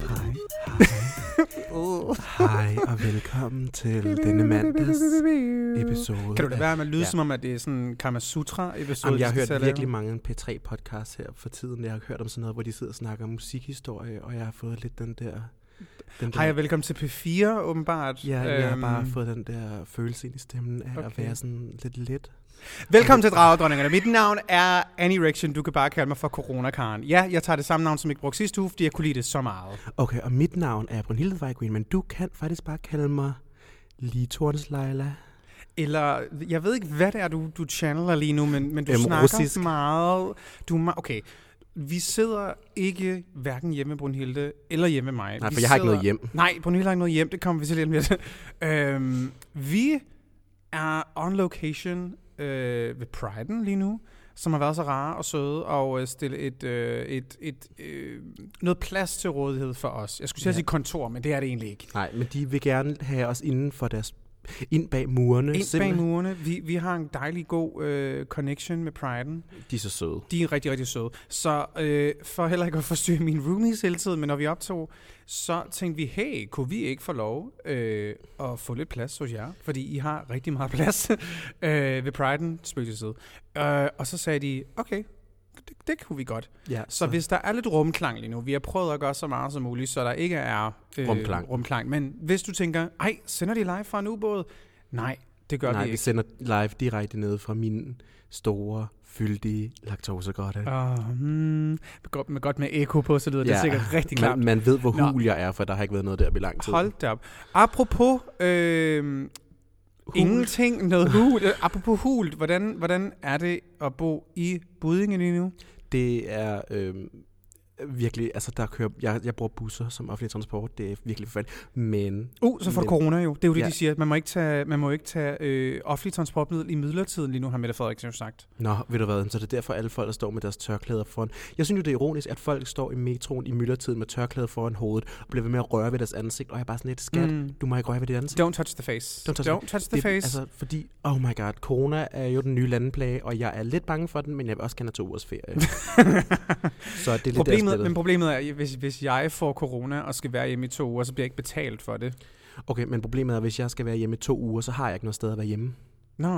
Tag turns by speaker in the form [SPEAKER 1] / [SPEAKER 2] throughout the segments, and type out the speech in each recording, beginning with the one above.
[SPEAKER 1] Hej, hej, og velkommen til denne mandags episode.
[SPEAKER 2] Kan du da
[SPEAKER 1] af-
[SPEAKER 2] være med at lyde
[SPEAKER 1] Ja.
[SPEAKER 2] ja. som om, at det er sådan en Kama Sutra-episode?
[SPEAKER 1] Jamen, jeg har
[SPEAKER 2] de skal til
[SPEAKER 1] hørt
[SPEAKER 2] at
[SPEAKER 1] virkelig
[SPEAKER 2] lave?
[SPEAKER 1] mange P3-podcasts her for tiden. Jeg har hørt om sådan noget, hvor de sidder og snakker om musikhistorie, og jeg har fået lidt den der... Den der
[SPEAKER 2] Hej og velkommen til P4, åbenbart.
[SPEAKER 1] ja, jeg har bare
[SPEAKER 2] Øhm,
[SPEAKER 1] fået den der følelse ind i stemmen af okay. at
[SPEAKER 2] Okay.
[SPEAKER 1] være sådan lidt let.
[SPEAKER 2] Velkommen til Dragedronningerne. Mit navn er Annie Rection. Du kan bare kalde mig for Corona Karen. Ja, jeg tager det samme navn, som jeg brugte sidste uge, fordi jeg kunne lide det så meget.
[SPEAKER 1] Okay, og mit navn er Brunhilde Vejgreen, men du kan faktisk bare kalde mig Litorens Leila.
[SPEAKER 2] Eller, jeg ved ikke, hvad det er, du, du channeler lige nu, men, men du
[SPEAKER 1] Øhm,
[SPEAKER 2] snakker
[SPEAKER 1] russisk.
[SPEAKER 2] meget... Du er me- okay, vi sidder ikke hverken hjemme med Brunhilde eller hjemme med mig.
[SPEAKER 1] Nej,
[SPEAKER 2] vi
[SPEAKER 1] for jeg har ikke
[SPEAKER 2] sidder...
[SPEAKER 1] noget hjem.
[SPEAKER 2] Nej, Brunhilde har ikke noget hjem. Det kommer vi til lidt om lidt. øhm, vi er on location øh, ved Pride'en lige nu, som har været så rare og søde og øh, stille et, øh, et, et, øh, noget plads til rådighed for os. Jeg skulle til at
[SPEAKER 1] Ja.
[SPEAKER 2] sige kontor, men det er det egentlig ikke.
[SPEAKER 1] Nej, men de vil gerne have os inden for deres... Ind bag murene.
[SPEAKER 2] Ind bag
[SPEAKER 1] simpelthen.
[SPEAKER 2] murene. Vi, vi har en dejlig god øh, connection med Pride'en.
[SPEAKER 1] De er så søde.
[SPEAKER 2] De er rigtig, rigtig søde. Så øh, for heller ikke at forstyrre mine roomies hele tiden, men når vi optog, så tænkte vi, hey, kunne vi ikke få lov øh, at få lidt plads hos jer? Fordi I har rigtig meget plads øh, ved Pride'en, spøg til side. Øh, og så sagde de, okay, det, det kunne vi godt.
[SPEAKER 1] Ja,
[SPEAKER 2] Så hvis der er lidt rumklang lige nu, vi har prøvet at gøre så meget som muligt, så der ikke er øh,
[SPEAKER 1] Rumklang.
[SPEAKER 2] rumklang. Men hvis du tænker, ej, sender de live fra en ubåd? Nej, det gør
[SPEAKER 1] Nej,
[SPEAKER 2] vi
[SPEAKER 1] vi
[SPEAKER 2] ikke.
[SPEAKER 1] sender live direkte ned fra min store, fyldige laktosegrotte.
[SPEAKER 2] Åh, hmm, godt- med, godt med eko på, så lyder ja,
[SPEAKER 1] Ja,
[SPEAKER 2] det sikkert rigtig klart.
[SPEAKER 1] Man, man ved, hvor
[SPEAKER 2] Nå.
[SPEAKER 1] hul jeg er, for der har ikke været noget der i lang tid.
[SPEAKER 2] Hold da op. Apropos øh,
[SPEAKER 1] Hul.
[SPEAKER 2] ingenting, noget hul. Øh, Apropos hul, hvordan, hvordan er det at bo i Budinge lige nu?
[SPEAKER 1] Det er øh, virkelig, altså der kører, jeg, jeg bruger busser som offentlig transport, det er virkelig forfærdeligt. Men
[SPEAKER 2] Uh, så får du
[SPEAKER 1] Men-
[SPEAKER 2] corona jo. Det er jo det,
[SPEAKER 1] Ja.
[SPEAKER 2] ja. de siger. at Man må ikke tage, man må ikke tage øh, offentlig transportmiddel i midlertiden lige nu, har Mette Frederiksen jo sagt.
[SPEAKER 1] Nå, ved du hvad, så det er derfor alle folk, der står med deres tørklæder foran. Jeg synes jo, det er ironisk, at folk står i metroen i myldretiden med tørklæder foran hovedet, og bliver ved med at røre ved deres ansigt, og jeg er bare sådan lidt, skat, mm. du må ikke røre ved dit ansigt.
[SPEAKER 2] Don't touch the face.
[SPEAKER 1] Don't touch
[SPEAKER 2] Don't touch the
[SPEAKER 1] det,
[SPEAKER 2] face.
[SPEAKER 1] Altså, fordi, oh my god, corona er jo den nye landeplage, og jeg er lidt bange for den, men jeg vil også gerne have to ugers ferie. så det er lidt
[SPEAKER 2] problemet,
[SPEAKER 1] der
[SPEAKER 2] men
[SPEAKER 1] men...
[SPEAKER 2] problemet er, hvis, hvis jeg får corona og skal være hjemme i to uger, så bliver jeg ikke betalt for det.
[SPEAKER 1] Okay, men problemet er, at hvis jeg skal være hjemme i to uger, så har jeg ikke noget sted at være hjemme.
[SPEAKER 2] Nå.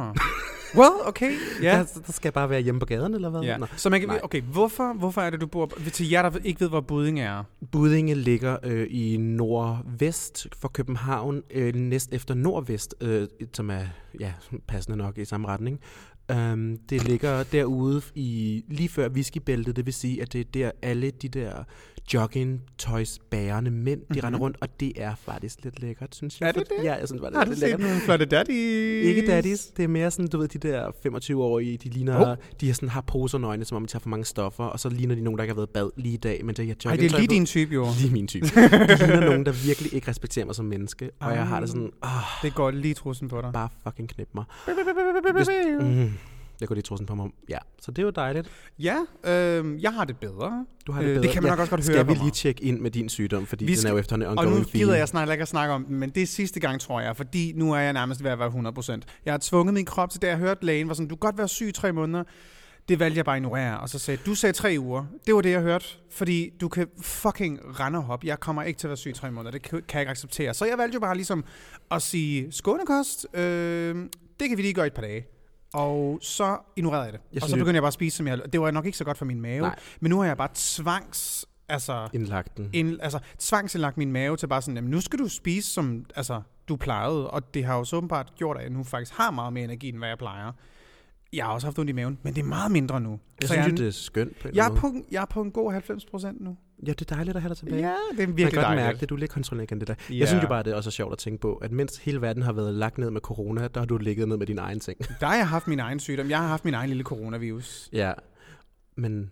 [SPEAKER 2] Well, okay. Ja.
[SPEAKER 1] Der, der skal jeg bare være hjemme på gaden, eller hvad?
[SPEAKER 2] Ja.
[SPEAKER 1] Nå.
[SPEAKER 2] Så man kan,
[SPEAKER 1] Nej.
[SPEAKER 2] okay, hvorfor, hvorfor er det, du bor... Til jer, der ikke ved, hvor Budinge er.
[SPEAKER 1] Budinge ligger øh, i nordvest for København, øh, næst efter nordvest, øh, som er ja, passende nok i samme retning. Um, det ligger derude i lige før whiskybæltet, det vil sige, at det er der alle de der jogging tøjs bærende mænd, de mm-hmm. render rundt, og det er faktisk lidt lækkert, synes jeg.
[SPEAKER 2] Mhm. Er det
[SPEAKER 1] For-
[SPEAKER 2] det?
[SPEAKER 1] Ja, jeg synes bare, det
[SPEAKER 2] Har
[SPEAKER 1] er
[SPEAKER 2] du
[SPEAKER 1] lidt
[SPEAKER 2] set
[SPEAKER 1] lækkert.
[SPEAKER 2] nogle flotte daddies?
[SPEAKER 1] Ikke daddies, det er mere sådan, du ved, de der 25-årige, de ligner, oh. de har sådan har poser nøgne, som om de tager for mange stoffer, og så ligner de nogen, der ikke har været i bad lige i dag, men det er
[SPEAKER 2] Ej, det er lige din type, jo.
[SPEAKER 1] Lige min type. De ligner nogen, der virkelig ikke respekterer mig som menneske. Og jeg har det sådan, åh,
[SPEAKER 2] Det går lige trussen på dig.
[SPEAKER 1] bare fucking knip mig. Hvis, mm, jeg går lige trussen på mig. Ja, så det var dejligt.
[SPEAKER 2] Ja, øh, jeg har det bedre. Øh,
[SPEAKER 1] Du har det bedre.
[SPEAKER 2] det kan man
[SPEAKER 1] ja.
[SPEAKER 2] nok også godt høre
[SPEAKER 1] Skal vi
[SPEAKER 2] på
[SPEAKER 1] lige
[SPEAKER 2] mig.
[SPEAKER 1] tjekke ind med din sygdom, fordi
[SPEAKER 2] Vi
[SPEAKER 1] den er jo
[SPEAKER 2] skal-
[SPEAKER 1] efterhånden en
[SPEAKER 2] Og nu
[SPEAKER 1] ongoing
[SPEAKER 2] gider jeg snart ikke at snakke om den, men det er sidste gang, tror jeg, fordi nu er jeg nærmest ved at være 100%. Jeg har tvunget min krop til det, jeg hørte lægen, var sådan, du kan godt være syg i tre måneder. Det valgte jeg bare at ignorere, og så sagde du sagde tre uger. Det var det, jeg hørte, fordi du kan fucking rende og hoppe. Jeg kommer ikke til at være syg i tre måneder, det kan kan jeg ikke acceptere. Så jeg valgte jo bare ligesom at sige, skånekost, øh, det kan vi lige gøre i et par dage. Og så ignorerede jeg det.
[SPEAKER 1] Jeg
[SPEAKER 2] Jeg og
[SPEAKER 1] synes,
[SPEAKER 2] så
[SPEAKER 1] det-
[SPEAKER 2] begyndde jeg bare at spise, som jeg... Det var nok ikke så godt for min mave,
[SPEAKER 1] Nej.
[SPEAKER 2] Nej. men nu har jeg bare tvangs... Altså,
[SPEAKER 1] indlagt den.
[SPEAKER 2] ind, altså, tvangsindlagt min mave til bare sådan, jamen, nu skal du spise, som altså, du plejede. Og det har jo så åbenbart gjort, at jeg nu faktisk har meget mere energi, end hvad jeg plejer. Jeg har også haft ondt i maven, men det er meget mindre nu.
[SPEAKER 1] Jeg
[SPEAKER 2] Så
[SPEAKER 1] synes
[SPEAKER 2] jeg,
[SPEAKER 1] jo, det er skønt på en
[SPEAKER 2] jeg,
[SPEAKER 1] eller
[SPEAKER 2] er
[SPEAKER 1] anden
[SPEAKER 2] på, jeg er på en god 90 procent nu.
[SPEAKER 1] måde. Ja, det er dejligt at have dig tilbage.
[SPEAKER 2] Ja, det
[SPEAKER 1] Man
[SPEAKER 2] er virkelig
[SPEAKER 1] kan godt mærke
[SPEAKER 2] dejligt.
[SPEAKER 1] det, du er lidt kontrolleret igen det der.
[SPEAKER 2] Ja.
[SPEAKER 1] Jeg synes jo bare, det er også sjovt at tænke på, at mens hele verden har været lagt ned med corona, der har du ligget ned med dine egne ting.
[SPEAKER 2] Der har jeg haft min egen sygdom. Jeg har haft min egen lille coronavirus.
[SPEAKER 1] Ja, men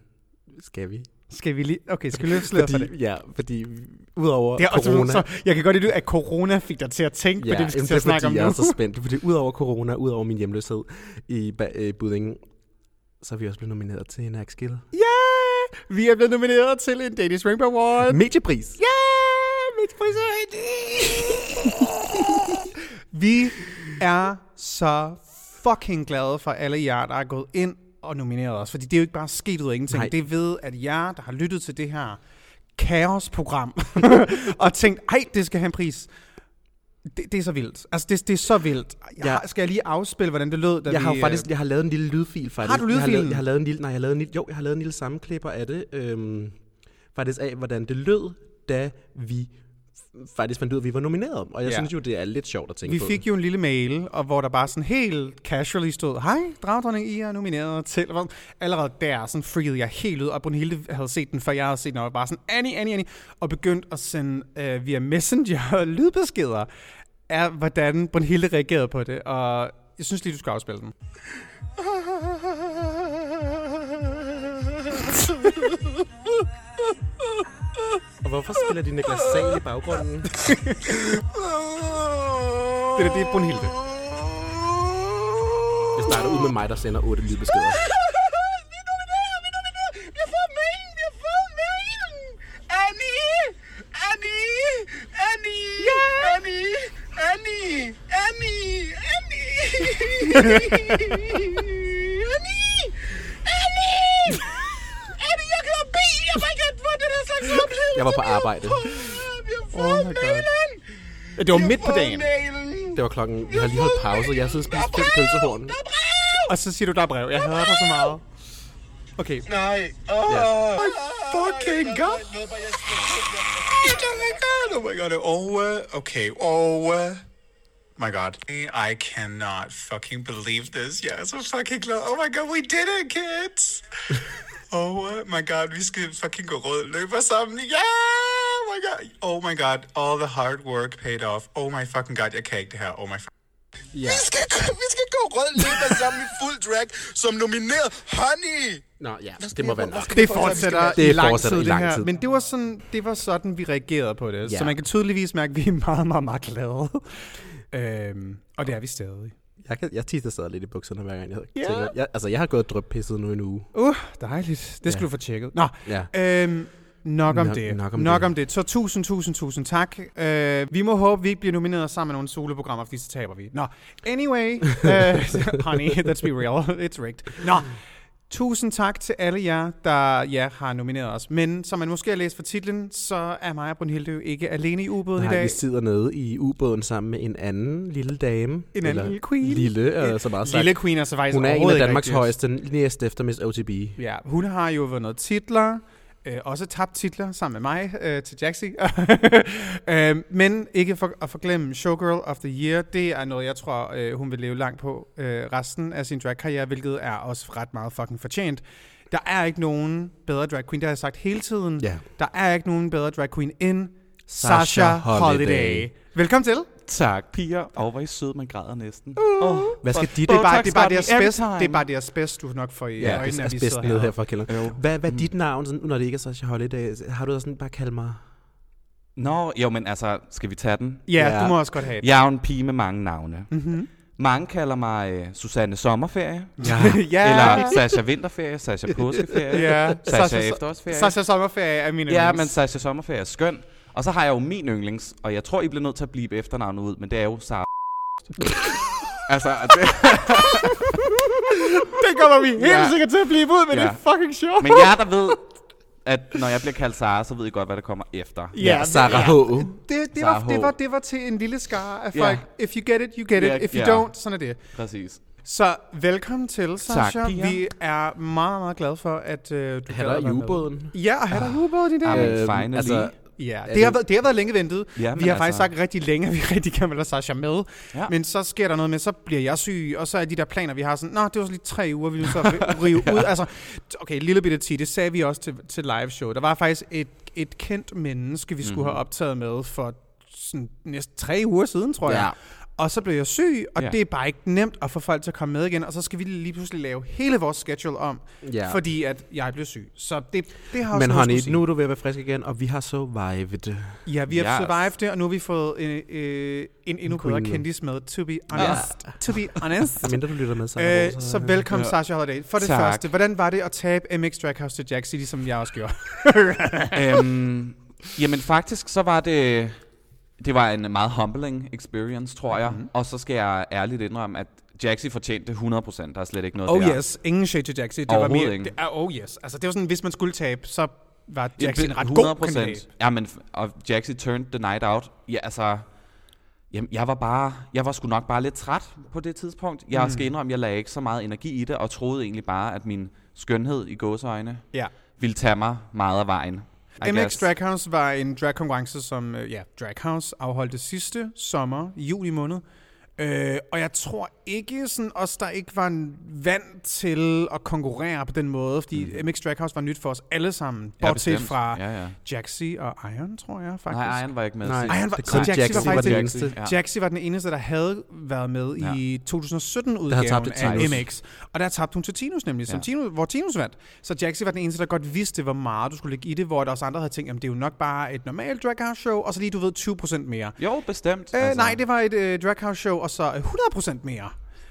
[SPEAKER 1] skal vi?
[SPEAKER 2] Skal vi lige... Okay, skal vi løfte sløret for det?
[SPEAKER 1] Fordi, ja, fordi udover
[SPEAKER 2] Det er også,
[SPEAKER 1] corona...
[SPEAKER 2] så, jeg kan godt lide, at corona fik dig til at tænke
[SPEAKER 1] Ja,
[SPEAKER 2] på det, vi skal
[SPEAKER 1] jamen,
[SPEAKER 2] til at snakke om
[SPEAKER 1] fordi,
[SPEAKER 2] nu.
[SPEAKER 1] jeg er så spændt. Fordi udover corona, udover min hjemløshed i, ba- øh, Budingen, så er vi også blevet nomineret til en Axel.
[SPEAKER 2] Ja! Vi er blevet nomineret til en Danish Rainbow Award.
[SPEAKER 1] Mediepris.
[SPEAKER 2] Ja, mit frisør. Vi er så fucking glade for alle jer, der er gået ind og nomineret os. Fordi det er jo ikke bare sket ud af ingenting.
[SPEAKER 1] Nej.
[SPEAKER 2] Det er ved, at jer, der har lyttet til det her kaosprogram, og tænkt, ej, det skal have en pris. Det, det er så vildt. Altså, det, det er så vildt. Jeg
[SPEAKER 1] Ja.
[SPEAKER 2] har, skal jeg lige afspille, hvordan det lød, da
[SPEAKER 1] Jeg
[SPEAKER 2] vi...
[SPEAKER 1] har jo
[SPEAKER 2] øh,
[SPEAKER 1] faktisk jeg har lavet en lille lydfil faktisk.
[SPEAKER 2] Har du
[SPEAKER 1] Jeg har lavet,
[SPEAKER 2] lydfilen?
[SPEAKER 1] jeg har lavet en lille, nej, jeg har lavet en lille, jo, jeg har lavet en lille sammenklipper af det. Øhm, faktisk af, hvordan det lød, da vi f- faktisk fandt ud af, at vi var nomineret. Og jeg
[SPEAKER 2] Ja.
[SPEAKER 1] ja. synes jo, det er lidt sjovt at tænke
[SPEAKER 2] Vi
[SPEAKER 1] på.
[SPEAKER 2] fik jo en lille mail, og hvor der bare sådan helt casually stod, hej, dragdronning, I er nomineret til... Hvor- Allerede der sådan freakede jeg helt ud, og Brunhilde havde set den, før jeg havde set den, og var bare sådan, Annie, Annie, Annie, og begyndte at sende øh, via Messenger lydbeskeder af, hvordan Brunhilde reagerede på det, og jeg synes lige, du skal afspille den.
[SPEAKER 1] Og hvorfor spiller de Niklas Sal i baggrunden?
[SPEAKER 2] Det er det, er Brunhilde.
[SPEAKER 1] Det starter ud med mig, der sender otte lydbeskeder.
[SPEAKER 3] Vi er nomineret, vi er nomineret. Vi har fået mailen, vi har fået mailen. Annie, Annie, Annie, yeah. Annie, Annie, Annie, Annie, Annie, Annie. Annie, jeg kan be, jeg var ikke at få den her slags oplevelse.
[SPEAKER 1] Jeg var på arbejde.
[SPEAKER 3] Vi har fået
[SPEAKER 2] Oh my God.
[SPEAKER 3] mailen.
[SPEAKER 2] Ja, det var
[SPEAKER 3] Vi har
[SPEAKER 2] midt på
[SPEAKER 3] fået
[SPEAKER 2] dagen.
[SPEAKER 3] mailen.
[SPEAKER 1] Det var klokken... Jeg har lige holdt pause, og jeg sidder og spiser fem pølsehorn.
[SPEAKER 3] Der er brev.
[SPEAKER 2] Og så siger du, der er brev. Jeg hader dig så meget. Okay,
[SPEAKER 3] Nej. Åh.
[SPEAKER 2] My fucking god.
[SPEAKER 3] Oh my god. Oh my god. Oh, uh, okay. Oh, uh, my god. I cannot fucking believe this. Yeah, so fucking glad. Oh my god, we did it, kids. Oh uh, my god, vi skal fucking gå rød løber sammen. Yeah, oh my god. Oh my god, all the hard work paid off. Oh my fucking god, jeg kan ikke det her. Oh my fucking
[SPEAKER 2] ja.
[SPEAKER 3] vi skal, vi skal gå rød løber sammen i fuld drag som nomineret Honey.
[SPEAKER 1] Nå, ja, det må være nok.
[SPEAKER 2] Det fortsætter
[SPEAKER 1] Det
[SPEAKER 2] i lang tid,
[SPEAKER 1] fortsætter i
[SPEAKER 2] det
[SPEAKER 1] lang
[SPEAKER 2] her.
[SPEAKER 1] tid.
[SPEAKER 2] Men det var, sådan, det var sådan, vi reagerede på det. Ja.
[SPEAKER 1] Ja.
[SPEAKER 2] Så man kan tydeligvis mærke, at vi er meget, meget, meget glade. øhm, og det er vi stadig.
[SPEAKER 1] Jeg, kan, jeg tisser stadig lidt i bukserne, hver gang jeg tænker. Jeg, altså, jeg har gået drøbpisset nu en uge.
[SPEAKER 2] Uh, dejligt. Det skal ja.
[SPEAKER 1] Ja.
[SPEAKER 2] du få tjekket. Nå,
[SPEAKER 1] Ja.
[SPEAKER 2] øhm, nok om
[SPEAKER 1] Nok-
[SPEAKER 2] det.
[SPEAKER 1] nok om
[SPEAKER 2] nok
[SPEAKER 1] det.
[SPEAKER 2] om det. Så tusind, tusind, tusind tak. Øh, vi må håbe, vi ikke bliver nomineret sammen med nogle soloprogrammer, fordi så taber vi. Nå, anyway. øh, honey, let's be real. It's rigged. Nå. Tusind tak til alle jer, der ja, har nomineret os. Men som man måske har læst fra titlen, så er mig og Brunhilde jo ikke alene i ubåden i
[SPEAKER 1] Nej,
[SPEAKER 2] dag.
[SPEAKER 1] vi sidder nede i ubåden sammen med en anden lille dame. En
[SPEAKER 2] anden lille queen.
[SPEAKER 1] Lille, øh, så meget sagt.
[SPEAKER 2] Lille Queen er så faktisk
[SPEAKER 1] Hun er en
[SPEAKER 2] overhovedet
[SPEAKER 1] af
[SPEAKER 2] ikke
[SPEAKER 1] Danmarks
[SPEAKER 2] rigtig-
[SPEAKER 1] højeste, næst efter Miss OTB.
[SPEAKER 2] Ja, hun har jo vundet titler, øh, også tabt titler sammen med mig øh, til Jaxi. øh, men ikke for, at forglemme Showgirl of the Year, det er noget, jeg tror, øh, hun vil leve langt på øh, resten af sin dragkarriere, hvilket er også ret meget fucking fortjent. Der er ikke nogen bedre drag queen, det har jeg sagt hele tiden.
[SPEAKER 1] Ja.
[SPEAKER 2] Der er ikke nogen bedre drag queen end Sasha,
[SPEAKER 1] Sasha
[SPEAKER 2] Holiday.
[SPEAKER 1] Holiday.
[SPEAKER 2] Velkommen til.
[SPEAKER 4] Tak, piger. Og hvor er I sød, man græder næsten. Uh. Oh.
[SPEAKER 1] Hvad skal dit...
[SPEAKER 2] Det er bare, det er bare
[SPEAKER 4] Botox-Barbie
[SPEAKER 2] deres
[SPEAKER 4] every
[SPEAKER 2] bedst,
[SPEAKER 4] time.
[SPEAKER 2] det er bare deres bedst, du nok får i
[SPEAKER 1] Ja, det
[SPEAKER 2] øjnene,
[SPEAKER 1] er
[SPEAKER 2] at vi sidder
[SPEAKER 1] bedst
[SPEAKER 2] her. Mm.
[SPEAKER 1] ned her fra kælderen.
[SPEAKER 4] Jo.
[SPEAKER 1] Hvad, hvad er dit navn, sådan, når det ikke er Sasha Holiday? Har du da sådan bare kaldt mig...
[SPEAKER 4] Nå, jo, men altså, skal vi tage den?
[SPEAKER 2] Ja,
[SPEAKER 1] Ja.
[SPEAKER 2] du må også godt have det.
[SPEAKER 4] Jeg er jo en pige med mange navne. Mm-hmm. Mange kalder mig uh, Susanne Sommerferie,
[SPEAKER 1] Ja.
[SPEAKER 2] ja.
[SPEAKER 4] eller Sasha Vinterferie, Sasha Påskeferie,
[SPEAKER 2] Ja.
[SPEAKER 4] Sasha,
[SPEAKER 2] Sasha-
[SPEAKER 4] Efterårsferie.
[SPEAKER 2] Sasha Sommerferie er min
[SPEAKER 4] ja,
[SPEAKER 2] yndlings.
[SPEAKER 4] men Sasha Sommerferie er skøn. Og så har jeg jo min yndlings, og jeg tror, I bliver nødt til at blive efternavnet ud, men det er jo Sara. altså, det,
[SPEAKER 2] det kommer vi helt
[SPEAKER 4] Ja.
[SPEAKER 2] sikkert til at blive ud, men
[SPEAKER 4] Ja.
[SPEAKER 2] det er fucking sjovt.
[SPEAKER 4] men jer, der ved, at når jeg bliver kaldt Sara, så ved I godt, hvad der kommer efter.
[SPEAKER 1] ja, Sarah H.
[SPEAKER 2] Det, det,
[SPEAKER 4] Sarah
[SPEAKER 2] var,
[SPEAKER 4] H.
[SPEAKER 2] det, var, det var til en lille skare af
[SPEAKER 4] Ja.
[SPEAKER 2] folk. If you get it, you get it.
[SPEAKER 4] Ja,
[SPEAKER 2] If you
[SPEAKER 4] ja.
[SPEAKER 2] don't, sådan er det.
[SPEAKER 4] Præcis.
[SPEAKER 2] Så velkommen til, Sasha.
[SPEAKER 4] piger.
[SPEAKER 2] vi er meget, meget glade for, at øh, du
[SPEAKER 1] Han
[SPEAKER 2] gad
[SPEAKER 1] er
[SPEAKER 2] at
[SPEAKER 1] i
[SPEAKER 2] være med.
[SPEAKER 1] ubåden.
[SPEAKER 2] Ja, og
[SPEAKER 4] Ah.
[SPEAKER 2] han er i ubåden i dag.
[SPEAKER 4] Amen.
[SPEAKER 2] Ja,
[SPEAKER 4] Men finally.
[SPEAKER 2] det, har været, det har været længe ventet.
[SPEAKER 4] Ja, men
[SPEAKER 2] vi har faktisk
[SPEAKER 4] altså-
[SPEAKER 2] sagt rigtig længe, at vi rigtig gerne vil have Sasha med.
[SPEAKER 4] Ja.
[SPEAKER 2] Men så sker der noget med, så bliver jeg syg, og så er de der planer, vi har sådan, nå, det var så lige tre uger, vi vil så ri- rive ud. Altså, okay, lille bitte tid, det sagde vi også til, til live show. Der var faktisk et, et
[SPEAKER 4] Mhm.
[SPEAKER 2] kendt menneske, vi skulle mm-hmm. have optaget med for sådan næsten tre uger siden, tror jeg.
[SPEAKER 4] Ja.
[SPEAKER 2] Og så blev jeg syg, og
[SPEAKER 4] Ja.
[SPEAKER 2] det er bare ikke nemt at få folk til at komme med igen. Og så skal vi lige pludselig lave hele vores schedule om,
[SPEAKER 1] Ja.
[SPEAKER 2] fordi at jeg blev syg. Så det, det har også Altså,
[SPEAKER 1] Men
[SPEAKER 2] noget at
[SPEAKER 1] honey,
[SPEAKER 2] skulle
[SPEAKER 1] nu er du ved at være frisk igen, og vi har survived.
[SPEAKER 2] sige. Ja, vi har
[SPEAKER 4] Yes.
[SPEAKER 2] survived det, og nu har vi fået en, øh, en endnu bedre
[SPEAKER 1] queen.
[SPEAKER 2] kendis med, to be honest. To be honest.
[SPEAKER 1] Så mindre du lytter med sammen.
[SPEAKER 2] Øh, så velkommen, ja.
[SPEAKER 4] Ja.
[SPEAKER 2] Sasha Holiday. For det tak.
[SPEAKER 4] Tak.
[SPEAKER 2] første, hvordan var det at tabe MX Draghouse til Jack City, som jeg også gjorde?
[SPEAKER 4] øhm, jamen faktisk, så var det... Det var en meget humbling experience, tror jeg.
[SPEAKER 2] Mhm.
[SPEAKER 4] Mm-hmm. Og så skal jeg ærligt indrømme, at Jaxi fortjente 100%. Der er slet ikke noget
[SPEAKER 2] Oh
[SPEAKER 4] der.
[SPEAKER 2] yes, ingen shade til Jack City. Det var
[SPEAKER 4] Overhovedet
[SPEAKER 2] mere,
[SPEAKER 4] ikke.
[SPEAKER 2] det, er- oh yes. Altså, det var sådan, hvis man skulle tabe, så var
[SPEAKER 4] Ja,
[SPEAKER 2] Jack City en
[SPEAKER 4] det-
[SPEAKER 2] ret
[SPEAKER 4] 100
[SPEAKER 2] god kandidat.
[SPEAKER 4] Ja, men f- og Jaxi turned the night out. Ja, altså... Jamen, jeg var bare, jeg var sgu nok bare lidt træt på det tidspunkt. Jeg mm.
[SPEAKER 2] Mhm.
[SPEAKER 4] skal indrømme, jeg lagde ikke så meget energi i det, og troede egentlig bare, at min skønhed i gåseøjne
[SPEAKER 2] Ja.
[SPEAKER 4] ville tage mig meget af vejen. I
[SPEAKER 2] MX
[SPEAKER 4] guess.
[SPEAKER 2] Draghouse var en dragkonkurrence, som øh, ja, Draghouse afholdte sidste sommer, i juli måned. Øh, og jeg tror ikke, sådan os, der ikke var en- vant til at konkurrere på den måde, fordi mm. MX Draghouse var nyt for os alle sammen,
[SPEAKER 4] Ja,
[SPEAKER 2] bortset
[SPEAKER 4] bestemt.
[SPEAKER 2] fra ja.
[SPEAKER 4] Ja, ja.
[SPEAKER 2] Jaxi og Iron, tror jeg faktisk.
[SPEAKER 4] Nej, Iron var ikke med.
[SPEAKER 1] Nej,
[SPEAKER 4] sidst.
[SPEAKER 2] Iron var-
[SPEAKER 1] det
[SPEAKER 2] så
[SPEAKER 1] kun
[SPEAKER 2] Jaxi var
[SPEAKER 1] Jaxi var
[SPEAKER 2] faktisk
[SPEAKER 1] den
[SPEAKER 2] ikke-
[SPEAKER 1] eneste.
[SPEAKER 4] Ja.
[SPEAKER 2] Jaxi var den eneste, der havde været med ja. i 2017-udgaven
[SPEAKER 1] Der havde tabt til
[SPEAKER 2] af
[SPEAKER 1] Tinus.
[SPEAKER 2] MX. Og der tabte hun til Tinus nemlig, som
[SPEAKER 4] Ja.
[SPEAKER 2] Tinus, hvor Tinus vandt. Så Jaxi var den eneste, der godt vidste, hvor meget du skulle lægge i det, hvor der også andre havde tænkt, at det er jo nok bare et normalt drag house show, og så lige, du ved, 20% mere.
[SPEAKER 4] Jo, bestemt. Altså,
[SPEAKER 2] Øh, nej, det var et øh, drag house show, og så øh, 100% mere.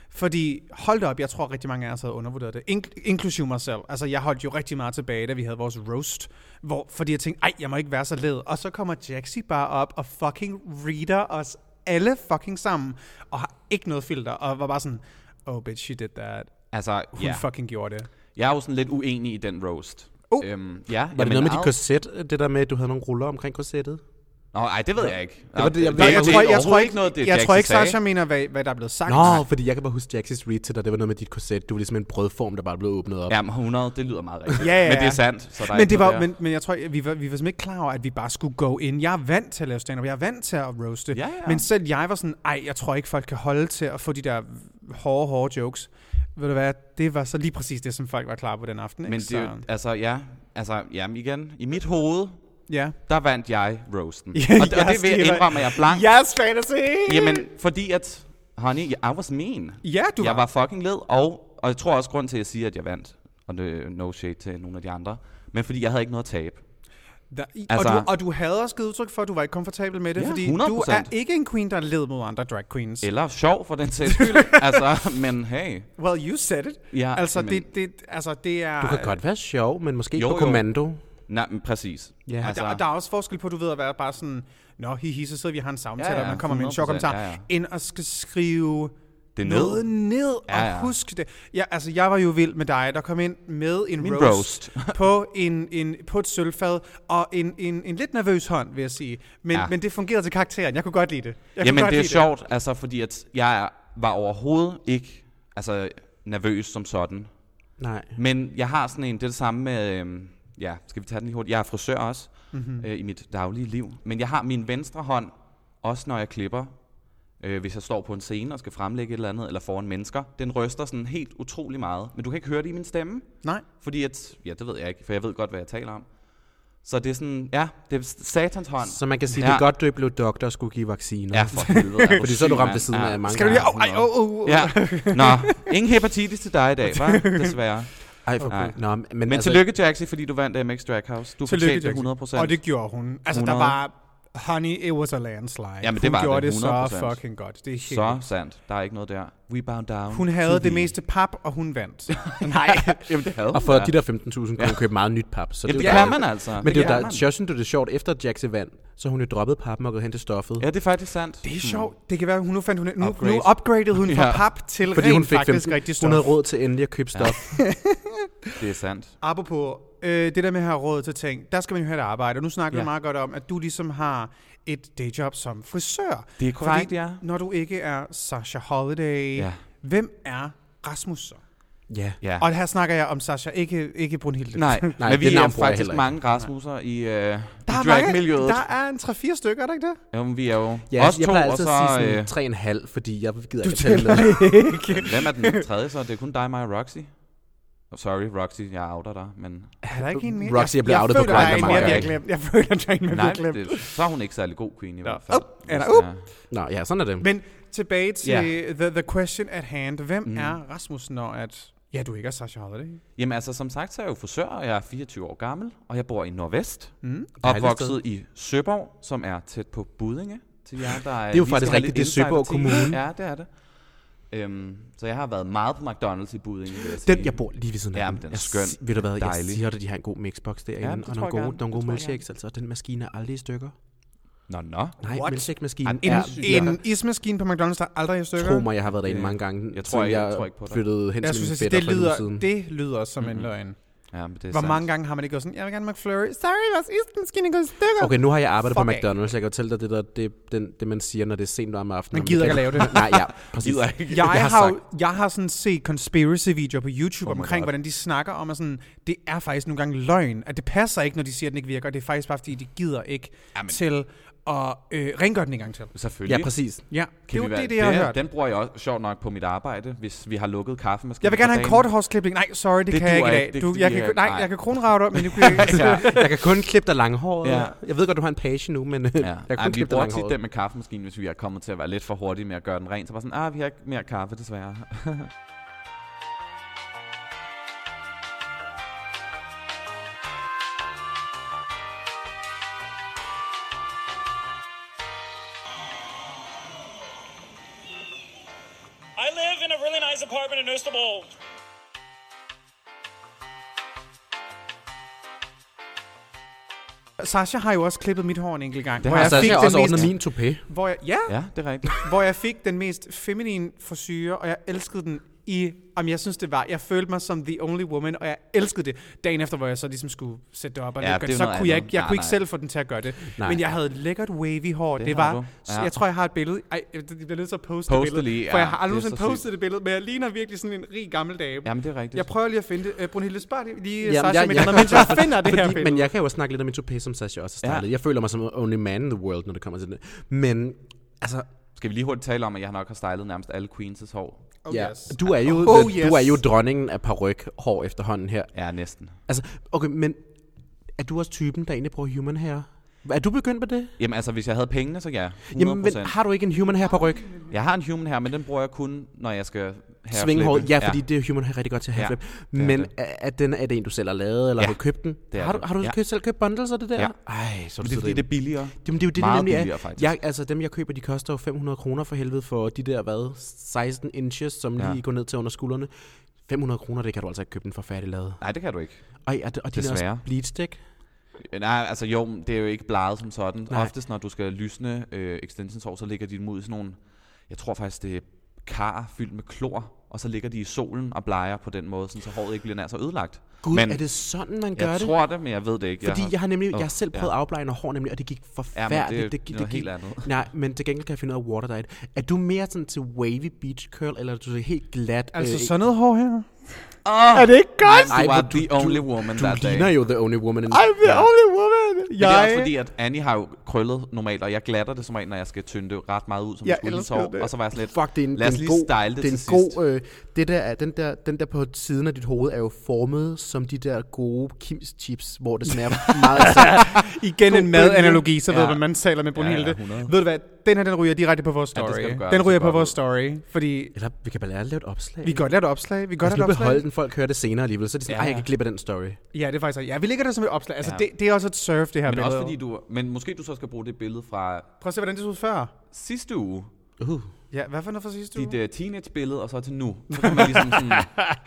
[SPEAKER 2] Fordi, hold da op, jeg tror rigtig mange af os havde undervurderet det. Ink- inklusive mig selv. Altså, jeg holdt jo rigtig meget tilbage, da vi havde vores roast. Hvor, fordi jeg tænkte, ej, jeg må ikke være så led. Og så kommer Jaxi bare op og fucking reader os alle fucking sammen. Og har ikke noget filter. Og var bare sådan, oh bitch, she did that.
[SPEAKER 4] Altså,
[SPEAKER 2] Hun
[SPEAKER 4] ja.
[SPEAKER 2] yeah. fucking gjorde det.
[SPEAKER 4] jeg er jo sådan lidt uenig i den roast.
[SPEAKER 2] Oh.
[SPEAKER 4] Øhm, ja,
[SPEAKER 1] Var det noget med dit korset, det der med, at du havde nogle ruller omkring korsettet?
[SPEAKER 4] Nå, ej, det ved jeg ikke. Nå,
[SPEAKER 1] var det, jeg ved-
[SPEAKER 4] er
[SPEAKER 1] jeg
[SPEAKER 4] overhovedet
[SPEAKER 1] tror-
[SPEAKER 2] jeg tror
[SPEAKER 4] overhovedet
[SPEAKER 2] ikke,
[SPEAKER 4] noget, det
[SPEAKER 2] jeg
[SPEAKER 4] Jaxi
[SPEAKER 2] tror ikke
[SPEAKER 4] sagde.
[SPEAKER 2] Sasha mener, hvad, hvad der er blevet sagt.
[SPEAKER 1] Nå, fordi jeg kan bare huske Jaxis read til dig, det var noget med dit korset. Du var ligesom en brødform, der bare blev åbnet op.
[SPEAKER 4] Jamen, 100, det lyder meget rigtigt.
[SPEAKER 2] Ja, ja,
[SPEAKER 4] Men det
[SPEAKER 2] ja.
[SPEAKER 4] er sandt, så der er
[SPEAKER 2] Men,
[SPEAKER 4] ikke
[SPEAKER 2] det
[SPEAKER 4] noget
[SPEAKER 2] var,
[SPEAKER 4] der.
[SPEAKER 2] men, men jeg tror, vi var, vi var simpelthen ikke klar over, at vi bare skulle gå ind. Jeg er vant til at lave stand-up, jeg er vant til at roaste.
[SPEAKER 4] Ja, ja.
[SPEAKER 2] Men selv jeg var sådan, ej, jeg tror ikke, folk kan holde til at få de der hårde, hårde jokes. Ved du hvad, det var så lige præcis det, som folk var klar på den aften. Ikke?
[SPEAKER 4] Men det, er jo-
[SPEAKER 2] så,
[SPEAKER 4] altså, ja, altså, jamen igen, i mit hoved,
[SPEAKER 2] ja.
[SPEAKER 4] der vandt jeg roasten.
[SPEAKER 2] Ja,
[SPEAKER 4] og, det, og
[SPEAKER 2] jeg
[SPEAKER 4] det vil jeg
[SPEAKER 2] skriver-
[SPEAKER 4] indrømme, at jeg er blank.
[SPEAKER 2] Yes, fantasy!
[SPEAKER 4] Jamen, fordi at, honey, I was mean.
[SPEAKER 2] Ja, du
[SPEAKER 4] jeg var fucking led, og, og jeg tror også, grund til, at jeg siger, at jeg vandt, og det er no shade til nogle af de andre, men fordi jeg havde ikke noget at tabe.
[SPEAKER 2] Der, i, altså,
[SPEAKER 4] Altså-
[SPEAKER 2] og, du, og du havde også givet udtryk for, at du var ikke komfortabel med det,
[SPEAKER 4] Ja,
[SPEAKER 2] fordi du er
[SPEAKER 4] 100%.
[SPEAKER 2] ikke en queen, der led mod andre drag queens.
[SPEAKER 4] Eller sjov, for den sags skyld. altså, men hey.
[SPEAKER 2] Well, you said it.
[SPEAKER 4] Ja,
[SPEAKER 2] altså,
[SPEAKER 4] men-
[SPEAKER 2] det, det, altså, det er...
[SPEAKER 1] Du kan godt være sjov, men måske
[SPEAKER 4] Jo,
[SPEAKER 1] ikke på
[SPEAKER 4] jo.
[SPEAKER 1] kommando.
[SPEAKER 4] Nej, men præcis.
[SPEAKER 1] Ja.
[SPEAKER 2] Altså. Der, der er også forskel på, du ved, at være bare sådan, nå, hihi, så sidder vi og har en samtale,
[SPEAKER 4] Ja,
[SPEAKER 2] ja,
[SPEAKER 4] ja,
[SPEAKER 2] ja, og man kommer med en sjov
[SPEAKER 4] 100%,
[SPEAKER 2] kommentar, ja,
[SPEAKER 4] ja,
[SPEAKER 2] ja.
[SPEAKER 4] ja.
[SPEAKER 2] end at skal skrive
[SPEAKER 4] Det er ned.
[SPEAKER 2] noget ned, og ja,
[SPEAKER 4] Ja,
[SPEAKER 2] ja.
[SPEAKER 4] ja.
[SPEAKER 2] huske det. Ja, altså, jeg var jo vild med dig, der kom ind med en
[SPEAKER 4] Min
[SPEAKER 2] roast,
[SPEAKER 4] roast.
[SPEAKER 2] på, en, en, på et sølvfad, og en, en, en lidt nervøs hånd, vil jeg sige. Men, ja.
[SPEAKER 4] Ja.
[SPEAKER 2] men det fungerede til karakteren, jeg kunne godt lide det. Jeg kunne
[SPEAKER 4] Jamen,
[SPEAKER 2] godt
[SPEAKER 4] det er
[SPEAKER 2] lide
[SPEAKER 4] sjovt, det. altså, fordi at jeg er- var overhovedet ikke altså, nervøs som sådan.
[SPEAKER 1] Nej.
[SPEAKER 4] Men jeg har sådan en, det er det samme med, øhm, ja, skal vi tage den lige hurtigt? Jeg er frisør også
[SPEAKER 1] Mhm.
[SPEAKER 4] mm-hmm. øh, i mit daglige liv. Men jeg har min venstre hånd, også når jeg klipper, øh, hvis jeg står på en scene og skal fremlægge et eller andet, eller foran mennesker. Den ryster sådan helt utrolig meget. Men du kan ikke høre det i min stemme,
[SPEAKER 2] Nej,
[SPEAKER 4] fordi at, ja, det ved jeg ikke, for jeg ved godt, hvad jeg taler om. Så det er sådan, ja, det er satans hånd.
[SPEAKER 1] Så man kan sige, det er
[SPEAKER 4] Ja.
[SPEAKER 1] godt, du ikke blev doktor og skulle give vacciner.
[SPEAKER 4] Ja, for helvede. er
[SPEAKER 1] Fordi så er du
[SPEAKER 4] syg,
[SPEAKER 1] ramt ved
[SPEAKER 4] mand.
[SPEAKER 1] siden
[SPEAKER 4] ja.
[SPEAKER 1] af mange
[SPEAKER 2] skal du lige...
[SPEAKER 1] gange.
[SPEAKER 2] Oh, ej, oh, oh, oh.
[SPEAKER 4] Ja, nå. Ingen hepatitis til dig i dag, var Desværre.
[SPEAKER 1] Ej, for
[SPEAKER 4] Nej.
[SPEAKER 1] Nå, men,
[SPEAKER 4] Men altså, tillykke, Jaxi, fordi du vandt MX Draghouse. Du
[SPEAKER 2] Tillykke,
[SPEAKER 4] fortjente det
[SPEAKER 2] Jackson.
[SPEAKER 4] 100
[SPEAKER 2] Og det gjorde hun. Altså, 100. der
[SPEAKER 4] 100.
[SPEAKER 2] var... Honey, it was a landslide.
[SPEAKER 4] Jamen, det
[SPEAKER 2] hun
[SPEAKER 4] var det,
[SPEAKER 2] gjorde det, så
[SPEAKER 4] 100%.
[SPEAKER 2] fucking godt. Det er helt
[SPEAKER 4] Så sandt. Der er ikke noget der. We bound down.
[SPEAKER 2] Hun havde det meste pap, og hun vandt. Nej.
[SPEAKER 4] Jamen, det havde
[SPEAKER 1] Og for de der 15.000 kunne ja. købe meget nyt pap. Så
[SPEAKER 4] Jamen,
[SPEAKER 1] det,
[SPEAKER 4] det
[SPEAKER 1] er jo
[SPEAKER 4] kan
[SPEAKER 1] dejligt.
[SPEAKER 4] man altså.
[SPEAKER 1] Men det er
[SPEAKER 4] kan
[SPEAKER 1] jo der,
[SPEAKER 4] man.
[SPEAKER 1] jeg synes, det er sjovt, efter Jaxi vand, så har hun jo droppet pappen og gået hen til stoffet.
[SPEAKER 4] Ja, det er faktisk sandt. Hmm,
[SPEAKER 2] Det er sjovt. Det kan være, hun nu fandt hun... Nu, Upgrade.
[SPEAKER 4] Upgrade.
[SPEAKER 2] nu upgradede hun fra
[SPEAKER 4] Ja.
[SPEAKER 2] pap til
[SPEAKER 1] Fordi
[SPEAKER 2] rent
[SPEAKER 1] hun fik
[SPEAKER 2] faktisk
[SPEAKER 1] 15.
[SPEAKER 2] rigtig stof.
[SPEAKER 1] Hun havde råd til endelig at købe stof.
[SPEAKER 4] Det er sandt.
[SPEAKER 2] Apropos øh, det der med at have råd til ting, der skal man jo have et arbejde. Og nu snakker ja.
[SPEAKER 4] Ja.
[SPEAKER 2] vi meget godt om, at du ligesom har et dayjob som frisør.
[SPEAKER 4] Det er korrekt, ja.
[SPEAKER 2] Når du ikke er Sasha Holiday,
[SPEAKER 4] Ja.
[SPEAKER 2] hvem er Rasmus så?
[SPEAKER 1] Ja.
[SPEAKER 4] Ja.
[SPEAKER 2] Og her snakker jeg om Sasha, ikke, ikke Brunhilde.
[SPEAKER 4] Nej,
[SPEAKER 1] Nej,
[SPEAKER 4] Nej men
[SPEAKER 1] det
[SPEAKER 4] vi er
[SPEAKER 1] navn bruger jeg
[SPEAKER 4] faktisk
[SPEAKER 1] heller ikke.
[SPEAKER 4] mange Rasmusser i, øh,
[SPEAKER 2] Der
[SPEAKER 4] i
[SPEAKER 2] er, mange,
[SPEAKER 4] drag-miljøet.
[SPEAKER 2] der er en 3-4 stykker, er der ikke det?
[SPEAKER 4] Jamen, vi er jo
[SPEAKER 1] Ja,
[SPEAKER 4] os
[SPEAKER 1] jeg
[SPEAKER 4] to,
[SPEAKER 1] plejer
[SPEAKER 4] og
[SPEAKER 1] altid
[SPEAKER 4] så...
[SPEAKER 1] at sige sådan
[SPEAKER 4] øh,
[SPEAKER 1] tre en halv, fordi jeg gider ikke at tælle.
[SPEAKER 4] hvem er den tredje så? Det er kun dig, mig og Roxy. Oh, sorry, Roxy, jeg outer dig, men...
[SPEAKER 2] Er der ikke en mere?
[SPEAKER 1] Roxy er blevet outet på
[SPEAKER 2] føler, der er
[SPEAKER 1] Grindr
[SPEAKER 2] en
[SPEAKER 1] mange
[SPEAKER 2] mere, vi har
[SPEAKER 1] gange.
[SPEAKER 2] glemt. Jeg føler, der er en mere, vi
[SPEAKER 4] Nej,
[SPEAKER 2] har glemt.
[SPEAKER 4] det, så er hun ikke særlig god queen i hvert fald.
[SPEAKER 2] Up, er der
[SPEAKER 4] hvis
[SPEAKER 2] up?
[SPEAKER 4] det er.
[SPEAKER 1] Nå, ja, sådan er det.
[SPEAKER 2] Men tilbage til
[SPEAKER 4] Ja.
[SPEAKER 2] yeah. the, the question at hand. Hvem
[SPEAKER 4] Mm.
[SPEAKER 2] mm. er Rasmus, når at... Ja, du ikke er Sasha Holiday.
[SPEAKER 4] Jamen altså, som sagt, så er jeg jo frisør, og jeg er 24 år gammel, og jeg bor i Nordvest.
[SPEAKER 2] Mm.
[SPEAKER 1] Dejligt
[SPEAKER 4] Opvokset i Søborg, som er tæt på Budinge. Til jer, der er
[SPEAKER 1] Det er jo
[SPEAKER 4] lige
[SPEAKER 1] faktisk
[SPEAKER 4] skal have
[SPEAKER 1] rigtigt,
[SPEAKER 4] lidt
[SPEAKER 1] det er Søborg
[SPEAKER 4] insider-ting.
[SPEAKER 1] Kommune.
[SPEAKER 4] Ja, det er det. Øhm, så jeg har været meget på McDonald's i Budinge, vil jeg sige.
[SPEAKER 1] Den, jeg bor lige ved siden af.
[SPEAKER 4] Ja, men den er
[SPEAKER 1] Jeg
[SPEAKER 4] skøn.
[SPEAKER 1] si- Ved du hvad, jeg
[SPEAKER 4] Dejlig.
[SPEAKER 1] siger dig, de har en god mixbox derinde,
[SPEAKER 4] Ja,
[SPEAKER 1] ja, og
[SPEAKER 4] det tror jeg
[SPEAKER 1] nogle gode,
[SPEAKER 4] gerne.
[SPEAKER 1] nogle
[SPEAKER 4] Det
[SPEAKER 1] gode
[SPEAKER 4] tror jeg
[SPEAKER 1] milkshakes. Altså, den maskine er aldrig i stykker.
[SPEAKER 4] Nå, nå.
[SPEAKER 1] Nej,
[SPEAKER 2] What?
[SPEAKER 1] milkshake-maskinen
[SPEAKER 4] En-
[SPEAKER 1] er
[SPEAKER 4] en-
[SPEAKER 1] virkelig-
[SPEAKER 2] En ismaskine på McDonald's, der er aldrig er i stykker.
[SPEAKER 1] Tro mig, jeg har været derinde
[SPEAKER 4] Øh,
[SPEAKER 1] mange gange,
[SPEAKER 4] jeg tror
[SPEAKER 1] siden
[SPEAKER 4] ikke- jeg tror ikke på dig.
[SPEAKER 1] flyttede hen
[SPEAKER 2] Jeg
[SPEAKER 1] til min
[SPEAKER 2] synes, at
[SPEAKER 1] fætter
[SPEAKER 2] det
[SPEAKER 1] for en uge
[SPEAKER 2] lyder,
[SPEAKER 1] siden.
[SPEAKER 2] det lyder som en
[SPEAKER 4] Mhm.
[SPEAKER 2] løgn.
[SPEAKER 4] Ja, men det er
[SPEAKER 2] Hvor
[SPEAKER 4] sandt.
[SPEAKER 2] mange gange har man ikke gået sådan, jeg vil gerne have McFlurry. Sorry, vores ismaskine er gået i stykker.
[SPEAKER 1] Okay, nu har jeg arbejdet på
[SPEAKER 2] Fuck af.
[SPEAKER 1] McDonald's. Jeg kan fortælle dig det, der, det, den, det man siger, når det er sent om aftenen.
[SPEAKER 2] Man
[SPEAKER 1] og
[SPEAKER 2] gider ikke
[SPEAKER 1] kan-
[SPEAKER 2] at lave det.
[SPEAKER 1] Nej, ja, præcis.
[SPEAKER 4] Gider ikke.
[SPEAKER 2] Jeg, jeg,
[SPEAKER 1] har
[SPEAKER 2] har, jo-
[SPEAKER 1] sagt-
[SPEAKER 2] jeg har sådan set conspiracy-videoer på YouTube
[SPEAKER 4] Oh
[SPEAKER 2] oh
[SPEAKER 4] my
[SPEAKER 2] omkring,
[SPEAKER 4] God.
[SPEAKER 2] hvordan de snakker om, at sådan, det er faktisk nogle gange løgn, at det passer ikke, når de siger, at den ikke virker, det er faktisk bare, fordi de gider ikke Amen. til at øh, rengøre den en gang til.
[SPEAKER 4] Selvfølgelig.
[SPEAKER 1] Ja, præcis.
[SPEAKER 2] Ja, det er
[SPEAKER 4] vi
[SPEAKER 2] jo
[SPEAKER 4] være-
[SPEAKER 2] det, det, jeg har hørt.
[SPEAKER 4] Den bruger jeg også, sjovt nok, på mit arbejde, hvis vi har lukket kaffemaskinen.
[SPEAKER 2] Jeg vil gerne
[SPEAKER 4] for
[SPEAKER 2] have en
[SPEAKER 4] dagen.
[SPEAKER 2] korthårsklipping. Nej, sorry, det,
[SPEAKER 4] Det
[SPEAKER 2] det kan jeg
[SPEAKER 4] duer
[SPEAKER 2] ikke i
[SPEAKER 4] ikke. Det
[SPEAKER 2] dag. Du,
[SPEAKER 4] kan
[SPEAKER 2] jeg
[SPEAKER 4] de
[SPEAKER 2] kan,
[SPEAKER 4] ikke.
[SPEAKER 2] nej,
[SPEAKER 4] Nej.
[SPEAKER 2] jeg kan kronravte, men det kunne jeg ikke.
[SPEAKER 4] Ja.
[SPEAKER 1] Altså, Jeg kan kun klippe dig langhåret.
[SPEAKER 4] Ja.
[SPEAKER 1] Ja. Jeg ved godt, du har en page nu, men ja. jeg
[SPEAKER 4] Ja.
[SPEAKER 1] kan
[SPEAKER 4] Ej,
[SPEAKER 1] kun
[SPEAKER 4] vi
[SPEAKER 1] klippe dig
[SPEAKER 4] bruger tit
[SPEAKER 1] langhåret.
[SPEAKER 4] den med kaffemaskinen, hvis vi er kommet til at være lidt for hurtige med at gøre den ren. Så bare sådan, ah, vi har ikke mere kaffe, desværre.
[SPEAKER 5] I live in a really nice apartment in Istanbul.
[SPEAKER 2] Sasha har jo også klippet mit hår en enkelt gang.
[SPEAKER 4] Det
[SPEAKER 2] hvor
[SPEAKER 4] har
[SPEAKER 1] Og så
[SPEAKER 2] Altså, jeg
[SPEAKER 1] har
[SPEAKER 2] fik
[SPEAKER 1] jeg også
[SPEAKER 2] den
[SPEAKER 1] ordnet
[SPEAKER 2] mest,
[SPEAKER 1] min toupé.
[SPEAKER 2] Hvor jeg, ja,
[SPEAKER 4] ja, det er rigtigt.
[SPEAKER 2] hvor jeg fik den mest feminine forsyre, og jeg elskede den i... Om jeg synes, det var... Jeg følte mig som the only woman, og jeg elskede det. Dagen efter, hvor jeg så ligesom skulle sætte det op og
[SPEAKER 4] Ja,
[SPEAKER 2] ja,
[SPEAKER 4] det er
[SPEAKER 2] det,
[SPEAKER 4] jo
[SPEAKER 2] så
[SPEAKER 4] noget
[SPEAKER 2] kunne jeg
[SPEAKER 4] andet.
[SPEAKER 2] ikke, jeg
[SPEAKER 4] Nej,
[SPEAKER 2] kunne ikke
[SPEAKER 4] nej.
[SPEAKER 2] selv få den til at gøre det.
[SPEAKER 1] Nej.
[SPEAKER 2] Men jeg havde lækkert wavy hår. Det,
[SPEAKER 4] Det
[SPEAKER 2] det
[SPEAKER 4] har
[SPEAKER 2] var...
[SPEAKER 4] du. Ja.
[SPEAKER 2] Ja. Jeg tror, jeg har et billede. Ej, jeg jeg bliver nødt til at poste,
[SPEAKER 4] Post
[SPEAKER 2] det
[SPEAKER 4] det
[SPEAKER 2] billede.
[SPEAKER 4] lige,
[SPEAKER 2] For
[SPEAKER 4] ja.
[SPEAKER 2] jeg har aldrig
[SPEAKER 4] Det er
[SPEAKER 2] nogensinde
[SPEAKER 4] så sygt.
[SPEAKER 2] postet det billede, men jeg ligner virkelig sådan en rig gammel dame.
[SPEAKER 4] Jamen, det er rigtigt.
[SPEAKER 2] Jeg prøver lige at finde det. Øh, Brunhilde, spørg lige, lige
[SPEAKER 1] Jamen,
[SPEAKER 2] Sasha,
[SPEAKER 1] jeg-
[SPEAKER 2] men
[SPEAKER 1] jeg-
[SPEAKER 2] jeg, mens jeg finder det her
[SPEAKER 1] Fordi,
[SPEAKER 2] billede.
[SPEAKER 1] men jeg kan jo også snakke lidt om min toupé, som Sasha også har startet.
[SPEAKER 4] Ja.
[SPEAKER 1] Jeg føler mig som only man in the world, når det kommer til det. Men, altså,
[SPEAKER 4] Skal vi lige hurtigt tale om, at jeg nok har stylet nærmest alle Queens' hår?
[SPEAKER 2] Oh,
[SPEAKER 1] ja,
[SPEAKER 2] yes.
[SPEAKER 1] du, er jo,
[SPEAKER 2] Oh,
[SPEAKER 1] du er
[SPEAKER 2] yes.
[SPEAKER 1] jo dronningen af paryk hår efterhånden her.
[SPEAKER 4] Ja, næsten.
[SPEAKER 1] Altså, okay, men er du også typen, der egentlig bruger human hair? Er du begyndt på det?
[SPEAKER 4] Jamen altså, hvis jeg havde pengene, så ja. 100%.
[SPEAKER 1] Jamen, men, har du ikke en human hair på ryg?
[SPEAKER 4] Jeg har en human her, men den bruger jeg kun, når jeg skal have
[SPEAKER 1] Svinghåret, ja, fordi det er human hair rigtig godt til at
[SPEAKER 4] Ja,
[SPEAKER 1] have flip.
[SPEAKER 4] det er
[SPEAKER 1] Men
[SPEAKER 4] det.
[SPEAKER 1] er, er, den, er det en, du selv har lavet, eller
[SPEAKER 4] Ja,
[SPEAKER 1] har du købt den?
[SPEAKER 4] det er
[SPEAKER 1] har du,
[SPEAKER 4] det.
[SPEAKER 1] har du
[SPEAKER 4] Ja.
[SPEAKER 1] købt, selv købt bundles af det der?
[SPEAKER 4] Ja.
[SPEAKER 1] Ej, så er du
[SPEAKER 4] Men det er
[SPEAKER 1] sød
[SPEAKER 4] fordi,
[SPEAKER 1] en.
[SPEAKER 4] det er billigere.
[SPEAKER 1] Jamen, det er jo det,
[SPEAKER 4] Meget
[SPEAKER 1] det nemlig
[SPEAKER 4] billigere,
[SPEAKER 1] er.
[SPEAKER 4] faktisk.
[SPEAKER 1] Jeg, altså, dem, jeg køber, de koster jo 500 kroner for helvede for de der, hvad, 16 inches, som
[SPEAKER 4] Ja.
[SPEAKER 1] ja. lige går ned til under skuldrene. 500 kroner, det kan du altså ikke købe den for færdiglavet.
[SPEAKER 4] Nej, det kan du ikke.
[SPEAKER 1] Og, og, og de er også
[SPEAKER 4] Desværre.
[SPEAKER 1] bleached, ikke?
[SPEAKER 4] Nej, altså jo, men det er jo ikke bladet som sådan. Nej.
[SPEAKER 1] Nej.
[SPEAKER 4] Oftest, når du skal lysne øh, extensions over, så ligger de dem ud i sådan nogle, jeg tror faktisk, det er kar fyldt med klor, og så ligger de i solen og bleger på den måde, sådan, så håret ikke bliver nær så ødelagt.
[SPEAKER 1] Gud,
[SPEAKER 4] men
[SPEAKER 1] er det sådan, man gør
[SPEAKER 4] jeg
[SPEAKER 1] det?
[SPEAKER 4] tror det, men jeg ved det ikke.
[SPEAKER 1] Fordi jeg har nemlig, jeg har
[SPEAKER 4] Åh,
[SPEAKER 1] selv prøvet ja. afblejende hår nemlig, og det gik
[SPEAKER 4] Ja, men
[SPEAKER 1] forfærdeligt.
[SPEAKER 4] det er
[SPEAKER 1] det, gik-
[SPEAKER 4] noget
[SPEAKER 1] gik-
[SPEAKER 4] helt andet.
[SPEAKER 1] Nej, men til gengæld kan jeg finde ud af water diet. Er du mere sådan til wavy beach curl, eller er du helt glat?
[SPEAKER 2] Altså,
[SPEAKER 1] øh,
[SPEAKER 2] sådan noget hår her.
[SPEAKER 4] Oh,
[SPEAKER 2] Er det ikke godt?
[SPEAKER 4] du
[SPEAKER 1] Ej,
[SPEAKER 4] var
[SPEAKER 1] hvor du-
[SPEAKER 4] the
[SPEAKER 1] du-
[SPEAKER 4] only woman
[SPEAKER 1] Du
[SPEAKER 4] that day.
[SPEAKER 1] ligner jo the only woman in
[SPEAKER 2] I'm the
[SPEAKER 4] Ja.
[SPEAKER 2] only woman.
[SPEAKER 4] Men det er også
[SPEAKER 2] Jeg-
[SPEAKER 4] fordi, at Annie har jo krøllet normalt, og jeg glatter det som regel, når jeg skal tynde det ret meget ud, som
[SPEAKER 2] Jeg
[SPEAKER 4] jeg skulle hendes
[SPEAKER 2] elskede
[SPEAKER 4] hår.
[SPEAKER 2] det.
[SPEAKER 4] Og så var jeg sådan lidt,
[SPEAKER 1] Fuck, det er en,
[SPEAKER 4] lad os
[SPEAKER 1] det er en
[SPEAKER 4] lige
[SPEAKER 1] god,
[SPEAKER 4] style det,
[SPEAKER 1] det er en
[SPEAKER 4] til sidst.
[SPEAKER 1] god, øh, det der, er- den der, den der på siden af dit hoved er jo formet som de der gode Kims chips, hvor det smager meget sådan.
[SPEAKER 2] Igen en madanalogi, så ved
[SPEAKER 4] Ja.
[SPEAKER 2] man, man taler med Brunhilde.
[SPEAKER 4] Ja, ja, 100.
[SPEAKER 2] ved du hvad, den her, den ryger direkte på vores
[SPEAKER 4] Ja, det
[SPEAKER 2] story.
[SPEAKER 4] skal du gøre.
[SPEAKER 2] den
[SPEAKER 4] Det
[SPEAKER 2] ryger
[SPEAKER 4] skal
[SPEAKER 2] på
[SPEAKER 4] du
[SPEAKER 2] vores
[SPEAKER 4] gøre.
[SPEAKER 2] story, fordi
[SPEAKER 1] Eller vi kan bare lade lave et opslag.
[SPEAKER 2] vi kan godt lave et opslag. Vi kan godt
[SPEAKER 4] Altså,
[SPEAKER 1] Lad os nu
[SPEAKER 2] lave et opslag.
[SPEAKER 1] beholde den, folk hører det senere alligevel, så er de sådan,
[SPEAKER 4] Ja,
[SPEAKER 1] ja, ej,
[SPEAKER 4] ja.
[SPEAKER 1] jeg kan klippe den story.
[SPEAKER 2] Ja, det er faktisk Ja, vi ligger der som et opslag. Altså,
[SPEAKER 4] Ja.
[SPEAKER 2] ja. det, det, er også et surf, det her
[SPEAKER 4] Men
[SPEAKER 2] billede.
[SPEAKER 4] også fordi du, men måske du så skal bruge det billede fra
[SPEAKER 2] Prøv at se, hvordan det så ud før.
[SPEAKER 4] sidste uge,
[SPEAKER 1] Uh.
[SPEAKER 2] Ja, hvad for noget fra sidste uge?
[SPEAKER 4] dit uh, teenage-billede, og så til nu. Så kan man ligesom sådan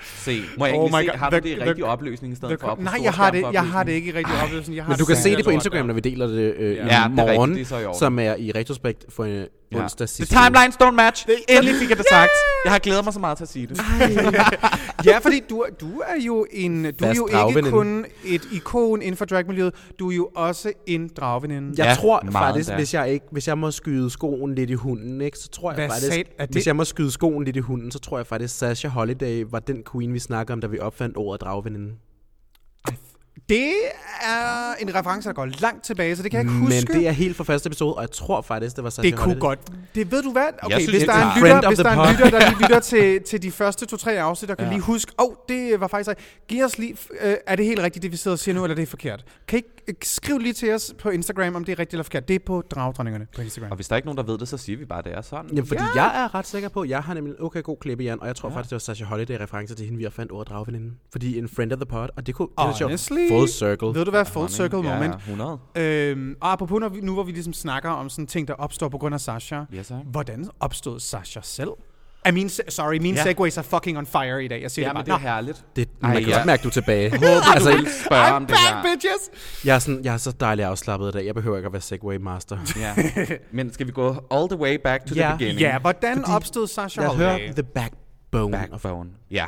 [SPEAKER 4] se, må jeg
[SPEAKER 2] Oh
[SPEAKER 4] oh
[SPEAKER 2] my
[SPEAKER 4] egentlig
[SPEAKER 2] God,
[SPEAKER 4] se, har du
[SPEAKER 2] the-
[SPEAKER 4] det i
[SPEAKER 2] the-
[SPEAKER 4] rigtig opløsning i stedet for op på
[SPEAKER 2] Nej,
[SPEAKER 4] stor
[SPEAKER 2] jeg har,
[SPEAKER 4] skærm
[SPEAKER 2] det,
[SPEAKER 4] for
[SPEAKER 2] jeg har det
[SPEAKER 4] opløsning?
[SPEAKER 2] ikke i rigtig opløsning. Jeg har
[SPEAKER 1] Men du kan se
[SPEAKER 2] sandelig
[SPEAKER 1] det på
[SPEAKER 2] lort,
[SPEAKER 1] Instagram,
[SPEAKER 2] ja.
[SPEAKER 1] når vi deler det øh,
[SPEAKER 4] det
[SPEAKER 1] ja,
[SPEAKER 4] er
[SPEAKER 1] i
[SPEAKER 4] rigtigt,
[SPEAKER 1] morgen,
[SPEAKER 4] det er så i orden.
[SPEAKER 1] som er i retrospekt for en
[SPEAKER 4] Ja.
[SPEAKER 1] ja. onsdag
[SPEAKER 4] The
[SPEAKER 1] sidste uge.
[SPEAKER 4] timelines don't match. Endelig fik jeg det sagt. Jeg har glædet mig så meget til at sige det.
[SPEAKER 2] Ja, fordi du, du er jo en du er
[SPEAKER 1] Fast
[SPEAKER 2] jo ikke
[SPEAKER 1] dragveninde.
[SPEAKER 2] kun et ikon inden for dragmiljøet, du er jo også en dragveninde.
[SPEAKER 1] Jeg
[SPEAKER 4] Ja,
[SPEAKER 1] ja, tror
[SPEAKER 4] meget
[SPEAKER 1] faktisk,
[SPEAKER 4] endda.
[SPEAKER 1] hvis jeg, ikke, hvis jeg må skyde skoen lidt i hunden, ikke, så tror jeg
[SPEAKER 2] Hvad
[SPEAKER 1] faktisk,
[SPEAKER 2] sat- er det-
[SPEAKER 1] hvis jeg må skyde skoen lidt i hunden, så tror jeg faktisk, Sasha Holiday var den queen, vi snakker om, da vi opfandt ordet dragveninde.
[SPEAKER 2] Det er en reference, der går langt tilbage, så det kan jeg ikke
[SPEAKER 1] Men
[SPEAKER 2] huske.
[SPEAKER 1] det er helt fra første episode, og jeg tror faktisk, det var Sasha
[SPEAKER 2] det kunne
[SPEAKER 1] Holiday.
[SPEAKER 2] godt. Det ved du hvad? Okay,
[SPEAKER 4] synes,
[SPEAKER 2] hvis
[SPEAKER 4] det
[SPEAKER 2] der er
[SPEAKER 4] er
[SPEAKER 2] en
[SPEAKER 1] friend
[SPEAKER 2] lytter,
[SPEAKER 1] of
[SPEAKER 2] hvis
[SPEAKER 1] the
[SPEAKER 2] der er
[SPEAKER 1] pod.
[SPEAKER 2] en lytter, der lige lytter til, til de første to-tre afsnit, der kan lige huske, åh, oh, det var faktisk... Giv os lige... Øh, er det helt rigtigt, det vi sidder og siger nu, eller er det forkert? Kan I ikke øh, skriv lige til os på Instagram, om det er rigtigt eller forkert? Det er på dragdronningerne på Instagram.
[SPEAKER 4] Og hvis der er ikke nogen, der ved det, så siger vi bare, at det er sådan.
[SPEAKER 1] Jamen, fordi jeg er ret sikker på, at jeg har nemlig en okay god klippe i og jeg tror ja. faktisk, det var Sasha Holiday reference til hende, vi har fandt ordet dragveninden. Fordi en friend of the pod, og det kunne... Det er sjovt.
[SPEAKER 2] Honestly.
[SPEAKER 1] Full circle.
[SPEAKER 2] Ved du hvad? Full circle
[SPEAKER 4] ja,
[SPEAKER 2] moment.
[SPEAKER 4] Ja, 100.
[SPEAKER 2] Øhm, og apropos når vi, nu, hvor vi ligesom snakker om sådan ting, der opstår på grund af Sasha.
[SPEAKER 4] Ja, tak.
[SPEAKER 2] Hvordan opstod Sasha selv? I mean, se- sorry, mine
[SPEAKER 4] Ja.
[SPEAKER 2] segways er fucking on fire i dag. Jeg siger
[SPEAKER 4] Ja,
[SPEAKER 2] det bare.
[SPEAKER 4] men det er herligt.
[SPEAKER 1] Det,
[SPEAKER 4] Ej,
[SPEAKER 1] man kan
[SPEAKER 4] ja.
[SPEAKER 1] godt mærke, du er tilbage.
[SPEAKER 4] Altså,
[SPEAKER 1] altså,
[SPEAKER 4] du vil spørge om
[SPEAKER 2] I'm
[SPEAKER 4] det
[SPEAKER 2] back,
[SPEAKER 4] her.
[SPEAKER 2] bitches!
[SPEAKER 1] jeg, er sådan, jeg er så dejlig afslappet i dag. Jeg behøver ikke at være Segway master.
[SPEAKER 4] Ja. Men skal vi gå all the way back to
[SPEAKER 1] Ja.
[SPEAKER 4] the beginning?
[SPEAKER 2] Ja, hvordan Fordi opstod Sasha
[SPEAKER 1] Jeg
[SPEAKER 2] Holiday?
[SPEAKER 1] hører The Backbone.
[SPEAKER 4] Backbone. Ja.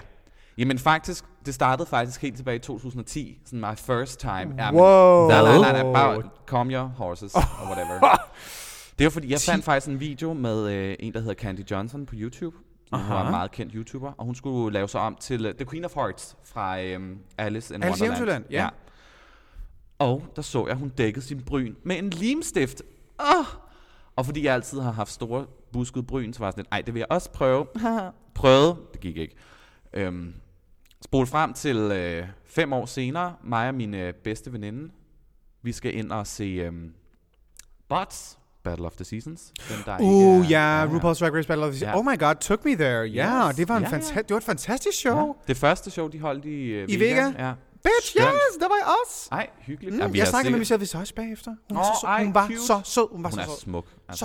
[SPEAKER 4] Jamen faktisk, det startede faktisk helt tilbage i 2010. Sådan my first time. Ja, men-
[SPEAKER 2] Wow.
[SPEAKER 4] Nej, nej, nej, nej. Bare calm your horses, or whatever. Det var fordi, jeg fandt faktisk en video med øh, en, der hedder Candy Johnson på YouTube. Hun var en meget kendt YouTuber, og hun skulle lave sig om til øh, The Queen of Hearts fra øh, Alice in
[SPEAKER 2] Alice i
[SPEAKER 4] Wonderland.
[SPEAKER 2] Eventyrland, ja.
[SPEAKER 4] Og der så jeg, at hun dækkede sin bryn med en limstift. Oh! Og fordi jeg altid har haft store buskede bryn, så var jeg sådan lidt, ej, det vil jeg også prøve. Prøvede, det gik ikke. Øhm, spol frem til øh, fem år senere, mig og min øh, bedste veninde, vi skal ind og se øhm, Bots, Battle of the Seasons. Den, der
[SPEAKER 2] Uh,
[SPEAKER 4] ikke er-
[SPEAKER 2] ja, RuPaul's Drag Race Battle of the
[SPEAKER 4] Ja.
[SPEAKER 2] Oh my god, took me there. Ja,
[SPEAKER 4] Yes.
[SPEAKER 2] det var en
[SPEAKER 4] Ja, ja.
[SPEAKER 2] fanta- det var et fantastisk show.
[SPEAKER 4] Det første show, de holdt i øh,
[SPEAKER 2] I
[SPEAKER 4] Vega.
[SPEAKER 2] Vega?
[SPEAKER 4] Ja.
[SPEAKER 2] Bitch,
[SPEAKER 4] Skønt.
[SPEAKER 2] yes, der var os.
[SPEAKER 4] Ej, hyggeligt.
[SPEAKER 2] Mm,
[SPEAKER 4] Ja, vi
[SPEAKER 2] jeg
[SPEAKER 4] har
[SPEAKER 2] snakkede med
[SPEAKER 4] sikkert-
[SPEAKER 2] Michelle Visage bagefter. Hun var,
[SPEAKER 4] Åh,
[SPEAKER 2] så, sød.
[SPEAKER 4] ej,
[SPEAKER 2] hun var
[SPEAKER 4] cute.
[SPEAKER 2] så sød. Hun var
[SPEAKER 4] Hun
[SPEAKER 2] så
[SPEAKER 4] er
[SPEAKER 2] sød.
[SPEAKER 4] smuk.
[SPEAKER 2] sød.
[SPEAKER 4] og
[SPEAKER 2] Og-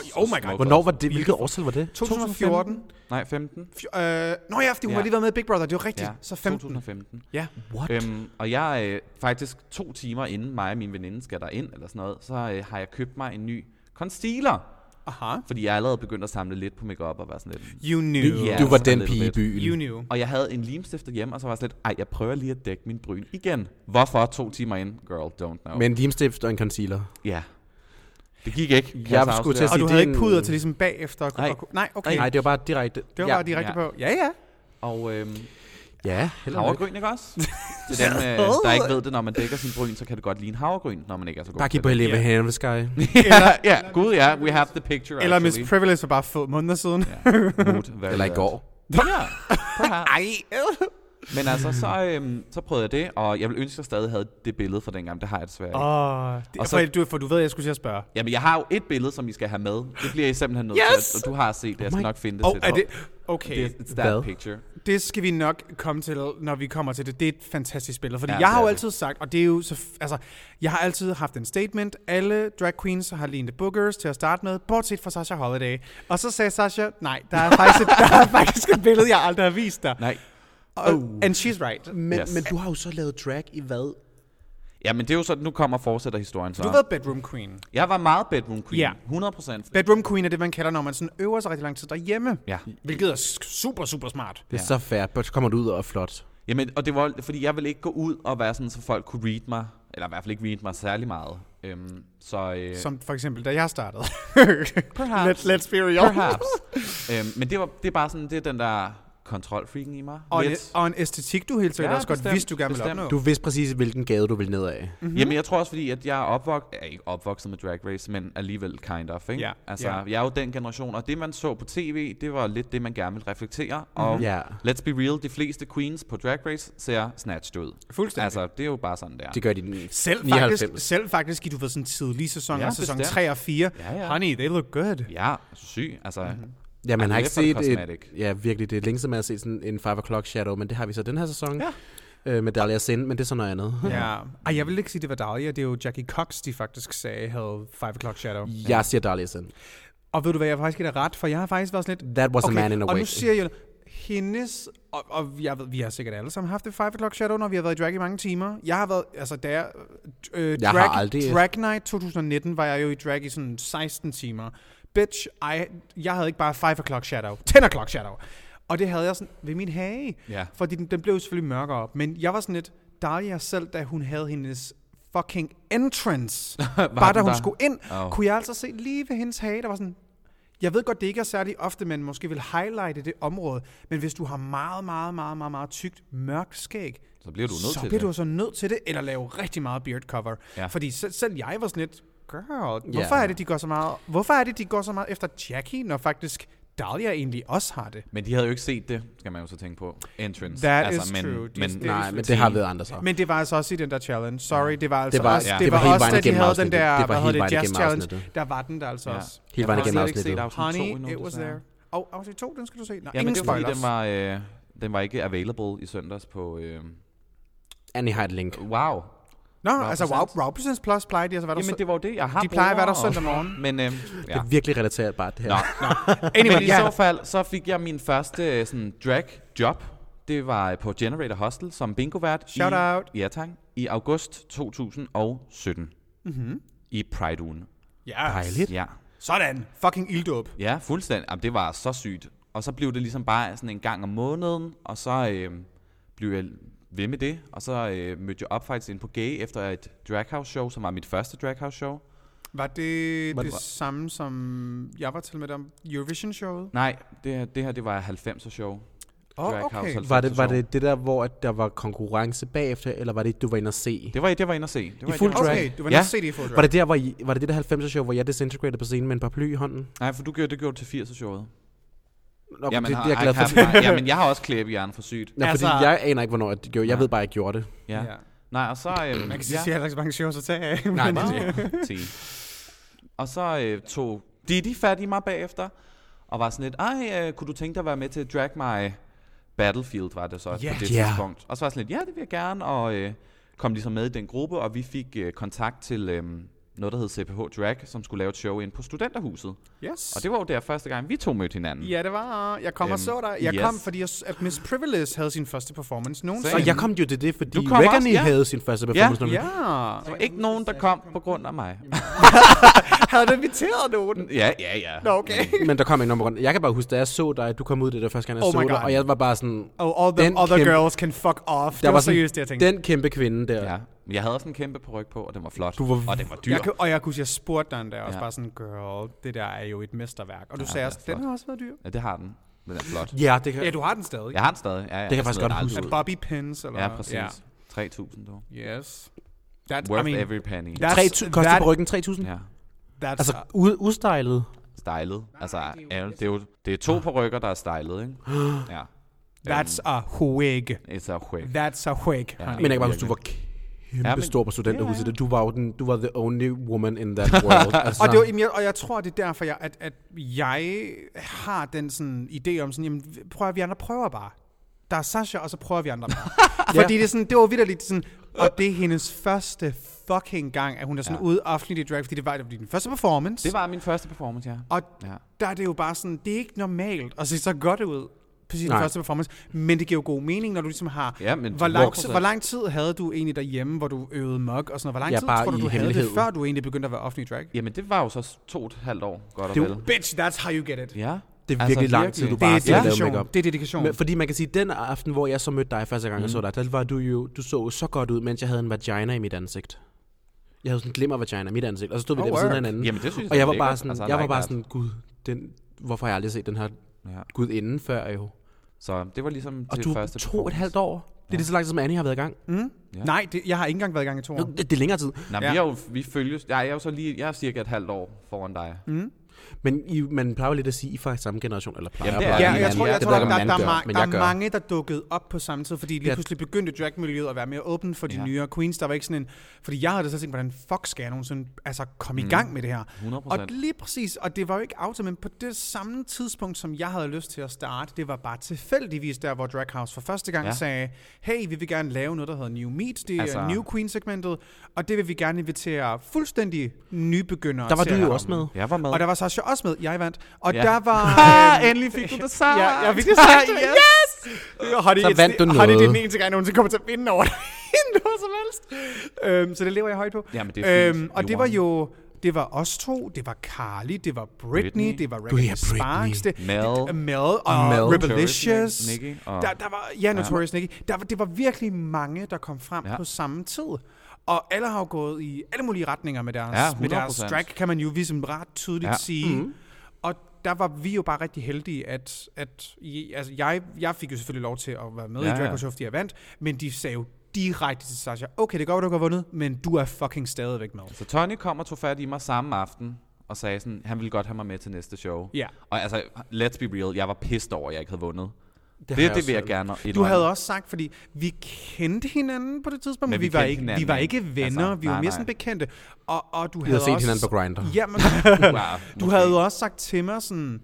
[SPEAKER 4] så
[SPEAKER 2] oh my god.
[SPEAKER 4] smuk.
[SPEAKER 1] Hvornår var det? Hvilket årstal var det?
[SPEAKER 2] 2014.
[SPEAKER 4] Nej, 15.
[SPEAKER 2] Fj- øh, nå ja, fordi hun
[SPEAKER 4] Ja.
[SPEAKER 2] ja. har lige været med i Big Brother, det var rigtigt.
[SPEAKER 4] Ja,
[SPEAKER 2] Ja. Så 15.
[SPEAKER 4] 2015.
[SPEAKER 2] Ja.
[SPEAKER 1] What?
[SPEAKER 4] Øhm, og jeg øh, faktisk to timer inden mig og min veninde skal derind, eller sådan noget, så øh, har jeg købt mig en ny concealer.
[SPEAKER 2] Aha.
[SPEAKER 4] Fordi jeg er allerede begyndt at samle lidt på makeup og være sådan lidt...
[SPEAKER 2] You knew.
[SPEAKER 4] Ja,
[SPEAKER 1] Du var
[SPEAKER 4] sådan
[SPEAKER 1] den
[SPEAKER 4] lidt
[SPEAKER 1] pige i
[SPEAKER 4] lidt.
[SPEAKER 2] You
[SPEAKER 1] byen.
[SPEAKER 2] knew.
[SPEAKER 4] Og jeg havde en limstifter hjemme, og så var jeg sådan lidt, ej, jeg prøver lige at dække min bryn igen. Hvorfor to timer ind? Girl, don't know.
[SPEAKER 1] Med en limstift og en concealer.
[SPEAKER 4] Ja. Det gik ikke. kan
[SPEAKER 1] Jeg
[SPEAKER 4] så
[SPEAKER 1] skulle til
[SPEAKER 4] afsløre.
[SPEAKER 1] at
[SPEAKER 2] Og
[SPEAKER 1] sige,
[SPEAKER 2] du
[SPEAKER 1] det
[SPEAKER 2] havde
[SPEAKER 1] er
[SPEAKER 2] ikke
[SPEAKER 1] en-
[SPEAKER 2] puder til ligesom bagefter? Og,
[SPEAKER 4] Nej.
[SPEAKER 2] Og, nej, okay.
[SPEAKER 1] Nej, det var bare direkte.
[SPEAKER 2] det var
[SPEAKER 1] ja.
[SPEAKER 2] bare direkte
[SPEAKER 4] ja.
[SPEAKER 2] på. Ja, ja.
[SPEAKER 4] Og øhm,
[SPEAKER 1] Ja, heller ikke.
[SPEAKER 4] havregryn, ikke også? Til dem, øh, der ikke ved det, når man dækker sin bryn, så kan det godt ligne havregryn, når man ikke er så god
[SPEAKER 1] Bare
[SPEAKER 4] til
[SPEAKER 1] kig på
[SPEAKER 4] det.
[SPEAKER 1] Helena yeah. Sky.
[SPEAKER 4] ja, ja, gud ja, we have the picture
[SPEAKER 2] Eller Miss
[SPEAKER 4] actually.
[SPEAKER 2] Privilege for bare få måneder siden. Ja.
[SPEAKER 4] Mood,
[SPEAKER 1] Eller i går.
[SPEAKER 4] Ja, prøv her.
[SPEAKER 2] Ej.
[SPEAKER 4] Men altså, så, øhm, så prøvede jeg det, og jeg ville ønske, at jeg stadig havde det billede fra dengang. Det har jeg desværre ikke.
[SPEAKER 2] Åh, det,
[SPEAKER 4] Og
[SPEAKER 2] og
[SPEAKER 4] så-
[SPEAKER 2] så, for, du, for du ved, at jeg skulle til at spørge.
[SPEAKER 4] Jamen, jeg har jo et billede, som I skal have med. Det bliver I simpelthen nødt
[SPEAKER 2] Yes! Oh
[SPEAKER 4] til, at- og du har set det. Jeg skal
[SPEAKER 1] my-
[SPEAKER 4] nok finde det
[SPEAKER 2] Åh,
[SPEAKER 4] til
[SPEAKER 2] er
[SPEAKER 4] dig.
[SPEAKER 2] det... Okay,
[SPEAKER 4] Det-
[SPEAKER 2] det,
[SPEAKER 4] It's
[SPEAKER 1] Hvad?
[SPEAKER 4] that picture.
[SPEAKER 2] det skal vi nok komme til, når vi kommer til det. Det er et fantastisk billede, fordi
[SPEAKER 4] Ja,
[SPEAKER 2] ja, jeg
[SPEAKER 4] det
[SPEAKER 2] har jo
[SPEAKER 4] er det.
[SPEAKER 2] altid sagt, og det er jo så... f- Altså, jeg har altid haft en statement. Alle drag queens har lignet bookers til at starte med, bortset fra Sasha Holiday. Og så sagde Sasha, nej, der er faktisk et, der er faktisk et billede, jeg aldrig har vist dig.
[SPEAKER 4] Nej. Uh.
[SPEAKER 2] Og, And she's right.
[SPEAKER 1] Men,
[SPEAKER 4] Yes.
[SPEAKER 1] yes. men du har jo så lavet drag i hvad?
[SPEAKER 4] Jamen, det er jo sådan, nu kommer fortsætter historien så.
[SPEAKER 2] Du har været bedroom queen.
[SPEAKER 4] Jeg var meget bedroom queen.
[SPEAKER 2] Ja.
[SPEAKER 4] 100 procent.
[SPEAKER 2] Bedroom queen er det, man kalder, når man sådan øver sig rigtig lang tid derhjemme.
[SPEAKER 4] Ja.
[SPEAKER 2] Hvilket er sk- super, super smart.
[SPEAKER 1] Det er så fair, but så kommer du ud og er flot.
[SPEAKER 4] Jamen, og det var, fordi jeg ville ikke gå ud og være sådan, så folk kunne read mig. Eller i hvert fald ikke read mig særlig meget. Øhm, så, øh,
[SPEAKER 2] Som for eksempel, da jeg startede.
[SPEAKER 4] Perhaps.
[SPEAKER 2] Let, let's be real.
[SPEAKER 4] Perhaps. øhm, men det, var, det er bare sådan, det er den der kontrolfreaken i mig.
[SPEAKER 2] Og, en,
[SPEAKER 4] Lidt.
[SPEAKER 2] og en æstetik, du helt sikkert
[SPEAKER 4] Ja,
[SPEAKER 2] også godt
[SPEAKER 4] bestemt,
[SPEAKER 2] vidste, du gerne ville
[SPEAKER 4] bestemt.
[SPEAKER 2] opnå.
[SPEAKER 1] Du vidste præcis, hvilken gade du ville ned af.
[SPEAKER 4] Mm-hmm. Jamen, jeg tror også, fordi at jeg er opvokset, er ikke opvokset med Drag Race, men alligevel kind of, ikke?
[SPEAKER 2] Ja,
[SPEAKER 4] Altså,
[SPEAKER 2] ja.
[SPEAKER 4] jeg er jo den generation, og det, man så på tv, det var lidt det, man gerne ville reflektere. Og
[SPEAKER 1] Mhm. Ja.
[SPEAKER 4] let's be real, de fleste queens på Drag Race ser snatched ud.
[SPEAKER 2] Fuldstændig.
[SPEAKER 4] Altså, det er jo bare sådan, det er.
[SPEAKER 1] Det gør de den
[SPEAKER 2] Selv
[SPEAKER 1] 99.
[SPEAKER 2] faktisk, selv faktisk i du ved, sådan tidlige sæsoner,
[SPEAKER 4] Ja,
[SPEAKER 2] ja, sæson
[SPEAKER 4] bestemt.
[SPEAKER 2] 3 og 4.
[SPEAKER 4] Ja, ja.
[SPEAKER 2] Honey, they look good.
[SPEAKER 4] Ja, syg. Altså, mm-hmm.
[SPEAKER 1] Ja, man
[SPEAKER 4] Ej,
[SPEAKER 1] har ikke
[SPEAKER 4] det er
[SPEAKER 1] set
[SPEAKER 4] for
[SPEAKER 1] et,
[SPEAKER 4] cosmetic.
[SPEAKER 1] ja, virkelig, det er længe siden, man har set sådan en 5 o'clock shadow, men det har vi så den her sæson ja. øh, med Dahlia Sin, men det er så noget andet. Ja.
[SPEAKER 2] Ja. Ej, jeg vil ikke sige, det var Dahlia. Det er jo Jackie Cox, de faktisk sagde, havde 5 o'clock shadow.
[SPEAKER 1] Jeg siger Dahlia Sin.
[SPEAKER 2] Og ved du hvad, jeg har faktisk ikke ret, for jeg har faktisk været sådan lidt...
[SPEAKER 1] That was a man in a
[SPEAKER 2] og nu
[SPEAKER 1] wig.
[SPEAKER 2] siger jeg, hendes, og, og jeg ved, vi har sikkert alle sammen haft det 5 o'clock shadow, når vi har været i drag i mange timer. Jeg har været, altså da jeg, øh,
[SPEAKER 1] Jeg
[SPEAKER 2] drag,
[SPEAKER 1] har aldrig-
[SPEAKER 2] drag Night 2019 var jeg jo i drag i sådan 16 timer. Bitch, I, jeg havde ikke bare 5 o'clock shadow, 10 o'clock shadow. Og det havde jeg sådan ved min hage.
[SPEAKER 4] Ja.
[SPEAKER 2] Fordi den, den blev jo selvfølgelig mørkere op. Men jeg var sådan lidt, Dahlia selv, da hun havde hendes fucking entrance, bare da
[SPEAKER 4] den
[SPEAKER 2] hun
[SPEAKER 4] der?
[SPEAKER 2] skulle ind,
[SPEAKER 4] Au.
[SPEAKER 2] oh. kunne jeg altså se lige ved hendes hage, der var sådan, Jeg ved godt, det ikke er særlig ofte, man måske vil highlighte det område, men hvis du har meget, meget, meget, meget, meget tykt, mørkt skæg,
[SPEAKER 4] Så bliver du nødt
[SPEAKER 2] så
[SPEAKER 4] til
[SPEAKER 2] bliver
[SPEAKER 4] det.
[SPEAKER 2] du så nødt til det, eller lave rigtig meget beard cover.
[SPEAKER 4] Ja.
[SPEAKER 2] Ja. Fordi selv, selv jeg var sådan lidt, girl, hvorfor,
[SPEAKER 4] Ja.
[SPEAKER 2] er det, de går så meget, hvorfor er det, de går så meget efter Jackie, når faktisk Dahlia egentlig også har det?
[SPEAKER 4] Men de havde jo ikke set det, skal man jo så tænke på. Entrance. Altså,
[SPEAKER 2] That is true. Det-
[SPEAKER 4] Men,
[SPEAKER 2] det-
[SPEAKER 4] nej,
[SPEAKER 1] Nej, men det har været andre så.
[SPEAKER 2] Men det var altså også i den der challenge. Sorry, det var altså
[SPEAKER 1] Det var-
[SPEAKER 2] også,
[SPEAKER 1] ja.
[SPEAKER 2] det
[SPEAKER 1] det var
[SPEAKER 2] var
[SPEAKER 1] hele
[SPEAKER 2] også
[SPEAKER 1] vejen
[SPEAKER 2] da de
[SPEAKER 1] igennem
[SPEAKER 2] havde den
[SPEAKER 1] afsnittet.
[SPEAKER 2] der,
[SPEAKER 1] Det var
[SPEAKER 2] hvad
[SPEAKER 1] hele
[SPEAKER 2] hedder det,
[SPEAKER 1] vejen
[SPEAKER 2] jazz
[SPEAKER 1] igennem
[SPEAKER 2] challenge,
[SPEAKER 1] afsnittet.
[SPEAKER 2] der var den der altså
[SPEAKER 4] Ja.
[SPEAKER 2] også.
[SPEAKER 1] Hele
[SPEAKER 2] Jeg
[SPEAKER 1] vejen
[SPEAKER 2] har
[SPEAKER 1] igennem
[SPEAKER 2] slet ikke
[SPEAKER 1] afsnittet.
[SPEAKER 2] set
[SPEAKER 4] Afsnit to endnu,
[SPEAKER 2] Honey, it was
[SPEAKER 4] desværre.
[SPEAKER 2] there. Og afsnit 2, den skal du se. Nej,
[SPEAKER 4] ja, men
[SPEAKER 2] ingen
[SPEAKER 4] det var fordi,
[SPEAKER 2] spoilers.
[SPEAKER 4] den var, øh, den var ikke available i søndags på... Øh,
[SPEAKER 1] Annie har et link.
[SPEAKER 4] wow.
[SPEAKER 2] Nå, altså
[SPEAKER 4] Wow Presents.
[SPEAKER 2] Wow, Wow Presents Plus plejer de altså, hvad der
[SPEAKER 4] Jamen, det var jo det. Jeg har
[SPEAKER 2] De plejer at være der
[SPEAKER 4] brugere,
[SPEAKER 2] søndag morgen.
[SPEAKER 4] Men øh,
[SPEAKER 1] Det
[SPEAKER 4] ja.
[SPEAKER 1] er virkelig relaterbart, det her.
[SPEAKER 4] Men
[SPEAKER 2] Anyway,
[SPEAKER 4] i
[SPEAKER 2] ja.
[SPEAKER 4] så fald, så fik jeg min første øh, sådan, drag job. Det var øh, på Generator Hostel som bingovært.
[SPEAKER 2] Shout
[SPEAKER 4] i,
[SPEAKER 2] out.
[SPEAKER 4] Ja, tak. I august 2017. Mm-hmm. I Pride-ugen.
[SPEAKER 2] Ja,
[SPEAKER 1] Dejligt.
[SPEAKER 4] Ja.
[SPEAKER 2] sådan. Fucking ilddåb.
[SPEAKER 4] ja, fuldstændig. Jamen, det var så sygt. Og så blev det ligesom bare sådan en gang om måneden, og så øh, blev jeg ved med det. Og så øh, mødte jeg op faktisk inde på Gay efter et draghouse show, som var mit første draghouse show.
[SPEAKER 2] Var det
[SPEAKER 4] Var
[SPEAKER 2] var
[SPEAKER 4] det-
[SPEAKER 2] det samme, som jeg var til med om Eurovision-showet?
[SPEAKER 4] Nej, det, her, det her det var 90'er show.
[SPEAKER 2] Åh,
[SPEAKER 4] Drag House
[SPEAKER 2] okay.
[SPEAKER 4] Halv-
[SPEAKER 1] Var det, var det det der, hvor at der var konkurrence bagefter, eller var det, du var inde og se?
[SPEAKER 4] Det var, det var inde at se. Det var,
[SPEAKER 1] I fuld
[SPEAKER 4] det var-
[SPEAKER 1] drag?
[SPEAKER 2] Okay, du var
[SPEAKER 4] Ja.
[SPEAKER 2] nødt til at se det i full drag.
[SPEAKER 1] Var det der, hvor I, var det, det der 90'er show, hvor jeg disintegrated på scenen med en par ply i hånden?
[SPEAKER 4] Nej, for du gjorde, det gjorde du til 80'er showet.
[SPEAKER 1] Nå, det,
[SPEAKER 4] Jamen,
[SPEAKER 1] det,
[SPEAKER 4] har-
[SPEAKER 1] er jeg glad for.
[SPEAKER 4] har- har- Jamen, jeg har også klæb i hjernen for sygt.
[SPEAKER 1] Nå, fordi
[SPEAKER 2] Altså-
[SPEAKER 1] jeg aner ikke, hvornår jeg gjorde. Jeg ved bare, at jeg gjorde det.
[SPEAKER 4] Ja.
[SPEAKER 2] Ja.
[SPEAKER 4] Nej, og så...
[SPEAKER 2] Man
[SPEAKER 4] Øh,
[SPEAKER 2] kan sige, at jeg har ikke så mange shows at tage af. men-
[SPEAKER 4] Nej, det er Og så øh, tog Didi fat i mig bagefter, og var sådan lidt, ej, øh, kunne du tænke dig at være med til at drag mig Battlefield, var det så yeah. på det
[SPEAKER 1] Ja.
[SPEAKER 4] tidspunkt. Og så var jeg sådan lidt, ja, det vil jeg gerne, og øh, kom ligesom med i den gruppe, og vi fik øh, kontakt til øh, noget, der hed CPH Drag, som skulle lave et show ind på Studenterhuset.
[SPEAKER 2] Yes.
[SPEAKER 4] Og det var jo der første gang, vi to mødte hinanden.
[SPEAKER 2] Ja, det var. Jeg kom
[SPEAKER 4] Øhm,
[SPEAKER 2] og så dig. Jeg kom,
[SPEAKER 4] yes.
[SPEAKER 2] fordi jeg, s- at Miss Privilege havde sin første performance nogensinde.
[SPEAKER 4] Same.
[SPEAKER 1] Og jeg kom jo til det, fordi
[SPEAKER 4] Du kom også,
[SPEAKER 1] Regany
[SPEAKER 4] ja.
[SPEAKER 1] havde sin første performance.
[SPEAKER 2] Ja.
[SPEAKER 4] Der var ikke nogen, der kom på grund af mig.
[SPEAKER 2] Havde du inviteret nogen?
[SPEAKER 4] ja, ja, ja.
[SPEAKER 2] Nå, okay.
[SPEAKER 1] Men der kom ikke nogen rundt. Jeg kan bare huske, da jeg så dig, du kom ud det der første gang, jeg
[SPEAKER 2] Oh
[SPEAKER 1] så
[SPEAKER 2] my
[SPEAKER 1] dig,
[SPEAKER 2] God.
[SPEAKER 1] og jeg var bare sådan...
[SPEAKER 2] Oh, all the
[SPEAKER 1] Den
[SPEAKER 2] other
[SPEAKER 1] kæmpe-
[SPEAKER 2] girls can fuck off. Der det var,
[SPEAKER 1] var
[SPEAKER 2] seriøst det, jeg tænkte.
[SPEAKER 1] Den kæmpe kvinde der.
[SPEAKER 4] Ja, men jeg havde også en kæmpe peruk på, og den var flot.
[SPEAKER 1] Du var-
[SPEAKER 4] og den var dyr.
[SPEAKER 2] Jeg, kan- og jeg kunne sige, jeg spurgte dig der, også
[SPEAKER 4] Ja.
[SPEAKER 2] bare sådan, girl, det der er jo et mesterværk. Og du
[SPEAKER 4] Ja,
[SPEAKER 2] sagde
[SPEAKER 4] det er
[SPEAKER 2] også, den
[SPEAKER 4] flot.
[SPEAKER 2] har også været dyr.
[SPEAKER 4] Ja, det har den. Den er flot.
[SPEAKER 1] Ja, det kan...
[SPEAKER 2] Ja, du har den stadig.
[SPEAKER 4] Jeg har den stadig. Ja, ja,
[SPEAKER 1] kan jeg faktisk
[SPEAKER 4] smider
[SPEAKER 1] godt
[SPEAKER 4] den aldrig
[SPEAKER 1] huske.
[SPEAKER 4] ud.
[SPEAKER 2] Bobby Pins, eller?
[SPEAKER 4] Ja, præcis. 3.000 dog.
[SPEAKER 2] Ja. Yes. That,
[SPEAKER 4] Worth
[SPEAKER 2] I mean,
[SPEAKER 4] every penny.
[SPEAKER 2] that-
[SPEAKER 1] Tre
[SPEAKER 2] That's-
[SPEAKER 1] koster
[SPEAKER 2] that-
[SPEAKER 1] på ryggen 3.000?
[SPEAKER 4] Ja,
[SPEAKER 2] That's,
[SPEAKER 1] Altså, u- ustylet.
[SPEAKER 4] stylet. Altså, ja, det er jo det er to
[SPEAKER 1] Ah.
[SPEAKER 4] perukker, der er stylet, ikke? Ja.
[SPEAKER 2] that's a wig.
[SPEAKER 4] It's a wig.
[SPEAKER 2] That's a wig,
[SPEAKER 4] øhm, Ja.
[SPEAKER 2] honey.
[SPEAKER 1] Men jeg kan bare huske, du var kæmpe
[SPEAKER 4] Ja, men-
[SPEAKER 1] stor på studenterhuset.
[SPEAKER 4] Ja, ja.
[SPEAKER 1] Du var jo den, du var the only woman in that world. altså,
[SPEAKER 2] Og, det var, jamen, jeg, og jeg tror, det er derfor, jeg, at, at jeg har den sådan idé om sådan, jamen, prøv at vi andre prøver bare. Der er Sasha, og så prøver vi andre bare. Fordi det, er sådan, det var vidderligt sådan, og det er hendes første fucking gang, at hun er sådan
[SPEAKER 4] Ja.
[SPEAKER 2] ja. ude offentligt i drag, fordi det var, det var din første performance.
[SPEAKER 4] Det var min første performance, ja.
[SPEAKER 2] Og
[SPEAKER 4] Ja.
[SPEAKER 2] ja. der er det jo bare sådan, det er ikke normalt at se så godt ud på sin
[SPEAKER 1] Nej.
[SPEAKER 2] Nej. første performance, men det giver jo god mening, når du ligesom har...
[SPEAKER 4] Ja, men
[SPEAKER 2] hvor, lang,
[SPEAKER 4] hvor-
[SPEAKER 2] tid, hvor lang tid havde du egentlig derhjemme, hvor du øvede mok og sådan noget? Hvor lang
[SPEAKER 1] Ja,
[SPEAKER 2] tid
[SPEAKER 1] bare
[SPEAKER 2] tror du,
[SPEAKER 1] i
[SPEAKER 2] du havde det,
[SPEAKER 1] hemmelighed.
[SPEAKER 2] før du egentlig begyndte at være offentlig i drag?
[SPEAKER 4] Jamen, det var jo så to og et halvt år, godt
[SPEAKER 1] Det er
[SPEAKER 4] og
[SPEAKER 1] jo-
[SPEAKER 4] vel.
[SPEAKER 2] Bitch, that's how you get it.
[SPEAKER 4] Ja. Altså,
[SPEAKER 1] Det er virkelig lang tid, du
[SPEAKER 2] Det
[SPEAKER 1] bare
[SPEAKER 2] er
[SPEAKER 1] sidder og laver
[SPEAKER 2] dedikation.
[SPEAKER 1] makeup.
[SPEAKER 2] Det er dedikation.
[SPEAKER 1] Men, fordi man kan sige, den aften, hvor jeg så mødte dig første gang, mm. jeg så dig, der var du jo, du så jo så godt ud, mens jeg havde en vagina i mit ansigt. Jeg havde sådan en glimmer vagina i mit ansigt, og så stod vi
[SPEAKER 2] Oh,
[SPEAKER 1] der ved siden af
[SPEAKER 2] work.
[SPEAKER 1] hinanden.
[SPEAKER 4] Jamen, det synes
[SPEAKER 1] og
[SPEAKER 4] jeg
[SPEAKER 1] jeg
[SPEAKER 4] er
[SPEAKER 1] var bare
[SPEAKER 4] lækkert.
[SPEAKER 1] sådan,
[SPEAKER 4] Altså,
[SPEAKER 1] jeg var
[SPEAKER 4] like
[SPEAKER 1] bare
[SPEAKER 4] that.
[SPEAKER 1] sådan, gud, den, hvorfor har jeg aldrig set den her
[SPEAKER 4] Ja.
[SPEAKER 1] gud inden før jo.
[SPEAKER 4] Så det var ligesom
[SPEAKER 1] Og
[SPEAKER 4] det
[SPEAKER 1] du er
[SPEAKER 4] første
[SPEAKER 1] to og et halvt år. Det er det så lang tid, som Annie har været i gang. Mm.
[SPEAKER 4] Ja.
[SPEAKER 2] Nej, det, jeg har ikke engang været i gang i to år.
[SPEAKER 1] Det, det er længere tid.
[SPEAKER 4] Nej,
[SPEAKER 2] Ja.
[SPEAKER 4] vi, er jo, vi følges. Ja, jeg er jo så lige, jeg er cirka et halvt år foran dig. Mm.
[SPEAKER 1] Men I, man plejer jo lidt at sige, I er fra samme generation, eller plejer
[SPEAKER 4] Jamen, det er
[SPEAKER 1] at
[SPEAKER 4] vi.
[SPEAKER 1] pleje
[SPEAKER 2] Ja, jeg
[SPEAKER 1] hinanden.
[SPEAKER 2] tror, jeg
[SPEAKER 1] Det
[SPEAKER 2] tror
[SPEAKER 1] ved
[SPEAKER 2] der,
[SPEAKER 1] ikke, om
[SPEAKER 2] der,
[SPEAKER 1] man
[SPEAKER 2] der,
[SPEAKER 1] gør,
[SPEAKER 2] er, ma-
[SPEAKER 1] men
[SPEAKER 2] der
[SPEAKER 1] jeg
[SPEAKER 2] er
[SPEAKER 1] gør.
[SPEAKER 2] mange, der dukkede op på samme tid, fordi lige
[SPEAKER 1] Ja.
[SPEAKER 2] pludselig begyndte dragmiljøet at være mere åbent for de
[SPEAKER 4] Ja.
[SPEAKER 2] nyere queens. Der var ikke sådan en... Fordi jeg havde det så tænkt, hvordan fuck skal jeg nogensinde altså, komme mm. i gang med det her?
[SPEAKER 4] 100%.
[SPEAKER 2] Og lige præcis, og det var jo ikke aftalt, men på det samme tidspunkt, som jeg havde lyst til at starte, det var bare tilfældigvis der, hvor Drag House for første gang
[SPEAKER 4] Ja.
[SPEAKER 2] ja. sagde, hey, vi vil gerne lave noget, der hedder New Meat, det er
[SPEAKER 4] Altså-
[SPEAKER 2] altså, New Queen-segmentet, og det vil vi gerne invitere fuldstændig nybegyndere
[SPEAKER 1] Der var
[SPEAKER 2] til
[SPEAKER 1] du
[SPEAKER 2] at
[SPEAKER 1] jo
[SPEAKER 2] komme."
[SPEAKER 1] også med.
[SPEAKER 4] Jeg var med.
[SPEAKER 2] Og der var Sasha også med. Jeg vandt. Og
[SPEAKER 4] Ja.
[SPEAKER 2] ja. der var...
[SPEAKER 4] Ah,
[SPEAKER 2] øhm,
[SPEAKER 4] endelig fik du det sagt.
[SPEAKER 2] Ja, jeg fik det sagt.
[SPEAKER 4] Yes!
[SPEAKER 2] yes! Honey,
[SPEAKER 1] Så
[SPEAKER 2] it's
[SPEAKER 1] vandt
[SPEAKER 2] the-
[SPEAKER 1] du
[SPEAKER 2] Honey, det er
[SPEAKER 1] noget.
[SPEAKER 2] den eneste gang, jeg nogensinde kommer til at vinde over dig. noget som helst. Øhm, så det lever jeg højt på. Øhm,
[SPEAKER 4] Jamen, det er fint. You
[SPEAKER 2] og det var
[SPEAKER 4] won.
[SPEAKER 2] jo... Det var os to, det var Carly, det var Britney,
[SPEAKER 4] Britney.
[SPEAKER 2] Britney. det var
[SPEAKER 1] Gud,
[SPEAKER 2] Rebecca
[SPEAKER 1] ja,
[SPEAKER 2] ja, Sparks, det,
[SPEAKER 4] Mel.
[SPEAKER 2] det, Mel og
[SPEAKER 1] Mel.
[SPEAKER 2] Rebelicious.
[SPEAKER 4] Notorious Nicky og-
[SPEAKER 2] Der, der var, ja, Notorious Nicky. Der var, det var virkelig mange, der kom frem
[SPEAKER 4] Ja.
[SPEAKER 2] ja. på samme tid. Og alle har jo gået i alle mulige retninger med deres,
[SPEAKER 4] Ja,
[SPEAKER 2] med deres
[SPEAKER 4] 100%.
[SPEAKER 2] drag, kan man jo ligesom ret tydeligt
[SPEAKER 4] Ja. Mm-hmm.
[SPEAKER 2] ja. sige. Mm. Og der var vi jo bare rigtig heldige, at, at I- altså, jeg, jeg fik jo selvfølgelig lov til at være med ja,
[SPEAKER 4] Ja,
[SPEAKER 2] i
[SPEAKER 4] ja.
[SPEAKER 2] Drag Race fordi jeg vandt, men de sagde jo direkte til Sasha, okay, det går, du ikke har vundet, men du er fucking stadigvæk med.
[SPEAKER 4] Så Tony kom og tog fat i mig samme aften og sagde sådan, han ville godt have mig med til næste show.
[SPEAKER 2] Ja.
[SPEAKER 4] Og altså, let's be real, jeg var pissed over, at jeg ikke havde vundet. Det,
[SPEAKER 1] har
[SPEAKER 4] det,
[SPEAKER 1] jeg
[SPEAKER 4] det vil jeg
[SPEAKER 1] selv.
[SPEAKER 4] gerne
[SPEAKER 2] Du
[SPEAKER 4] indrømme.
[SPEAKER 2] havde også sagt, fordi vi kendte hinanden på det tidspunkt, men,
[SPEAKER 4] Men
[SPEAKER 2] vi,
[SPEAKER 4] vi
[SPEAKER 2] var
[SPEAKER 4] kendte
[SPEAKER 2] ikke, vi
[SPEAKER 4] hinanden,
[SPEAKER 2] var
[SPEAKER 4] ikke?
[SPEAKER 2] ikke venner,
[SPEAKER 4] Altså,
[SPEAKER 2] vi var
[SPEAKER 4] nej,
[SPEAKER 2] mere
[SPEAKER 4] nej.
[SPEAKER 2] sådan bekendte. Og, og du havde,
[SPEAKER 1] set
[SPEAKER 2] også,
[SPEAKER 1] hinanden på Grindr.
[SPEAKER 2] Ja, men,
[SPEAKER 4] Wow,
[SPEAKER 2] du
[SPEAKER 4] måske.
[SPEAKER 2] havde jo også sagt til mig sådan,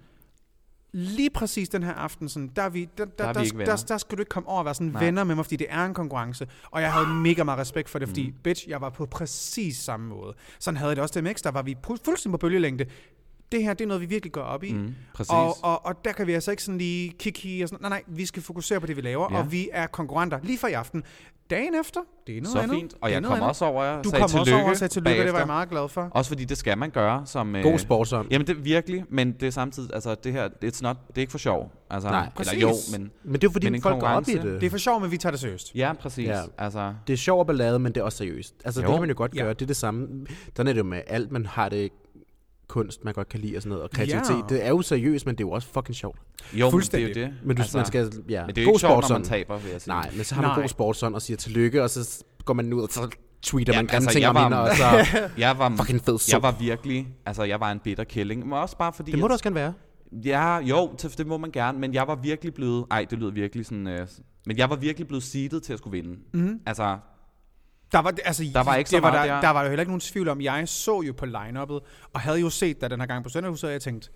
[SPEAKER 2] lige præcis den her aften, sådan, der, er vi, der, der, der,
[SPEAKER 4] er vi
[SPEAKER 2] der,
[SPEAKER 4] ikke
[SPEAKER 2] der,
[SPEAKER 4] venner.
[SPEAKER 2] der, skal du ikke komme over og være sådan venner med mig, fordi det er en konkurrence. Og jeg
[SPEAKER 4] Ah.
[SPEAKER 2] havde mega meget respekt for det, fordi mm. bitch, jeg var på præcis samme måde. Sådan havde jeg det også til MX, der var vi pu- fuldstændig på bølgelængde. Det her, det er noget, vi virkelig går op i. Mm,
[SPEAKER 4] præcis.
[SPEAKER 2] Og, og, og der kan vi altså ikke sådan lige kigge i og sådan, nej, nej, vi skal fokusere på det, vi laver, ja.
[SPEAKER 4] Ja.
[SPEAKER 2] og vi er konkurrenter lige for i aften. Dagen efter, det er noget
[SPEAKER 4] Så
[SPEAKER 2] andet.
[SPEAKER 4] fint. Og
[SPEAKER 2] det er
[SPEAKER 4] jeg
[SPEAKER 2] noget
[SPEAKER 4] kom
[SPEAKER 2] andet.
[SPEAKER 4] også over og
[SPEAKER 2] Du
[SPEAKER 4] sagde
[SPEAKER 2] kom også over og
[SPEAKER 4] tillykke
[SPEAKER 2] sagde tillykke, og det var jeg
[SPEAKER 4] bagefter.
[SPEAKER 2] meget glad for.
[SPEAKER 4] Også fordi det skal man gøre som... øh,
[SPEAKER 1] God sportsånd.
[SPEAKER 4] Jamen det virkelig, men det er samtidig, altså det her, it's not, det er ikke for sjov. Altså,
[SPEAKER 1] Nej.
[SPEAKER 4] eller
[SPEAKER 2] Præcis.
[SPEAKER 4] jo, men...
[SPEAKER 1] Men det er jo fordi,
[SPEAKER 4] Men en
[SPEAKER 1] folk går op i
[SPEAKER 4] konkurrence.
[SPEAKER 1] det.
[SPEAKER 2] Det er for sjovt, men vi tager det seriøst.
[SPEAKER 4] Ja, præcis.
[SPEAKER 1] Ja.
[SPEAKER 4] Ja. Altså,
[SPEAKER 1] Det er sjov og ballade, men det er også seriøst. Altså, jo.
[SPEAKER 4] Jo.
[SPEAKER 1] det kan man jo godt
[SPEAKER 2] Ja.
[SPEAKER 1] gøre. Det er det samme. Sådan er det jo med alt, man har det kunst, man godt kan lide og sådan noget, og kreativitet.
[SPEAKER 2] Ja.
[SPEAKER 1] Det er jo seriøst, men det er jo også fucking sjovt.
[SPEAKER 4] jo, men det er jo
[SPEAKER 2] Fuldstændig.
[SPEAKER 4] det.
[SPEAKER 1] Men, du,
[SPEAKER 4] altså,
[SPEAKER 1] altså, man skal, ja,
[SPEAKER 4] men det er jo
[SPEAKER 1] god
[SPEAKER 4] ikke sjovt, når
[SPEAKER 1] sportsånd.
[SPEAKER 4] man taber, vil jeg sige.
[SPEAKER 1] Nej, men så har man
[SPEAKER 2] Nej.
[SPEAKER 1] god sportsånd og siger tillykke, og så s- går man ud og så tweeter ja, man grimme
[SPEAKER 4] altså,
[SPEAKER 1] ting
[SPEAKER 4] jeg
[SPEAKER 1] om
[SPEAKER 4] var- altså,
[SPEAKER 1] hende, og så...
[SPEAKER 4] Jeg var,
[SPEAKER 1] Fucking fed
[SPEAKER 4] jeg
[SPEAKER 1] sup.
[SPEAKER 4] var virkelig, altså jeg var en bitter killing. Men også bare fordi...
[SPEAKER 1] Det må
[SPEAKER 4] jeg-
[SPEAKER 1] du også gerne være.
[SPEAKER 4] Ja, jo, til- det må man gerne, men jeg var virkelig blevet... Ej, det lyder virkelig sådan... Øh, men jeg var virkelig blevet seedet til at skulle vinde.
[SPEAKER 2] Mhm.
[SPEAKER 4] Mm. Altså,
[SPEAKER 2] Der var, altså,
[SPEAKER 4] Der var ikke så
[SPEAKER 2] det var
[SPEAKER 4] meget
[SPEAKER 2] der,
[SPEAKER 4] der.
[SPEAKER 2] der var jo heller ikke nogen tvivl om. Jeg så jo på line og havde jo set dig den her gang på Sønderhuset, og jeg tænkte,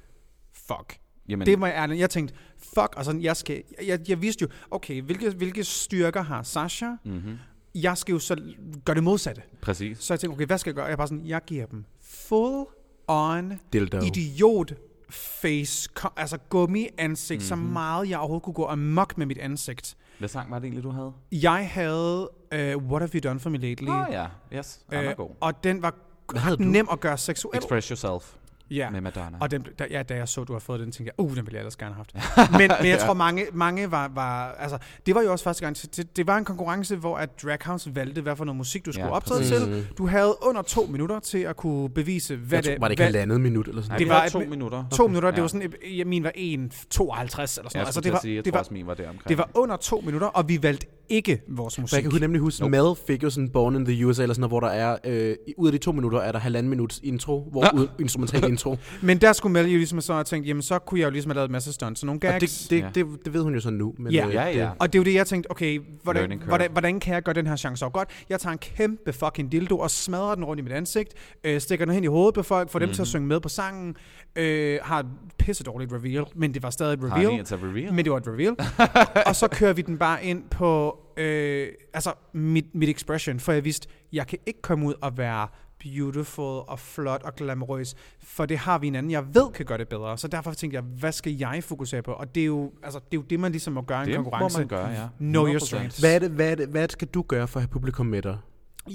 [SPEAKER 2] fuck.
[SPEAKER 4] jamen,
[SPEAKER 2] Men. Det var jeg ærlig. Jeg tænkte, fuck, og sådan, jeg, skal, jeg, jeg vidste jo, okay, hvilke, hvilke styrker har Sasha?
[SPEAKER 4] Mhm.
[SPEAKER 2] Mm-hmm. Jeg skal jo så gøre det modsatte.
[SPEAKER 4] præcis.
[SPEAKER 2] Så jeg tænkte, okay, hvad skal jeg gøre? Jeg er bare sådan, jeg giver dem full on
[SPEAKER 1] Dildo.
[SPEAKER 2] idiot face, ko- altså gummi ansigt, mm-hmm. så
[SPEAKER 4] Mhm.
[SPEAKER 2] meget jeg overhovedet kunne gå amok med mit ansigt.
[SPEAKER 4] Hvad sang var det egentlig, du havde?
[SPEAKER 2] Jeg havde uh, What Have You Done For Me Lately?
[SPEAKER 4] Åh oh, ja, yes, han er
[SPEAKER 2] Øh,
[SPEAKER 4] god.
[SPEAKER 2] og den var
[SPEAKER 1] havde
[SPEAKER 2] ret
[SPEAKER 1] du?
[SPEAKER 2] nem at gøre seksuel.
[SPEAKER 4] Express Yourself
[SPEAKER 2] ja.
[SPEAKER 4] med Madonna.
[SPEAKER 2] Og den, blev- da, ja, da jeg så, du har fået den, tænkte jeg, uh, den ville jeg ellers gerne have haft. men, men jeg tror, mange, mange var, var, altså, det var jo også første gang, til- til- det var en konkurrence, hvor at Draghouse valgte, hvad for noget musik, du skulle ja, optræde
[SPEAKER 4] præcis. Mm.
[SPEAKER 2] til. Du havde under to minutter til at kunne bevise, hvad
[SPEAKER 1] Jeg tror,
[SPEAKER 2] det
[SPEAKER 1] var det ikke
[SPEAKER 2] hvad,
[SPEAKER 1] halvandet minut eller sådan
[SPEAKER 4] det
[SPEAKER 2] var
[SPEAKER 4] var
[SPEAKER 2] et-
[SPEAKER 4] to minutter.
[SPEAKER 2] To minutter, det
[SPEAKER 4] Ja.
[SPEAKER 2] var sådan, øh, ja, min var 1,52 eller sådan
[SPEAKER 4] Ja,
[SPEAKER 2] noget. Altså,
[SPEAKER 4] jeg altså,
[SPEAKER 2] det var,
[SPEAKER 4] sige, jeg
[SPEAKER 2] det,
[SPEAKER 4] tror
[SPEAKER 2] var,
[SPEAKER 4] også, min var der omkring.
[SPEAKER 2] det var under to minutter, og vi valgte ikke vores
[SPEAKER 1] For jeg
[SPEAKER 2] musik.
[SPEAKER 1] kan huske- nemlig huske, nope. Mel fik jo sådan Born in the USA, eller sådan noget, hvor der er, øh, i- ud af de to minutter, er der halvanden minuts intro, hvor
[SPEAKER 4] Ah.
[SPEAKER 1] ud, instrumental intro.
[SPEAKER 2] Men der skulle Mel jo ligesom så have tænkt, jamen så kunne jeg jo ligesom have lavet en masse stunts, så nogle gags.
[SPEAKER 1] Og det, det,
[SPEAKER 4] Ja.
[SPEAKER 1] det, det ved hun jo så nu. Men,
[SPEAKER 2] Ja.
[SPEAKER 1] øh,
[SPEAKER 4] Ja, ja.
[SPEAKER 1] Det,
[SPEAKER 2] Og det er jo det, jeg tænkte, okay, hvordan,
[SPEAKER 4] Learning curve.
[SPEAKER 2] hvordan, hvordan kan jeg gøre den her chance så godt? Jeg tager en kæmpe fucking dildo og smadrer den rundt i mit ansigt, øh, stikker den hen i hovedet på folk, får mm-hmm. dem
[SPEAKER 4] Mhm.
[SPEAKER 2] til at synge med på sangen, øh, har et pisse dårligt reveal, men det var stadig et reveal.
[SPEAKER 4] it's a altså reveal.
[SPEAKER 2] Men det var et reveal. og så kører vi den bare ind på øh, altså mit, mit expression, for jeg vidste, jeg kan ikke komme ud og være beautiful og flot og glamourøs, for det har vi en anden, jeg ved kan gøre det bedre. Så derfor tænkte jeg, hvad skal jeg fokusere på? Og det er jo, altså, det, er jo det man ligesom må gøre i en
[SPEAKER 4] det
[SPEAKER 2] konkurrence.
[SPEAKER 4] må man gøre, ja.
[SPEAKER 2] Know your
[SPEAKER 4] 100%.
[SPEAKER 2] strengths.
[SPEAKER 1] hvad, er det, hvad, er det, hvad skal du gøre for at have publikum med dig?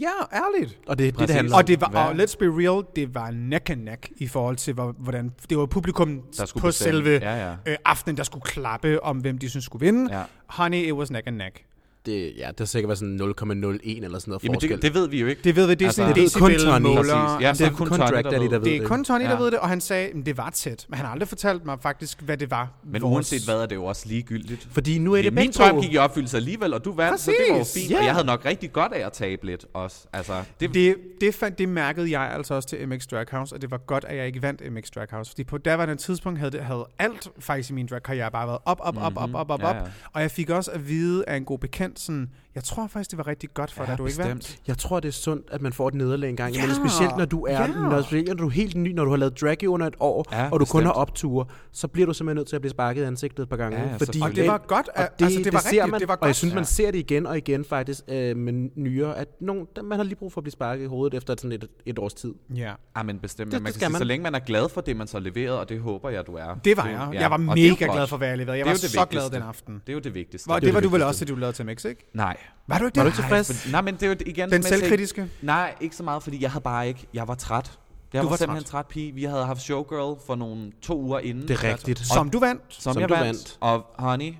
[SPEAKER 2] Ja, ærligt.
[SPEAKER 1] Og det er det, det
[SPEAKER 4] Præcis.
[SPEAKER 1] handler om.
[SPEAKER 2] Og det var,
[SPEAKER 4] Hvad-
[SPEAKER 2] og let's be real, det var neck and neck i forhold til, hvor- hvordan det var publikum
[SPEAKER 4] Der skulle
[SPEAKER 2] på
[SPEAKER 4] bestemme.
[SPEAKER 2] selve
[SPEAKER 4] Ja, ja.
[SPEAKER 2] Øh, aftenen, der skulle klappe om, hvem de synes skulle vinde.
[SPEAKER 4] Ja.
[SPEAKER 2] Honey, it was neck and neck.
[SPEAKER 1] det, ja, det har sikkert været sådan 0,01 eller sådan noget
[SPEAKER 4] Jamen,
[SPEAKER 1] forskel.
[SPEAKER 4] det, det ved vi jo ikke.
[SPEAKER 2] Det ved vi, det er
[SPEAKER 4] Altså,
[SPEAKER 2] sådan en
[SPEAKER 1] det ved kun Tony.
[SPEAKER 2] decibel-måler.
[SPEAKER 4] Præcis. Ja,
[SPEAKER 1] det er kun
[SPEAKER 4] Tony,
[SPEAKER 1] Drag
[SPEAKER 4] der
[SPEAKER 1] Daddy,
[SPEAKER 4] ved
[SPEAKER 1] der ved
[SPEAKER 2] Det er kun Tony, der
[SPEAKER 4] Ja.
[SPEAKER 2] ved det, og han sagde, at det var tæt. Men han har aldrig fortalt mig faktisk, hvad det var.
[SPEAKER 4] Men
[SPEAKER 2] vores-
[SPEAKER 4] uanset hvad, er det jo også ligegyldigt.
[SPEAKER 1] Fordi nu er det
[SPEAKER 4] Min
[SPEAKER 1] begge
[SPEAKER 4] drøm
[SPEAKER 1] to.
[SPEAKER 4] gik i opfyldelse alligevel, og du vandt, så det var jo
[SPEAKER 2] Præcis,
[SPEAKER 4] fint.
[SPEAKER 1] ja.
[SPEAKER 4] Og jeg havde nok rigtig godt af at tabe lidt også. Altså, det,
[SPEAKER 2] Det, det, fandt, det mærkede jeg altså også til MX Drag House, og det var godt, at jeg ikke vandt MX Drag House. Fordi på daværende tidspunkt havde, det, havde alt faktisk i min dragkarriere bare været op, op, op, op, op, op,
[SPEAKER 4] Mhm. Ja,
[SPEAKER 2] op.
[SPEAKER 4] ja.
[SPEAKER 2] Og jeg fik også at vide af en god bekendt, sådan, jeg tror faktisk, det var rigtig godt for dig, at du ikke vandt.
[SPEAKER 1] Jeg tror, det er sundt, at man får et nederlag en gang.
[SPEAKER 2] Ja.
[SPEAKER 1] Ja. Men specielt, når du er,
[SPEAKER 2] Ja.
[SPEAKER 1] ja. når, specielt, når du er helt ny, når du har lavet drag i under et år,
[SPEAKER 4] Ja,
[SPEAKER 1] ja, og du kun
[SPEAKER 4] bestemt.
[SPEAKER 1] har opture, så bliver du simpelthen nødt til at blive sparket i ansigtet et par gange.
[SPEAKER 4] Ja, ja, selvfølgelig.
[SPEAKER 2] Og det var godt,
[SPEAKER 1] og
[SPEAKER 2] at- altså, det var
[SPEAKER 1] ser
[SPEAKER 2] rigtigt,
[SPEAKER 1] man,
[SPEAKER 2] det var
[SPEAKER 1] Og
[SPEAKER 2] godt.
[SPEAKER 1] jeg synes, man
[SPEAKER 4] Ja.
[SPEAKER 1] ser det igen og igen faktisk øh, med nyere, at nogen, man har lige brug for at blive sparket i hovedet efter sådan et, et års tid.
[SPEAKER 2] Ja.
[SPEAKER 4] Ja, men bestemt.
[SPEAKER 1] det
[SPEAKER 4] Det, man kan
[SPEAKER 1] skal
[SPEAKER 4] sige,
[SPEAKER 1] man.
[SPEAKER 4] så længe man er glad for det, man så leverede, og det håber jeg, du er.
[SPEAKER 2] Det var
[SPEAKER 4] Du-
[SPEAKER 2] jeg. Jeg var
[SPEAKER 4] Og det er
[SPEAKER 2] mega
[SPEAKER 4] jo godt.
[SPEAKER 2] glad for, hvad jeg leverede. Jeg
[SPEAKER 4] Det er
[SPEAKER 2] var
[SPEAKER 4] jo det
[SPEAKER 2] så glad
[SPEAKER 4] vigtigste.
[SPEAKER 2] den aften.
[SPEAKER 4] Det er jo det vigtigste.
[SPEAKER 2] Og det, det var
[SPEAKER 1] det
[SPEAKER 2] du vel
[SPEAKER 1] vigtigste.
[SPEAKER 2] også, det du lavede til MX, ikke?
[SPEAKER 4] Nej.
[SPEAKER 2] Var du ikke
[SPEAKER 1] Var du
[SPEAKER 2] det?
[SPEAKER 1] ikke
[SPEAKER 2] Nej,
[SPEAKER 1] tilfreds?
[SPEAKER 4] For, nej, men det er jo
[SPEAKER 2] Den
[SPEAKER 4] igen... som jeg sagde-
[SPEAKER 2] selvkritiske?
[SPEAKER 4] Nej, ikke så meget, fordi jeg havde bare ikke... Jeg var træt. Jeg
[SPEAKER 2] Du
[SPEAKER 4] var,
[SPEAKER 2] var
[SPEAKER 4] simpelthen træt. pige. Vi havde haft showgirl for nogle to uger inden.
[SPEAKER 1] Det er rigtigt.
[SPEAKER 2] Som du vandt.
[SPEAKER 4] Som,
[SPEAKER 1] Som
[SPEAKER 4] jeg
[SPEAKER 1] du
[SPEAKER 4] vandt.
[SPEAKER 1] vandt.
[SPEAKER 4] Og honey,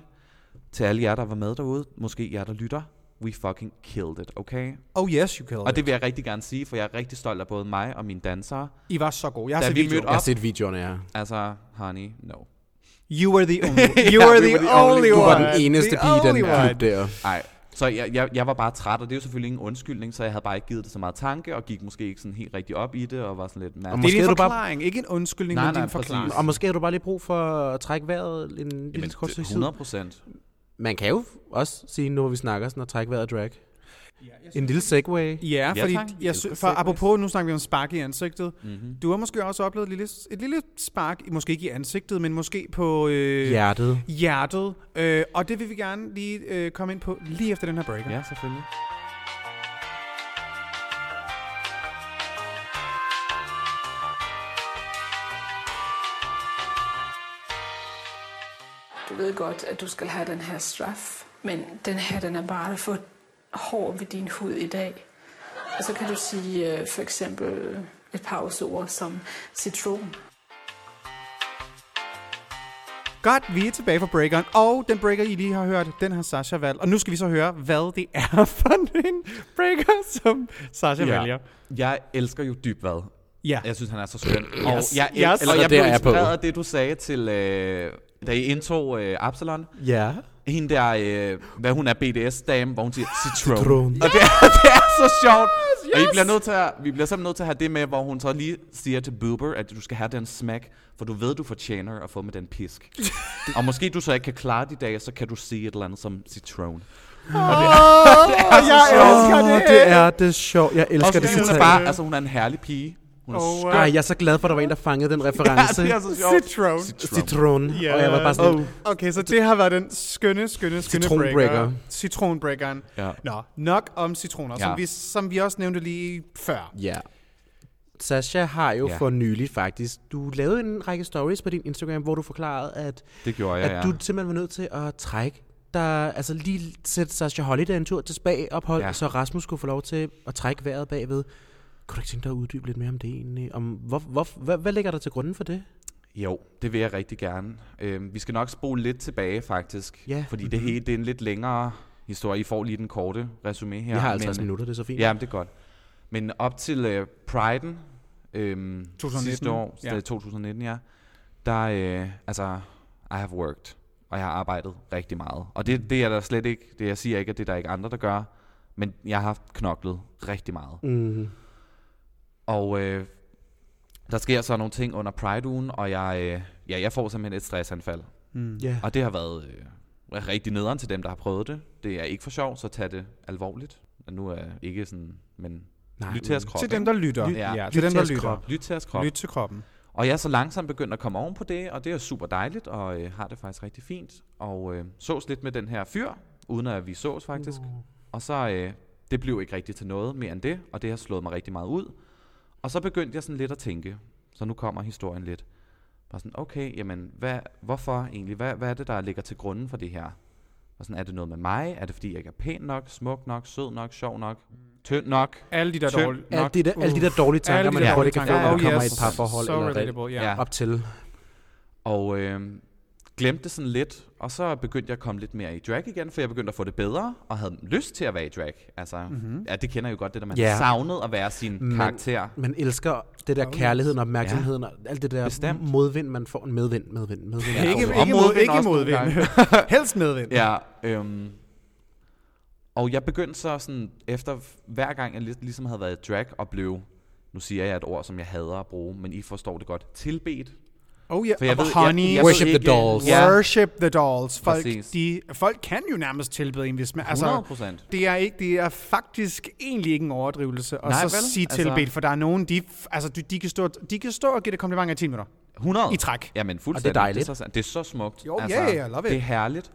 [SPEAKER 4] til alle jer, der var med derude, måske jer, der lytter, we fucking killed it, okay?
[SPEAKER 2] Oh yes, you killed
[SPEAKER 4] Og
[SPEAKER 2] det,
[SPEAKER 4] det vil jeg rigtig gerne sige, for jeg er rigtig stolt af både mig og mine dansere.
[SPEAKER 2] I var så gode. Jeg har
[SPEAKER 4] Da
[SPEAKER 2] set
[SPEAKER 4] vi
[SPEAKER 2] videoer.
[SPEAKER 4] mødte
[SPEAKER 1] Jeg
[SPEAKER 4] op.
[SPEAKER 1] har set videoerne, ja.
[SPEAKER 4] Altså, honey, no.
[SPEAKER 2] You were the only You were
[SPEAKER 4] we
[SPEAKER 2] the,
[SPEAKER 4] were the
[SPEAKER 2] only
[SPEAKER 4] only-
[SPEAKER 2] one.
[SPEAKER 1] Du var den eneste
[SPEAKER 2] The
[SPEAKER 1] pige i den
[SPEAKER 2] only one.
[SPEAKER 1] klub der.
[SPEAKER 4] Nej, så jeg, jeg, jeg var bare træt, og det er jo selvfølgelig ingen undskyldning, så jeg havde bare ikke givet det så meget tanke, og gik måske ikke sådan helt rigtig op i det, og var sådan lidt... Nah.
[SPEAKER 1] Og
[SPEAKER 2] Det er
[SPEAKER 1] Måske
[SPEAKER 2] din
[SPEAKER 1] er du bare-
[SPEAKER 2] forklaring, ikke en undskyldning,
[SPEAKER 4] Nej,
[SPEAKER 2] men
[SPEAKER 4] nej,
[SPEAKER 2] din forklaring.
[SPEAKER 4] præcis.
[SPEAKER 1] Og måske har du bare lige brug for at trække vejret en lille
[SPEAKER 4] Jamen,
[SPEAKER 1] kort
[SPEAKER 4] det-
[SPEAKER 1] stykke tid.
[SPEAKER 4] 100 procent.
[SPEAKER 1] Man kan jo også sige, nu hvor vi snakker sådan, at trække vejret og drag. En lille segway.
[SPEAKER 2] Ja,
[SPEAKER 4] Ja,
[SPEAKER 2] fordi
[SPEAKER 4] tak.
[SPEAKER 2] jeg,
[SPEAKER 4] Elsker
[SPEAKER 2] sy- for
[SPEAKER 4] segways.
[SPEAKER 2] apropos, nu snakker vi om spark i ansigtet. Mm-hmm. Du har måske også oplevet et lille, et lille spark, i- måske ikke i ansigtet, men måske på øh,
[SPEAKER 1] Hjertet.
[SPEAKER 2] hjertet. Øh, og det vil vi gerne lige øh, komme ind på lige efter den her breaker.
[SPEAKER 4] Ja, selvfølgelig.
[SPEAKER 6] Du ved godt, at du skal have den her straf, men den her den er bare for hård ved din hud i dag. Og så kan du sige øh, for eksempel et pauseord som citron.
[SPEAKER 2] Godt, vi er tilbage fra breakeren, og den breaker, I lige har hørt, den har Sasha valgt. Og nu skal vi så høre, hvad det er for en breaker, som Sasha ja. vælger.
[SPEAKER 4] Jeg elsker jo dybvad.
[SPEAKER 2] Ja.
[SPEAKER 4] Jeg synes, han er så skøn. Yes. Og jeg, yes.
[SPEAKER 2] Yes.
[SPEAKER 4] eller, jeg
[SPEAKER 1] Der
[SPEAKER 4] blev
[SPEAKER 1] er jeg på.
[SPEAKER 4] inspireret af det, du sagde til... Øh, da I indtog øh, Absalon.
[SPEAKER 1] Ja.
[SPEAKER 4] Hende der, øh, hvad hun er, BDS-dame, hvor hun siger citron.
[SPEAKER 1] Citron.
[SPEAKER 4] Og det er, det er så sjovt. Yes, Og I bliver nødt til at, vi bliver simpelthen nødt til at have det med, hvor hun så lige siger til Boober, at du skal have den smack, for du ved, du fortjener at få med den pisk. og måske du så ikke kan klare de dage, så kan du sige et eller andet som citron.
[SPEAKER 2] Jeg
[SPEAKER 1] Åh,
[SPEAKER 2] elsker det.
[SPEAKER 1] det er det sjovt. Jeg
[SPEAKER 4] Og
[SPEAKER 1] elsker det
[SPEAKER 4] hun er
[SPEAKER 1] citat.
[SPEAKER 4] bare, altså hun er en herlig pige. Hun er oh,
[SPEAKER 1] Ej, jeg er så glad for, at der var en, der fangede den reference.
[SPEAKER 4] det er
[SPEAKER 2] altså
[SPEAKER 4] så sjovt.
[SPEAKER 2] Citron.
[SPEAKER 1] Citron. Og jeg var bare sådan, oh.
[SPEAKER 2] Okay, så det har været den skønne, skønne, skønne
[SPEAKER 1] Citronbreaker.
[SPEAKER 2] breaker. Citronbreakeren.
[SPEAKER 4] Ja.
[SPEAKER 2] Nå, nok om citroner, ja.
[SPEAKER 4] Ja.
[SPEAKER 2] som, vi, som vi også nævnte lige før.
[SPEAKER 1] ja. Sasha har jo
[SPEAKER 4] Ja.
[SPEAKER 1] for nylig faktisk, du lavede en række stories på din Instagram, hvor du forklarede, at,
[SPEAKER 4] Det gjorde jeg,
[SPEAKER 1] at
[SPEAKER 4] ja.
[SPEAKER 1] du simpelthen var nødt til at trække der, altså lige sætte Sasha Holiday en tur til spagophold, ja.
[SPEAKER 4] Ja.
[SPEAKER 1] så Rasmus skulle få lov til at trække vejret bagved. Kunne du ikke tænke dig at uddybe lidt mere om det egentlig? Om, hvor, hvor, hvad, hvad ligger der til grunden for det?
[SPEAKER 4] Jo, det vil jeg rigtig gerne. Øhm, vi skal nok spole lidt tilbage faktisk,
[SPEAKER 1] Ja. Mhm.
[SPEAKER 4] fordi det hele det er en lidt længere historie. I får lige den korte resume her.
[SPEAKER 1] Ja, jeg har altså
[SPEAKER 4] men-
[SPEAKER 1] 50 minutter, det er så fint.
[SPEAKER 4] Ja, men det er godt. Men op til øh, Pride'en øhm,
[SPEAKER 2] 2019,
[SPEAKER 4] sidste år,
[SPEAKER 2] ja.
[SPEAKER 4] ja. 2019, ja, der øh, altså, I have worked, og jeg har arbejdet rigtig meget. Og det, det er der slet ikke, det jeg siger ikke, at det er der ikke andre, der gør, men jeg har knoklet rigtig meget.
[SPEAKER 1] Mm.
[SPEAKER 4] Og øh, der sker så nogle ting under Pride-ugen, og jeg, øh, ja, jeg får simpelthen et stressanfald.
[SPEAKER 2] Mm.
[SPEAKER 1] Ja.
[SPEAKER 4] Og det har været øh, rigtig nederen til dem, der har prøvet det. Det er ikke for sjov, så tag det alvorligt. Og nu er jeg ikke sådan, men
[SPEAKER 1] Nej,
[SPEAKER 4] Nej, lyt til jeres krop.
[SPEAKER 2] Til dem,
[SPEAKER 4] ikke?
[SPEAKER 2] der lytter.
[SPEAKER 4] Lyt-
[SPEAKER 2] ja,
[SPEAKER 4] ja.
[SPEAKER 2] til dem, der
[SPEAKER 1] Lyt til
[SPEAKER 2] lytter.
[SPEAKER 1] krop.
[SPEAKER 4] Lyt til jeres krop.
[SPEAKER 2] Lyt til kroppen.
[SPEAKER 4] Og jeg er så langsomt begyndt at komme oven på det, og det er super dejligt, og øh, har det faktisk rigtig fint. Og øh, sås lidt med den her fyr, uden at vi sås faktisk. Og så, øh, det blev ikke rigtig til noget mere end det, og det har slået mig rigtig meget ud. Og så begyndte jeg sådan lidt at tænke, så nu kommer historien lidt. Bare sådan, okay, jamen, hvad, hvorfor egentlig? Hvad, hvad er det, der ligger til grunden for det her? Og sådan, er det noget med mig? Er det, fordi jeg ikke er pæn nok, smuk nok, sød nok, sjov nok, tynd nok?
[SPEAKER 2] Alle de der
[SPEAKER 4] Tynd.
[SPEAKER 2] dårlige.
[SPEAKER 1] Alle de der, alle de der dårlige tanker, man
[SPEAKER 4] der
[SPEAKER 1] hurtigt
[SPEAKER 4] dårlige
[SPEAKER 1] kan få,
[SPEAKER 4] tanker.
[SPEAKER 1] når man
[SPEAKER 4] Oh,
[SPEAKER 1] kommer i
[SPEAKER 4] yes.
[SPEAKER 1] et parforhold
[SPEAKER 2] so
[SPEAKER 1] eller et,
[SPEAKER 2] relatable, ja.
[SPEAKER 4] Ja.
[SPEAKER 1] op til.
[SPEAKER 4] Og øh, glemte det sådan lidt, og så begyndte jeg at komme lidt mere i drag igen, for jeg begyndte at få det bedre, og havde lyst til at være i drag. Altså, mm-hmm. ja, det kender jeg jo godt, det der man
[SPEAKER 1] Ja.
[SPEAKER 4] yeah. savnede at være sin Men, karakter.
[SPEAKER 1] Man elsker det der kærligheden og opmærksomheden og alt det der
[SPEAKER 4] Bestemt.
[SPEAKER 1] modvind, man får. Medvind, medvind, medvind.
[SPEAKER 2] Ikke,
[SPEAKER 4] og
[SPEAKER 2] ikke, mod,
[SPEAKER 4] modvind
[SPEAKER 2] ikke
[SPEAKER 4] også nogle
[SPEAKER 2] modvind. Helst medvind.
[SPEAKER 4] Ja, øhm, og jeg begyndte så sådan, efter hver gang jeg lig- ligesom havde været i drag og blev, nu siger jeg et ord, som jeg hader at bruge, men I forstår det godt, tilbedt.
[SPEAKER 2] Oh yeah.
[SPEAKER 4] For jeg
[SPEAKER 2] Og
[SPEAKER 4] ved- jeg-
[SPEAKER 2] honey.
[SPEAKER 4] jeg ved Worship the ikke- dolls.
[SPEAKER 2] Ja.
[SPEAKER 4] Ja.
[SPEAKER 2] Worship the dolls. Folk,
[SPEAKER 4] Præcis.
[SPEAKER 2] de, folk kan jo nærmest tilbede en, hvis man...
[SPEAKER 4] 100%.
[SPEAKER 2] det er, ikke, det er faktisk egentlig ikke en overdrivelse at
[SPEAKER 4] Nej,
[SPEAKER 2] så
[SPEAKER 4] vel?
[SPEAKER 2] sige
[SPEAKER 4] Altså-
[SPEAKER 2] tilbedt, for der er nogen, de, f- altså, de, de, kan stå, de kan stå og give det komplimenter i 10 minutter.
[SPEAKER 4] 100.
[SPEAKER 2] I træk.
[SPEAKER 4] Jamen fuldstændig.
[SPEAKER 1] dejligt.
[SPEAKER 4] Det er så, sandt. det er så smukt. Altså,
[SPEAKER 2] Jo, ja, ja, love it.
[SPEAKER 4] Det er herligt.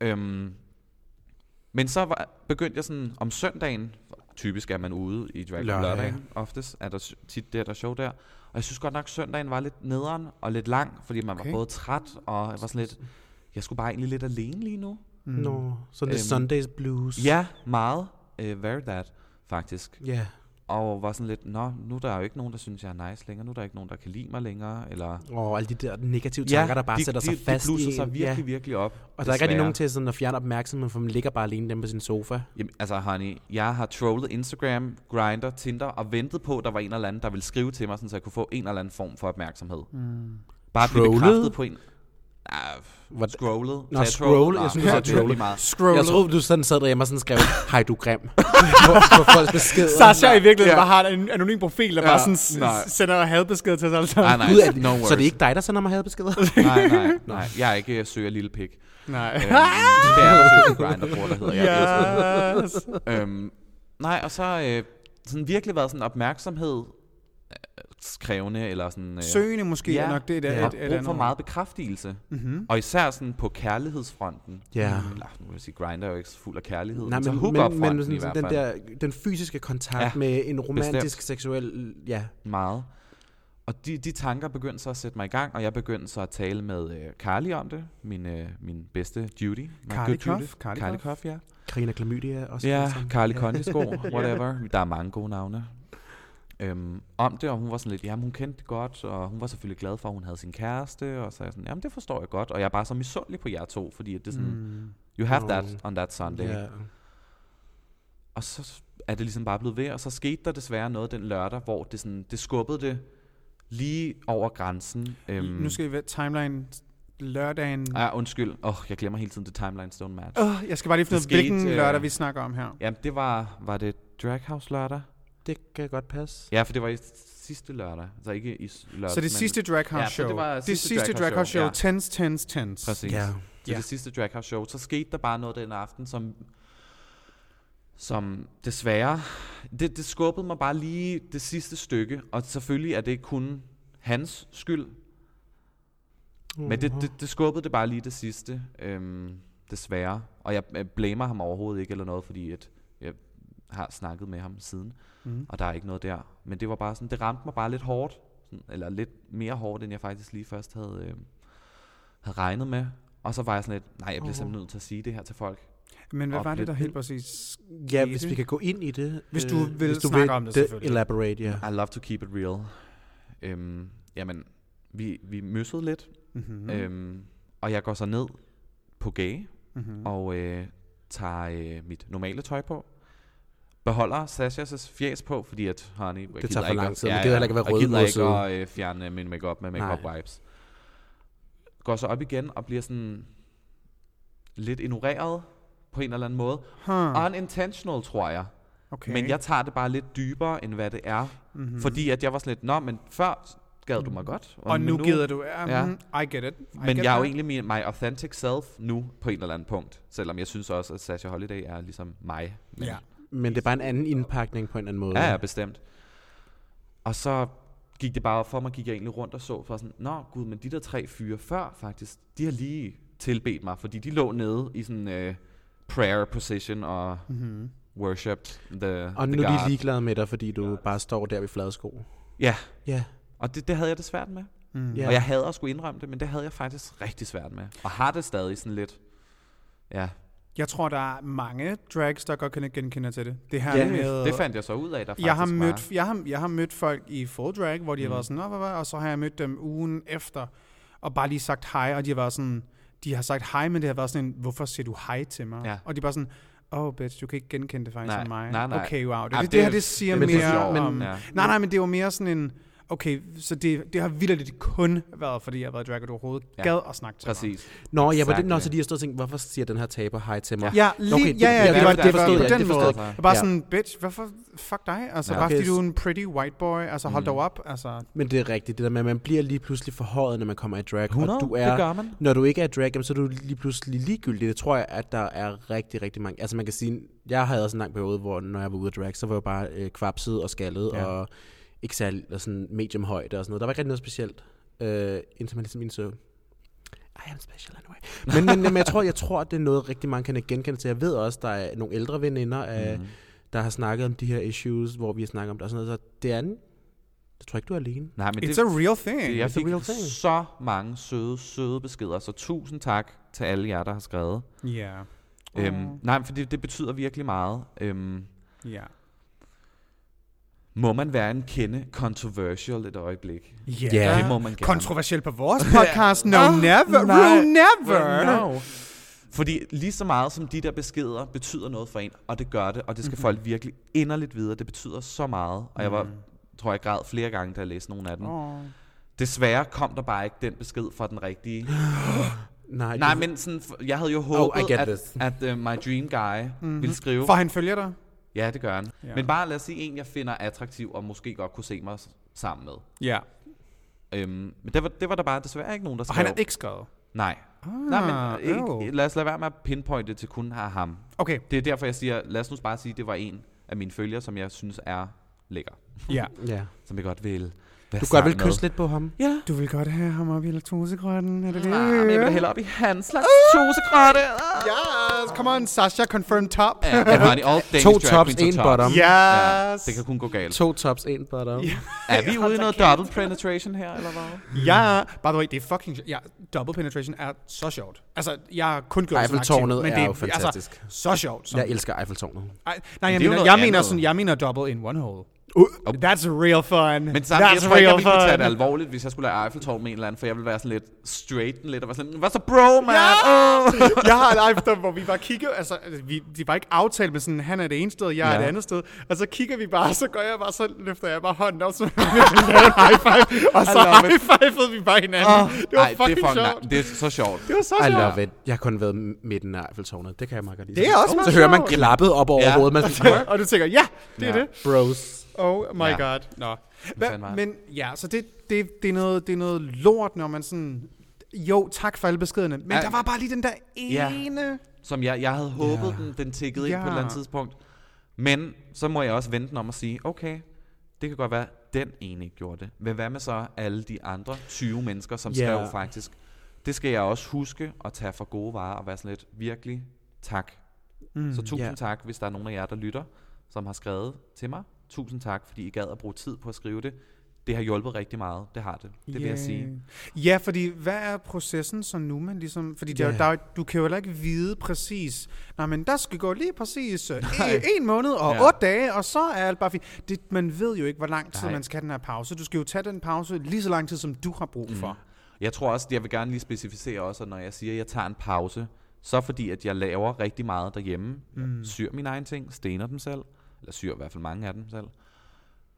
[SPEAKER 4] Øhm, men så var, begyndte jeg sådan om søndagen, typisk er man ude i drag
[SPEAKER 1] Lørdag,
[SPEAKER 4] lørdag, lørdagen oftest, er der s- tit der, der er show der. Og jeg synes godt nok, søndagen var lidt nederen og lidt lang, fordi man
[SPEAKER 2] Okay.
[SPEAKER 4] var både træt og jeg var sådan lidt, jeg skulle bare egentlig lidt alene lige nu.
[SPEAKER 1] Nå, sådan lidt
[SPEAKER 4] Øhm,
[SPEAKER 1] Sundays blues.
[SPEAKER 4] Ja, meget. Uh, very that, Øh, faktisk.
[SPEAKER 1] Ja.
[SPEAKER 4] og var sådan lidt, nå, nu er der jo ikke nogen, der synes, jeg er nice længere, nu er der ikke nogen, der kan lide mig længere, eller...
[SPEAKER 1] Og alle de der negative tanker, der bare
[SPEAKER 4] de,
[SPEAKER 1] sætter
[SPEAKER 4] de,
[SPEAKER 1] sig fast
[SPEAKER 4] de bluser
[SPEAKER 1] i en.
[SPEAKER 4] sig virkelig,
[SPEAKER 1] ja.
[SPEAKER 4] virkelig
[SPEAKER 1] Og
[SPEAKER 4] op.
[SPEAKER 1] der er ikke rigtig
[SPEAKER 4] desværre.
[SPEAKER 1] nogen til sådan at fjerne opmærksomheden, for man ligger bare alene dem på sin sofa.
[SPEAKER 4] Jamen, altså, honey, jeg har trollet Instagram, Grindr, Tinder og ventet på, at der var en eller anden, der ville skrive til mig, sådan, så jeg kunne få en eller anden form for opmærksomhed. Mm. Bare blive
[SPEAKER 1] Hmm. Trollet?
[SPEAKER 4] bekræftet på en... Ah,
[SPEAKER 1] Hvad-
[SPEAKER 4] scrollet.
[SPEAKER 1] Nå,
[SPEAKER 4] Så jeg
[SPEAKER 1] scroll.
[SPEAKER 4] trollede?
[SPEAKER 1] Jeg
[SPEAKER 4] Ah,
[SPEAKER 1] synes,
[SPEAKER 4] men
[SPEAKER 1] du
[SPEAKER 4] så
[SPEAKER 1] sagde
[SPEAKER 4] er det
[SPEAKER 1] trollet.
[SPEAKER 4] lige meget.
[SPEAKER 1] Jeg
[SPEAKER 2] Scrollet.
[SPEAKER 1] troede, du sådan sad derhjemme og sådan skrev, hej du er grim. på, på folks beskeder.
[SPEAKER 2] Sasha i virkeligheden
[SPEAKER 4] Ja.
[SPEAKER 2] bare har en anonym profil, der
[SPEAKER 4] Ja,
[SPEAKER 2] bare sådan s-
[SPEAKER 4] nej.
[SPEAKER 2] sender hadbeskeder til os alle sammen.
[SPEAKER 4] Ah, nej,
[SPEAKER 1] Ud af,
[SPEAKER 4] no
[SPEAKER 1] så det
[SPEAKER 4] worries.
[SPEAKER 1] er ikke dig, der sender mig hadbeskeder?
[SPEAKER 4] Nej, nej, nej. Jeg er ikke øh, søger lille pik.
[SPEAKER 2] nej.
[SPEAKER 4] Øhm, det er der søger på Grindr, bruger, der hedder jeg. elsker det.
[SPEAKER 2] Yes.
[SPEAKER 4] Øhm, nej, og så øh, sådan virkelig været sådan opmærksomhed øh, krævende eller sådan... Øh,
[SPEAKER 2] Søgende måske er nok det, der
[SPEAKER 4] ja,
[SPEAKER 2] er
[SPEAKER 4] og
[SPEAKER 2] et, et
[SPEAKER 4] brug
[SPEAKER 2] andet Mhm.
[SPEAKER 4] for
[SPEAKER 2] ord.
[SPEAKER 4] meget bekræftelse. Mm-hmm. Og især sådan på kærlighedsfronten.
[SPEAKER 1] Ja.
[SPEAKER 4] Eller, nu vil jeg sige, Grindr er jo ikke så fuld af kærlighed.
[SPEAKER 1] Nej,
[SPEAKER 4] så
[SPEAKER 1] men, men,
[SPEAKER 4] hookup-fronten
[SPEAKER 1] men sådan,
[SPEAKER 4] i hvert
[SPEAKER 1] den,
[SPEAKER 4] fald.
[SPEAKER 1] der, den fysiske kontakt
[SPEAKER 4] Ja,
[SPEAKER 1] ja, med en romantisk,
[SPEAKER 4] bestemt.
[SPEAKER 1] seksuel... Ja,
[SPEAKER 4] Meget. Og de, de tanker begyndte så at sætte mig i gang, og jeg begyndte så at tale med øh, Carly om det. Min, øh, min bedste Judy. My
[SPEAKER 2] Carly
[SPEAKER 4] good
[SPEAKER 2] Kof,
[SPEAKER 4] Judy.
[SPEAKER 2] Carly
[SPEAKER 4] Carly
[SPEAKER 2] Kof.
[SPEAKER 4] Kof, ja.
[SPEAKER 1] Karina Klamydia også.
[SPEAKER 4] Ja,
[SPEAKER 1] sådan.
[SPEAKER 4] Carly Kondisko, whatever. Der er mange gode navne. Øhm, om det, og hun var sådan lidt, jamen hun kendte det godt, og hun var selvfølgelig glad for, at hun havde sin kæreste, og så er jeg sådan, jamen det forstår jeg godt, og jeg er bare så misundelig på jer to, fordi at det er sådan, mm. you have that on that Sunday.
[SPEAKER 1] Ja.
[SPEAKER 4] Og så er det ligesom bare blevet ved, og så skete der desværre noget den lørdag, hvor det, sådan, det skubbede det lige over grænsen. Øhm,
[SPEAKER 2] Nu skal vi ved timeline lørdagen.
[SPEAKER 4] ah, undskyld, åh, jeg glemmer hele tiden det timeline stone match.
[SPEAKER 2] Åh, jeg skal bare lige finde ud
[SPEAKER 4] Det
[SPEAKER 2] af, hvilken
[SPEAKER 4] skete, øh,
[SPEAKER 2] lørdag vi snakker om her.
[SPEAKER 4] Jamen det var, var det Draghouse lørdag?
[SPEAKER 1] Det kan godt passe.
[SPEAKER 4] Ja, for det var i sidste lørdag, så ikke i s- lørdag.
[SPEAKER 2] Så det sidste drag
[SPEAKER 4] Ja,
[SPEAKER 2] house
[SPEAKER 4] så
[SPEAKER 2] show.
[SPEAKER 4] det var
[SPEAKER 2] det
[SPEAKER 4] sidste
[SPEAKER 2] sidste
[SPEAKER 4] Drag House
[SPEAKER 2] drag house
[SPEAKER 4] show,
[SPEAKER 2] show.
[SPEAKER 4] ja.
[SPEAKER 2] Tens, tens, tens.
[SPEAKER 4] Præcis.
[SPEAKER 1] Ja.
[SPEAKER 4] Ja. Til
[SPEAKER 2] Ja.
[SPEAKER 4] det sidste Drag House Show, så skete der bare noget den aften, som, som desværre, det, det skubbede mig bare lige det sidste stykke, og selvfølgelig er det ikke kun hans skyld, men det, det, det skubbede det bare lige det sidste, øhm, desværre, og jeg, jeg blamer ham overhovedet ikke eller noget, fordi at jeg har snakket med ham siden, mm. og der er ikke noget der, men det var bare sådan, det ramte mig bare lidt hårdt, sådan, eller lidt mere hårdt, end jeg faktisk lige først havde... Øhm, havde regnet med. Og så var jeg sådan lidt, nej, jeg bliver simpelthen nødt til at sige det her til folk.
[SPEAKER 2] Men hvad var det, der
[SPEAKER 4] Oplevet.
[SPEAKER 2] helt præcis
[SPEAKER 1] Ja,
[SPEAKER 2] skete?
[SPEAKER 1] hvis vi kan gå ind i det. øh,
[SPEAKER 2] Hvis du vil snakke om det, selvfølgelig.
[SPEAKER 1] Elaborate, ja.
[SPEAKER 4] I love to keep it real. Øhm, jamen, vi, vi møssede lidt.
[SPEAKER 2] Mhm,
[SPEAKER 4] Mm-hmm. Øhm, og jeg går så ned på gage
[SPEAKER 2] mhm.
[SPEAKER 4] mm-hmm. og øh, tager øh, mit normale tøj på. Beholder Sashas fjæs på, fordi at, honey, jeg
[SPEAKER 1] tager
[SPEAKER 4] gider
[SPEAKER 1] for
[SPEAKER 4] ikke
[SPEAKER 1] lang
[SPEAKER 4] at-
[SPEAKER 1] tid. Man gider heller ikke at være
[SPEAKER 4] Jeg gider ikke
[SPEAKER 1] rødmosset.
[SPEAKER 4] at øh, fjerne min makeup med
[SPEAKER 1] Nej.
[SPEAKER 4] makeup wipes. Går så op igen og bliver sådan lidt ignoreret på en eller anden måde.
[SPEAKER 2] Huh,
[SPEAKER 1] Ah.
[SPEAKER 4] Unintentional, tror jeg.
[SPEAKER 2] okay.
[SPEAKER 4] Okay. Men jeg tager det bare lidt dybere, end hvad det er.
[SPEAKER 1] Mhm.
[SPEAKER 4] Mm-hmm. Fordi at jeg var sådan lidt, nå, men før gad du mig godt.
[SPEAKER 2] og
[SPEAKER 4] men
[SPEAKER 2] nu, gider du. Um,
[SPEAKER 4] Ja.
[SPEAKER 2] I get it. I
[SPEAKER 4] Men
[SPEAKER 2] get
[SPEAKER 4] jeg er jo
[SPEAKER 2] that.
[SPEAKER 4] egentlig min, my authentic self nu, på en eller anden punkt. Selvom jeg synes også, at Sasha Holiday er ligesom mig. Men
[SPEAKER 2] Ja.
[SPEAKER 1] Men det er bare en anden indpakning på en anden måde.
[SPEAKER 4] Ja, ja, bestemt. Og så gik det bare op for mig, gik jeg egentlig rundt og så, for sådan, nå gud, men de der tre fyre før faktisk, de har lige tilbedt mig, fordi de lå nede i sådan øh, prayer position og mm-hmm. worshipped the
[SPEAKER 1] Og
[SPEAKER 4] the
[SPEAKER 1] nu er de
[SPEAKER 4] God.
[SPEAKER 1] ligeglade med dig, fordi du bare står der ved fladsko.
[SPEAKER 4] Ja,
[SPEAKER 1] Ja.
[SPEAKER 4] og det, det havde jeg det svært med. Mm.
[SPEAKER 1] Ja.
[SPEAKER 4] Og jeg havde at skulle indrømme det, men det havde jeg faktisk rigtig svært med. Og har det stadig sådan lidt, ja,
[SPEAKER 2] Jeg tror, der er mange drags, der godt kan genkende til det. Det her
[SPEAKER 1] Ja,
[SPEAKER 2] med...
[SPEAKER 4] det fandt jeg så ud af, der faktisk Mm.
[SPEAKER 2] jeg har,
[SPEAKER 4] var.
[SPEAKER 2] mødt, jeg, har, jeg har mødt folk i full drag, hvor de har været sådan, "Nå, hvad, hvad?" og så har jeg mødt dem ugen efter, og bare lige sagt hej, og de har været sådan, de har sagt hej, men det har været sådan en, hvorfor siger du hej til mig?
[SPEAKER 4] Ja.
[SPEAKER 2] Og de er bare sådan, oh bitch, du kan ikke genkende det faktisk
[SPEAKER 4] Nej,
[SPEAKER 2] af mig.
[SPEAKER 4] nej, nej.
[SPEAKER 2] Okay, wow. Det, det,
[SPEAKER 4] Ej, det-
[SPEAKER 2] det, her, det siger
[SPEAKER 1] men det er
[SPEAKER 2] mere
[SPEAKER 4] sjovt,
[SPEAKER 2] om...
[SPEAKER 4] men- ja.
[SPEAKER 2] Nej, nej, men det var mere sådan en, okay, så det, det har vildt kun været, fordi jeg har været i drag, og du overhovedet
[SPEAKER 4] Ja,
[SPEAKER 2] gad at snakke til mig.
[SPEAKER 4] Præcis.
[SPEAKER 1] Nå, ja, var det,
[SPEAKER 4] Exactly.
[SPEAKER 1] nå, så de har stået og tænkt, hvorfor siger den her taber hej til mig?
[SPEAKER 2] Ja, lige, okay, ja, ja, det, var, det,
[SPEAKER 4] det
[SPEAKER 2] var, det
[SPEAKER 4] forstod jeg,
[SPEAKER 2] var på
[SPEAKER 4] det
[SPEAKER 2] den
[SPEAKER 4] forstod
[SPEAKER 2] måde.
[SPEAKER 4] jeg.
[SPEAKER 2] Jeg bare
[SPEAKER 1] Ja.
[SPEAKER 2] sådan, bitch, hvorfor, fuck dig? Altså,
[SPEAKER 4] Ja.
[SPEAKER 2] bare fordi
[SPEAKER 1] Okay.
[SPEAKER 2] du er en pretty white boy, altså hold dog op. Altså,
[SPEAKER 1] Men det er rigtigt, det der med, at man bliver lige pludselig forhøjet, når man kommer i drag.
[SPEAKER 4] 100,
[SPEAKER 1] og du er,
[SPEAKER 4] det gør man.
[SPEAKER 1] Når du ikke er i drag, jamen, så er du lige pludselig ligegyldig. Det tror jeg, at der er rigtig, rigtig mange. Altså man kan sige, jeg havde også en lang periode, hvor når jeg var ude af drag, så var jeg bare øh, kvapset og skaldet ja. og ikke særlig og sådan medium højde og sådan noget. Der var ikke rigtig noget specielt, øh, indtil man ligesom indså, i am special anyway. Men, men, men jeg, tror, jeg tror, at det er noget, rigtig mange kan genkende til. Jeg ved også, der er nogle ældre veninder, øh, der har snakket om de her issues, hvor vi har snakket om det og sådan noget. Så det er en, jeg tror ikke, du er alene.
[SPEAKER 4] Nej, men
[SPEAKER 2] It's
[SPEAKER 4] det,
[SPEAKER 2] a real thing.
[SPEAKER 4] Det, jeg fik
[SPEAKER 1] real thing.
[SPEAKER 4] så mange søde, søde beskeder, så tusind tak til alle jer, der har skrevet.
[SPEAKER 2] Ja,
[SPEAKER 4] Mm. Øhm, nej, for det, det betyder virkelig meget. Øhm,
[SPEAKER 2] ja.
[SPEAKER 4] Må man være en kende controversial et øjeblik?
[SPEAKER 2] Yeah.
[SPEAKER 1] Ja.
[SPEAKER 4] Det må man gerne.
[SPEAKER 2] Kontroversiel på vores podcast? No, never.
[SPEAKER 4] nej.
[SPEAKER 2] No, never.
[SPEAKER 4] No. Fordi lige så meget som de der beskeder betyder noget for en, og det gør det, og det
[SPEAKER 2] Mhm.
[SPEAKER 4] skal mm-hmm. folk virkelig inderligt vide, og det betyder så meget. Og jeg var, tror jeg græd flere gange, da jeg læste nogle af dem.
[SPEAKER 2] Åh.
[SPEAKER 4] Desværre kom der bare ikke den besked fra den rigtige.
[SPEAKER 1] Nej,
[SPEAKER 4] Nej,
[SPEAKER 1] det- Oh,
[SPEAKER 4] men sådan, f- jeg havde jo håbet,
[SPEAKER 1] I get
[SPEAKER 4] at,
[SPEAKER 1] this. Mhm.
[SPEAKER 4] at uh, my dream guy mm-hmm. ville skrive.
[SPEAKER 2] For han følger dig?
[SPEAKER 4] Ja, det gør han.
[SPEAKER 2] Ja.
[SPEAKER 4] Ja. Men bare lad os sige en, jeg finder attraktiv, og måske godt kunne se mig s- sammen med.
[SPEAKER 2] Ja.
[SPEAKER 4] Øhm, men det var, det var der bare desværre ikke nogen, der skrev.
[SPEAKER 2] Og han er ikke skrevet.
[SPEAKER 4] Nej. Ah, Nej, men
[SPEAKER 2] øv.
[SPEAKER 4] ikke, lad os lade være med at pinpointe til kun at have ham.
[SPEAKER 2] Okay.
[SPEAKER 4] Det er derfor, jeg siger, lad os nu bare sige, at det var en af mine følgere, som jeg synes er lækker.
[SPEAKER 2] Ja.
[SPEAKER 1] Ja.
[SPEAKER 4] Som jeg godt vil være
[SPEAKER 1] Du kan godt
[SPEAKER 4] sammen
[SPEAKER 1] vel kysse
[SPEAKER 4] med.
[SPEAKER 1] lidt på ham?
[SPEAKER 4] Ja.
[SPEAKER 2] Du vil godt have ham op i laktosegrønnen, er det det?
[SPEAKER 4] Ah, men jeg vil da hellere op i hans slags tusegrønne. Ah.
[SPEAKER 2] Yes, come on, Sasha, confirm top.
[SPEAKER 4] Ja, men honey, all Danish
[SPEAKER 1] To
[SPEAKER 4] drag
[SPEAKER 1] tops,
[SPEAKER 4] queens are
[SPEAKER 1] en bottom.
[SPEAKER 2] Yes.
[SPEAKER 4] Ja, det kan kun gå galt.
[SPEAKER 1] To tops, en bottom. Ja.
[SPEAKER 4] Er vi ude i noget double penetration her, eller hvad?
[SPEAKER 2] Ja, by the way, det er fucking sjovt. Ja, double penetration er så sjovt. Altså, jeg har kun gjort det som aktiv,
[SPEAKER 1] Eiffeltårnet
[SPEAKER 2] men
[SPEAKER 1] er
[SPEAKER 2] det
[SPEAKER 1] jo fantastisk.
[SPEAKER 2] Altså, så sjovt. Som,
[SPEAKER 1] Jeg elsker Eiffeltårnet.
[SPEAKER 2] Ej, nej, jeg
[SPEAKER 4] det er
[SPEAKER 2] mener,
[SPEAKER 4] jo noget
[SPEAKER 2] jeg mener,
[SPEAKER 4] andet. oh.
[SPEAKER 2] sådan, jeg mener double in one hole. Uh, that's real fun.
[SPEAKER 4] Men samtidig, jeg
[SPEAKER 2] that's
[SPEAKER 4] tror ikke, jeg
[SPEAKER 2] real
[SPEAKER 4] ville kunne tage det
[SPEAKER 2] fun.
[SPEAKER 4] alvorligt, hvis jeg skulle lade Eiffeltårn med en eller anden, for jeg ville være sådan lidt straight lidt, og være sådan, hvad så bro, man? Åh."
[SPEAKER 2] jeg har en live hvor vi bare kigger, altså, vi, de var ikke aftalt med sådan, han er det ene sted, jeg ja. er
[SPEAKER 4] Ja.
[SPEAKER 2] det andet sted, og så kigger vi bare, så går jeg bare, så løfter jeg bare hånden op, så vi laver en high five, og så
[SPEAKER 4] love
[SPEAKER 2] high fivede vi bare hinanden. Oh, det var
[SPEAKER 4] Ej,
[SPEAKER 2] fucking
[SPEAKER 4] det er,
[SPEAKER 2] sjovt.
[SPEAKER 4] fucking- nej, det er så sjovt.
[SPEAKER 2] det var så
[SPEAKER 1] I
[SPEAKER 2] sjovt.
[SPEAKER 1] love it. Jeg har kun været midten af Eiffeltårnet. Det kan jeg meget godt lide.
[SPEAKER 2] Det er også
[SPEAKER 1] Så
[SPEAKER 2] meget
[SPEAKER 1] hører man
[SPEAKER 2] sjovt.
[SPEAKER 1] klappet op over
[SPEAKER 4] Ja.
[SPEAKER 1] hovedet. Man
[SPEAKER 2] Ja, og du tænker, ja, det ja. er
[SPEAKER 4] Ja.
[SPEAKER 2] det.
[SPEAKER 1] bros.
[SPEAKER 2] Oh my ja.
[SPEAKER 4] Ja.
[SPEAKER 2] god. Nå. Hva,
[SPEAKER 4] fanden var det?
[SPEAKER 2] men ja, så det, det, det, er noget, det er noget lort, når man sådan... Jo, tak for alle beskederne. Men
[SPEAKER 4] Ja.
[SPEAKER 2] der var bare lige den der
[SPEAKER 4] Ja.
[SPEAKER 2] ene...
[SPEAKER 4] Som jeg, jeg havde håbet, den, den tikkede ind på et
[SPEAKER 2] Ja.
[SPEAKER 4] eller andet tidspunkt. Men så må jeg også vente den om at sige, okay, det kan godt være, den ene ikke gjorde det. Men hvad med så alle de andre 20 mennesker, som
[SPEAKER 1] Ja.
[SPEAKER 4] skrev faktisk? Det skal jeg også huske at tage for gode varer og være sådan lidt, virkelig tak. Mm, så tusind
[SPEAKER 1] ja.
[SPEAKER 4] tak, hvis der er nogen af jer, der lytter, som har skrevet til mig. Tusind tak, fordi I gad at bruge tid på at skrive det. Det har hjulpet rigtig meget. Det har det. Det yeah. vil jeg sige.
[SPEAKER 2] Ja, fordi hvad er processen så nu, man ligesom... Fordi der,
[SPEAKER 1] Ja.
[SPEAKER 2] der, du kan jo heller ikke vide præcis... Nej, men der skal gå lige præcis øh, en, en måned og ja.
[SPEAKER 4] Ja.
[SPEAKER 2] otte dage, og så er alt bare fint. Det, man ved jo ikke, hvor lang tid Nej.
[SPEAKER 4] Nej.
[SPEAKER 2] man skal have den her pause. Du skal jo tage den pause lige så lang tid, som du har brug for. Mm.
[SPEAKER 4] Jeg tror også, jeg vil gerne lige specificere også, at når jeg siger, at jeg tager en pause, så fordi, at jeg laver rigtig meget derhjemme. Mm. Syr mine egne ting, stener dem selv, eller syr i hvert fald mange af dem selv.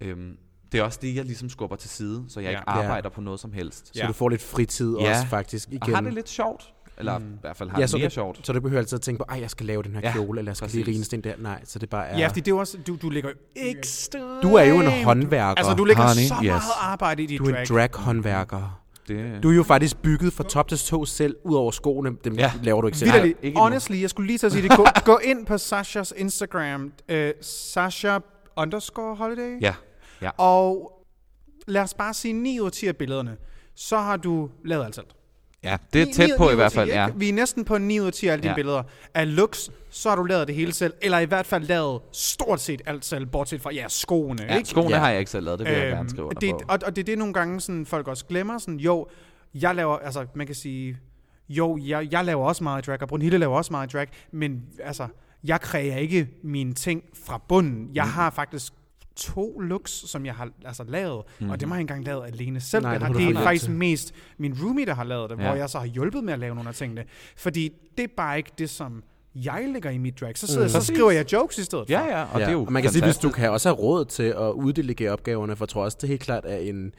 [SPEAKER 4] Øhm, det er også det, jeg ligesom skubber til side, så jeg
[SPEAKER 2] Ja.
[SPEAKER 4] ja. ikke arbejder ja. på noget som helst.
[SPEAKER 1] Så du får lidt fritid
[SPEAKER 4] Ja.
[SPEAKER 1] også faktisk igen.
[SPEAKER 4] Og har det lidt sjovt, eller mm. i hvert fald har ja, det
[SPEAKER 1] så,
[SPEAKER 4] mere
[SPEAKER 1] du,
[SPEAKER 4] sjovt.
[SPEAKER 1] så du behøver altid at tænke på, at jeg skal lave den her
[SPEAKER 4] Ja,
[SPEAKER 1] kjole, eller jeg skal lige
[SPEAKER 4] præcis.
[SPEAKER 1] rine den der. Nej, så det bare er...
[SPEAKER 2] Ja, fordi det er jo også... Du, du ligger jo ekstremt...
[SPEAKER 1] du er jo en håndværker.
[SPEAKER 2] Altså, du lægger
[SPEAKER 4] Honey,
[SPEAKER 2] så
[SPEAKER 4] yes.
[SPEAKER 2] meget arbejde i dit
[SPEAKER 1] du er en
[SPEAKER 2] drag.
[SPEAKER 1] drag-håndværker.
[SPEAKER 4] Det,
[SPEAKER 1] Du er jo faktisk bygget fra top til tå selv, ud over skoene. Dem ja.
[SPEAKER 4] Ja.
[SPEAKER 1] laver du ikke selv.
[SPEAKER 2] Vitterligt,
[SPEAKER 4] Nej, ikke endnu.
[SPEAKER 2] honestly, jeg skulle lige til at sige det. Gå, gå ind på Sashas Instagram, øh, Sasha underscore holiday,
[SPEAKER 4] ja, ja.
[SPEAKER 2] og lad os bare sige 9 ud af 10 af billederne, så har du lavet alt selv.
[SPEAKER 4] ja, det
[SPEAKER 2] Ni-
[SPEAKER 4] er tæt
[SPEAKER 2] ni-
[SPEAKER 4] på
[SPEAKER 2] ni ud
[SPEAKER 4] i
[SPEAKER 2] af
[SPEAKER 4] hvert
[SPEAKER 2] 10,
[SPEAKER 4] fald,
[SPEAKER 2] ikke?
[SPEAKER 4] ja.
[SPEAKER 2] Vi er næsten på 9 ud af 10 af alle dine
[SPEAKER 4] Ja.
[SPEAKER 2] billeder. Af looks, så har du lavet det hele selv, eller i hvert fald lavet stort set alt selv, bortset fra ja, skoene.
[SPEAKER 4] ja.
[SPEAKER 2] ikke?
[SPEAKER 4] Skoene
[SPEAKER 1] Ja.
[SPEAKER 4] ja. har jeg ikke selv lavet, det vil øhm, jeg gerne skrive under
[SPEAKER 2] det,
[SPEAKER 4] på.
[SPEAKER 2] og, og det er det nogle gange, sådan, folk også glemmer. Sådan, jo, jeg laver, altså man kan sige, jo, jeg, jeg laver også meget drag, og Brunhilde laver også meget drag, men altså, jeg kræver ikke mine ting fra bunden. Jeg mm. har faktisk to looks, som jeg har altså, lavet, mm.
[SPEAKER 4] Mm-hmm.
[SPEAKER 2] og dem har jeg ikke engang lavet alene selv.
[SPEAKER 1] Nej, det må
[SPEAKER 2] Nej, det, har,
[SPEAKER 1] du
[SPEAKER 2] det er
[SPEAKER 1] forlade
[SPEAKER 2] faktisk
[SPEAKER 1] til.
[SPEAKER 2] mest min roomie, der har lavet det, ja.
[SPEAKER 4] Ja.
[SPEAKER 2] hvor jeg så har hjulpet med at lave nogle af tingene. Fordi det er bare ikke det, som jeg lægger i mit drag. Så, sidder, mm. så skriver jeg jokes i stedet
[SPEAKER 4] Ja,
[SPEAKER 2] for.
[SPEAKER 4] ja, og ja. det er jo
[SPEAKER 1] og man kan sige, hvis
[SPEAKER 4] fantastisk.
[SPEAKER 1] du kan også have råd til at uddelegere opgaverne, for jeg tror også, det er helt klart er en...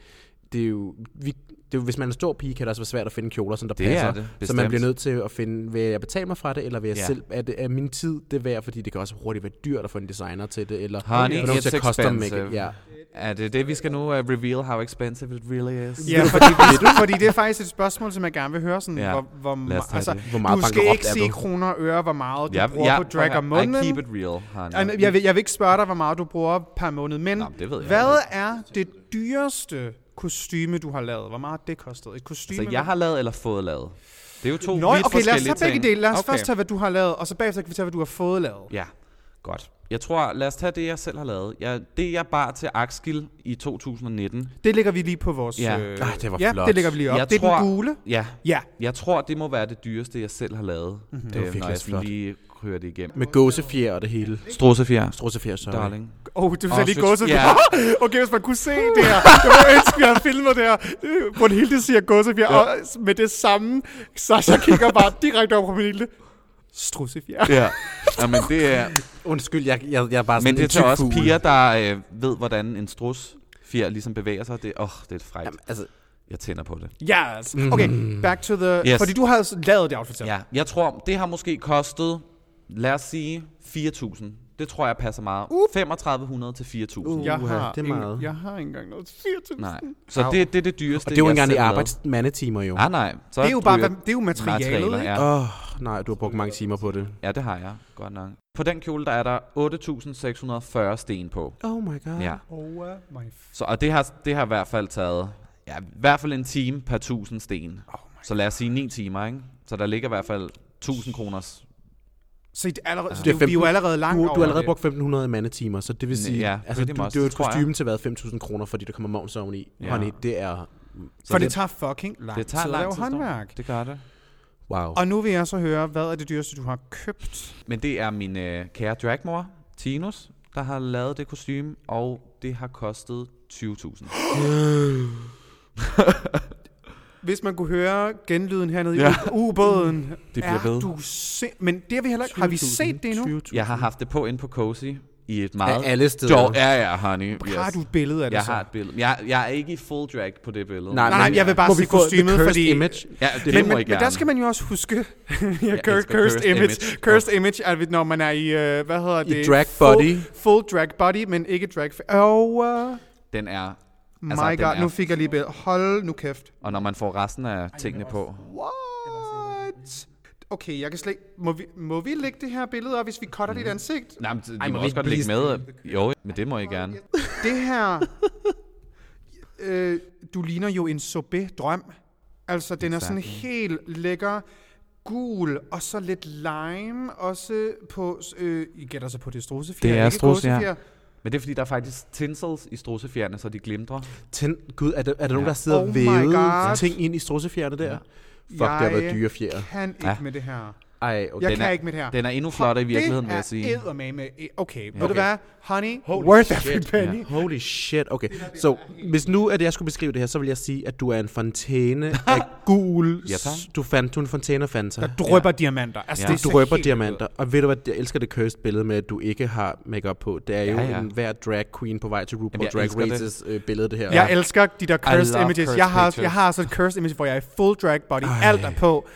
[SPEAKER 1] Det er jo, vi, det er jo, hvis man er en stor pige, kan det også være svært at finde kjoler, som der
[SPEAKER 4] Det er
[SPEAKER 1] passer.
[SPEAKER 4] det,
[SPEAKER 1] så man
[SPEAKER 4] bestemt.
[SPEAKER 1] bliver nødt til at finde, vil jeg betale mig fra det, eller vil jeg ja.
[SPEAKER 4] Ja.
[SPEAKER 1] selv, er, det, er min tid det værd, fordi det kan også hurtigt være dyrt at få en designer til det, eller
[SPEAKER 4] Honey,
[SPEAKER 1] er du nødt
[SPEAKER 4] it's
[SPEAKER 1] til at custom make it?
[SPEAKER 4] expensive.
[SPEAKER 1] Ja.
[SPEAKER 4] Er det det, vi skal nu uh, reveal, how expensive it really is?
[SPEAKER 2] Ja, fordi, hvis, fordi det er faktisk et spørgsmål, som jeg gerne vil høre. Sådan,
[SPEAKER 4] Ja.
[SPEAKER 2] hvor, hvor,
[SPEAKER 4] Lad os
[SPEAKER 2] ma-
[SPEAKER 4] tage
[SPEAKER 2] altså,
[SPEAKER 4] det.
[SPEAKER 1] Hvor meget
[SPEAKER 2] du skal
[SPEAKER 1] bankrupt
[SPEAKER 2] ikke
[SPEAKER 1] er
[SPEAKER 2] sige
[SPEAKER 1] du?
[SPEAKER 2] kroner og øre, hvor meget du
[SPEAKER 4] Jeg-
[SPEAKER 2] bruger
[SPEAKER 4] jeg-
[SPEAKER 2] på drag om
[SPEAKER 4] I keep
[SPEAKER 2] måneden.
[SPEAKER 4] it real, honey.
[SPEAKER 2] Og Jeg vil, jeg vil ikke spørge dig, hvor meget du bruger per måned, men
[SPEAKER 4] Nå, men det ved jeg
[SPEAKER 2] hvad er det dyreste kostyme, du har lavet? Hvor meget har det kostede? Et kostyme?
[SPEAKER 4] Så Altså, jeg har lavet eller fået lavet? Det er jo to
[SPEAKER 2] Nå,
[SPEAKER 4] vidt
[SPEAKER 2] okay, lad os
[SPEAKER 4] forskellige
[SPEAKER 2] tage begge
[SPEAKER 4] ting.
[SPEAKER 2] dele. Lad os
[SPEAKER 4] Okay.
[SPEAKER 2] først tage, hvad du har lavet, og så bagefter kan vi tage, hvad du har fået lavet.
[SPEAKER 4] Ja, godt. Jeg tror, lad os tage det, jeg selv har lavet. Jeg, det, jeg bar til Akskild i 2019.
[SPEAKER 2] Det lægger vi lige på vores...
[SPEAKER 4] Ja.
[SPEAKER 2] øh,
[SPEAKER 1] Ej, det var
[SPEAKER 2] ja,
[SPEAKER 1] flot.
[SPEAKER 2] det lægger vi lige op.
[SPEAKER 4] jeg
[SPEAKER 2] det er
[SPEAKER 4] tror,
[SPEAKER 2] den gule.
[SPEAKER 4] Ja.
[SPEAKER 2] Ja. Mhm.
[SPEAKER 4] Jeg tror, det må være det dyreste, jeg selv har lavet. Mm-hmm.
[SPEAKER 1] Det var virkelig
[SPEAKER 4] når jeg sådan
[SPEAKER 1] flot.
[SPEAKER 4] lige køre det igennem.
[SPEAKER 1] Med gåsefjer og det hele.
[SPEAKER 4] Strussefjer,
[SPEAKER 1] Strussefjer, sorry.
[SPEAKER 4] darling.
[SPEAKER 2] Åh, oh, det var
[SPEAKER 4] Åh,
[SPEAKER 2] lige
[SPEAKER 4] så-
[SPEAKER 2] gåset.
[SPEAKER 4] ja.
[SPEAKER 2] okay, hvis man kunne se det her. Jeg ville ønske, vi havde filmet det her. Øh, Brunhilde siger gåsefjer, ja. og med det samme, Sasha kigger bare direkte over på Brunhilde. Strussefjer.
[SPEAKER 4] Ja. ja, men det er,
[SPEAKER 1] Undskyld, jeg, jeg, jeg er bare sådan
[SPEAKER 4] men det
[SPEAKER 1] en
[SPEAKER 4] er til
[SPEAKER 1] tyk
[SPEAKER 4] også
[SPEAKER 1] fugl.
[SPEAKER 4] piger, der øh, ved, hvordan en strus fjer ligesom bevæger sig. Det, åh, det er et frækt.
[SPEAKER 1] Jamen, altså,
[SPEAKER 4] Jeg tænder på det.
[SPEAKER 2] Yes. altså. Okay, back to the...
[SPEAKER 4] Yes.
[SPEAKER 2] Fordi du havde s- lavet det outfit selv.
[SPEAKER 4] Ja, jeg tror, det har måske kostet, lad os sige, 4.000. Det tror jeg passer meget. 3.500 til 4.000.
[SPEAKER 2] Jeg
[SPEAKER 1] Uha,
[SPEAKER 2] har,
[SPEAKER 1] det er
[SPEAKER 2] ingen-
[SPEAKER 1] meget.
[SPEAKER 2] jeg har ikke engang noget 4.000.
[SPEAKER 4] Nej. Så det, det er det dyreste,
[SPEAKER 1] Og det er jo ikke
[SPEAKER 4] jeg
[SPEAKER 1] engang i
[SPEAKER 4] selv lavede.
[SPEAKER 1] arbejdsmandetimer, jo.
[SPEAKER 4] Nej, nej. Så
[SPEAKER 2] Det er jo bare,
[SPEAKER 4] ryger
[SPEAKER 2] hvad- det er jo materialet,
[SPEAKER 4] materialer,
[SPEAKER 2] ikke?
[SPEAKER 4] ja.
[SPEAKER 1] Åh, oh, nej, du har brugt mange timer på det.
[SPEAKER 4] ja, det har jeg. Godt nok. På den kjole, der er der 8.640 sten på.
[SPEAKER 1] Oh my god.
[SPEAKER 4] Ja.
[SPEAKER 2] Oh my
[SPEAKER 4] Så, og det har, det har i hvert fald taget, ja, i hvert fald en time per 1000 sten. Oh så lad os sige 9 timer, ikke? Så der ligger i hvert fald 1000 kroners.
[SPEAKER 2] Så, I, allerede, så
[SPEAKER 1] Det
[SPEAKER 2] det
[SPEAKER 1] er
[SPEAKER 2] er, vi er jo
[SPEAKER 1] 15
[SPEAKER 2] allerede langt
[SPEAKER 1] Du,
[SPEAKER 2] over
[SPEAKER 1] du har allerede
[SPEAKER 2] det.
[SPEAKER 1] brugt 1500 mandetimer, så det vil sige,
[SPEAKER 4] ja,
[SPEAKER 1] ja, altså,
[SPEAKER 4] pretty
[SPEAKER 1] du,
[SPEAKER 4] much,
[SPEAKER 1] det er jo et
[SPEAKER 4] tror jeg.
[SPEAKER 1] kostume til hvad, 5.000 kroner, fordi der kommer moms oveni.
[SPEAKER 4] Ja.
[SPEAKER 1] Ja. Honey, det er...
[SPEAKER 4] Så
[SPEAKER 2] For det, tager fucking lang
[SPEAKER 4] det tager
[SPEAKER 2] tid at
[SPEAKER 4] lang
[SPEAKER 2] lave
[SPEAKER 4] tid. står der.
[SPEAKER 2] Ah, håndværk.
[SPEAKER 4] Det gør det.
[SPEAKER 1] Wow.
[SPEAKER 2] Og nu vil jeg så høre, hvad er det dyreste, du har købt?
[SPEAKER 4] Men det er min øh, kære dragmor, Tinus, der har lavet det kostume, og det har kostet 20.000.
[SPEAKER 2] Hvis man kunne høre genlyden hernede ja.
[SPEAKER 4] Ja.
[SPEAKER 2] i ubåden. Det
[SPEAKER 4] bliver ved.
[SPEAKER 2] Du se- Men det har vi heller ikke. Har vi set det endnu?
[SPEAKER 4] Jeg har haft det på inde på Cozy i et meget...
[SPEAKER 1] Af alle steder.
[SPEAKER 4] Jo, ja, ja, honey. Yes.
[SPEAKER 2] Har du et billede af det
[SPEAKER 4] Jeg
[SPEAKER 2] så?
[SPEAKER 4] har et billede. Jeg, jeg er ikke i full drag på det billede.
[SPEAKER 1] Nej,
[SPEAKER 4] Men
[SPEAKER 2] Nej,
[SPEAKER 1] men-
[SPEAKER 2] jeg vil bare
[SPEAKER 1] Må
[SPEAKER 2] se
[SPEAKER 1] vi få the
[SPEAKER 2] kostymet,
[SPEAKER 1] cursed
[SPEAKER 2] fordi...
[SPEAKER 1] image?
[SPEAKER 4] Ja,
[SPEAKER 2] men,
[SPEAKER 4] det må
[SPEAKER 2] men,
[SPEAKER 4] jeg
[SPEAKER 2] men der
[SPEAKER 4] gerne.
[SPEAKER 2] skal man jo også huske, ja, cursed,
[SPEAKER 4] elsker cursed
[SPEAKER 2] cursed image.
[SPEAKER 4] image.
[SPEAKER 2] Cursed image er, når man er i, øh, hvad hedder det?
[SPEAKER 1] drag
[SPEAKER 2] Full-
[SPEAKER 1] body.
[SPEAKER 2] Full drag body, men ikke drag... fa- Og, oh, uh,
[SPEAKER 4] Den er...
[SPEAKER 2] my
[SPEAKER 4] altså, den
[SPEAKER 2] god,
[SPEAKER 4] er-
[SPEAKER 2] nu fik jeg lige billedet. Hold nu kæft.
[SPEAKER 4] Og når man får resten af tingene på...
[SPEAKER 2] What? Okay, jeg kan slet ikke... Må vi, må vi lægge det her billede op, hvis vi cutter
[SPEAKER 4] Mhm.
[SPEAKER 2] dit ansigt?
[SPEAKER 4] Nej, men det-
[SPEAKER 1] Ej,
[SPEAKER 4] de
[SPEAKER 1] må
[SPEAKER 4] må
[SPEAKER 1] vi
[SPEAKER 4] også godt lægge
[SPEAKER 1] ikke
[SPEAKER 4] med. Jo, men det må jeg gerne.
[SPEAKER 2] Det her... øh, du ligner jo en sorbet-drøm. Altså, den er sådan helt lækker gul, og så lidt lime, også på... Øh, I gætter så på det strusefjer,
[SPEAKER 4] Det er
[SPEAKER 2] ikke
[SPEAKER 4] strudse, ja.
[SPEAKER 2] gåsefjer.
[SPEAKER 4] Men det er fordi, der er faktisk tinsels i strussefjerne, så de glimtrer.
[SPEAKER 1] Tænd, gud, er der, er der nogen, der sidder og
[SPEAKER 2] Oh my
[SPEAKER 1] vævet
[SPEAKER 2] God.
[SPEAKER 1] ting ind i strussefjerne der? Fuck, det har været dyre fjer.
[SPEAKER 2] Jeg kan ikke
[SPEAKER 4] Ja.
[SPEAKER 2] med det her.
[SPEAKER 1] Ej, okay.
[SPEAKER 2] Jeg
[SPEAKER 4] Den
[SPEAKER 2] kan
[SPEAKER 4] er-
[SPEAKER 2] ikke med det her.
[SPEAKER 4] den er endnu flottere i virkeligheden, vil jeg sige.
[SPEAKER 2] Det er eddermame. Okay, ved
[SPEAKER 4] Okay.
[SPEAKER 2] du hvad? Honey, worth every penny.
[SPEAKER 1] Holy shit, okay. Så hvis nu, at jeg skulle beskrive det her, så vil jeg sige, at du er en fontæne af gul.
[SPEAKER 4] Ja, tak.
[SPEAKER 1] s- du, fandt, du er en fontæne af Fanta.
[SPEAKER 2] Der drøber ja. diamanter. Altså, ja.
[SPEAKER 4] Ja. Der
[SPEAKER 2] det er så
[SPEAKER 1] drøber
[SPEAKER 2] helt
[SPEAKER 1] diamanter. Og ved du hvad, jeg elsker det cursed billede med, at du ikke har makeup på. Det er jo
[SPEAKER 4] Ja, ja.
[SPEAKER 1] en hver drag queen på vej til RuPaul
[SPEAKER 4] Jamen, jeg
[SPEAKER 1] Drag
[SPEAKER 4] elsker det.
[SPEAKER 1] Races øh, billede, det her.
[SPEAKER 2] Jeg elsker de der cursed
[SPEAKER 4] love
[SPEAKER 2] images.
[SPEAKER 4] cursed
[SPEAKER 2] jeg, har,
[SPEAKER 4] pictures.
[SPEAKER 2] jeg har altså et cursed image, hvor jeg er i full drag body. Ej. Alt er på,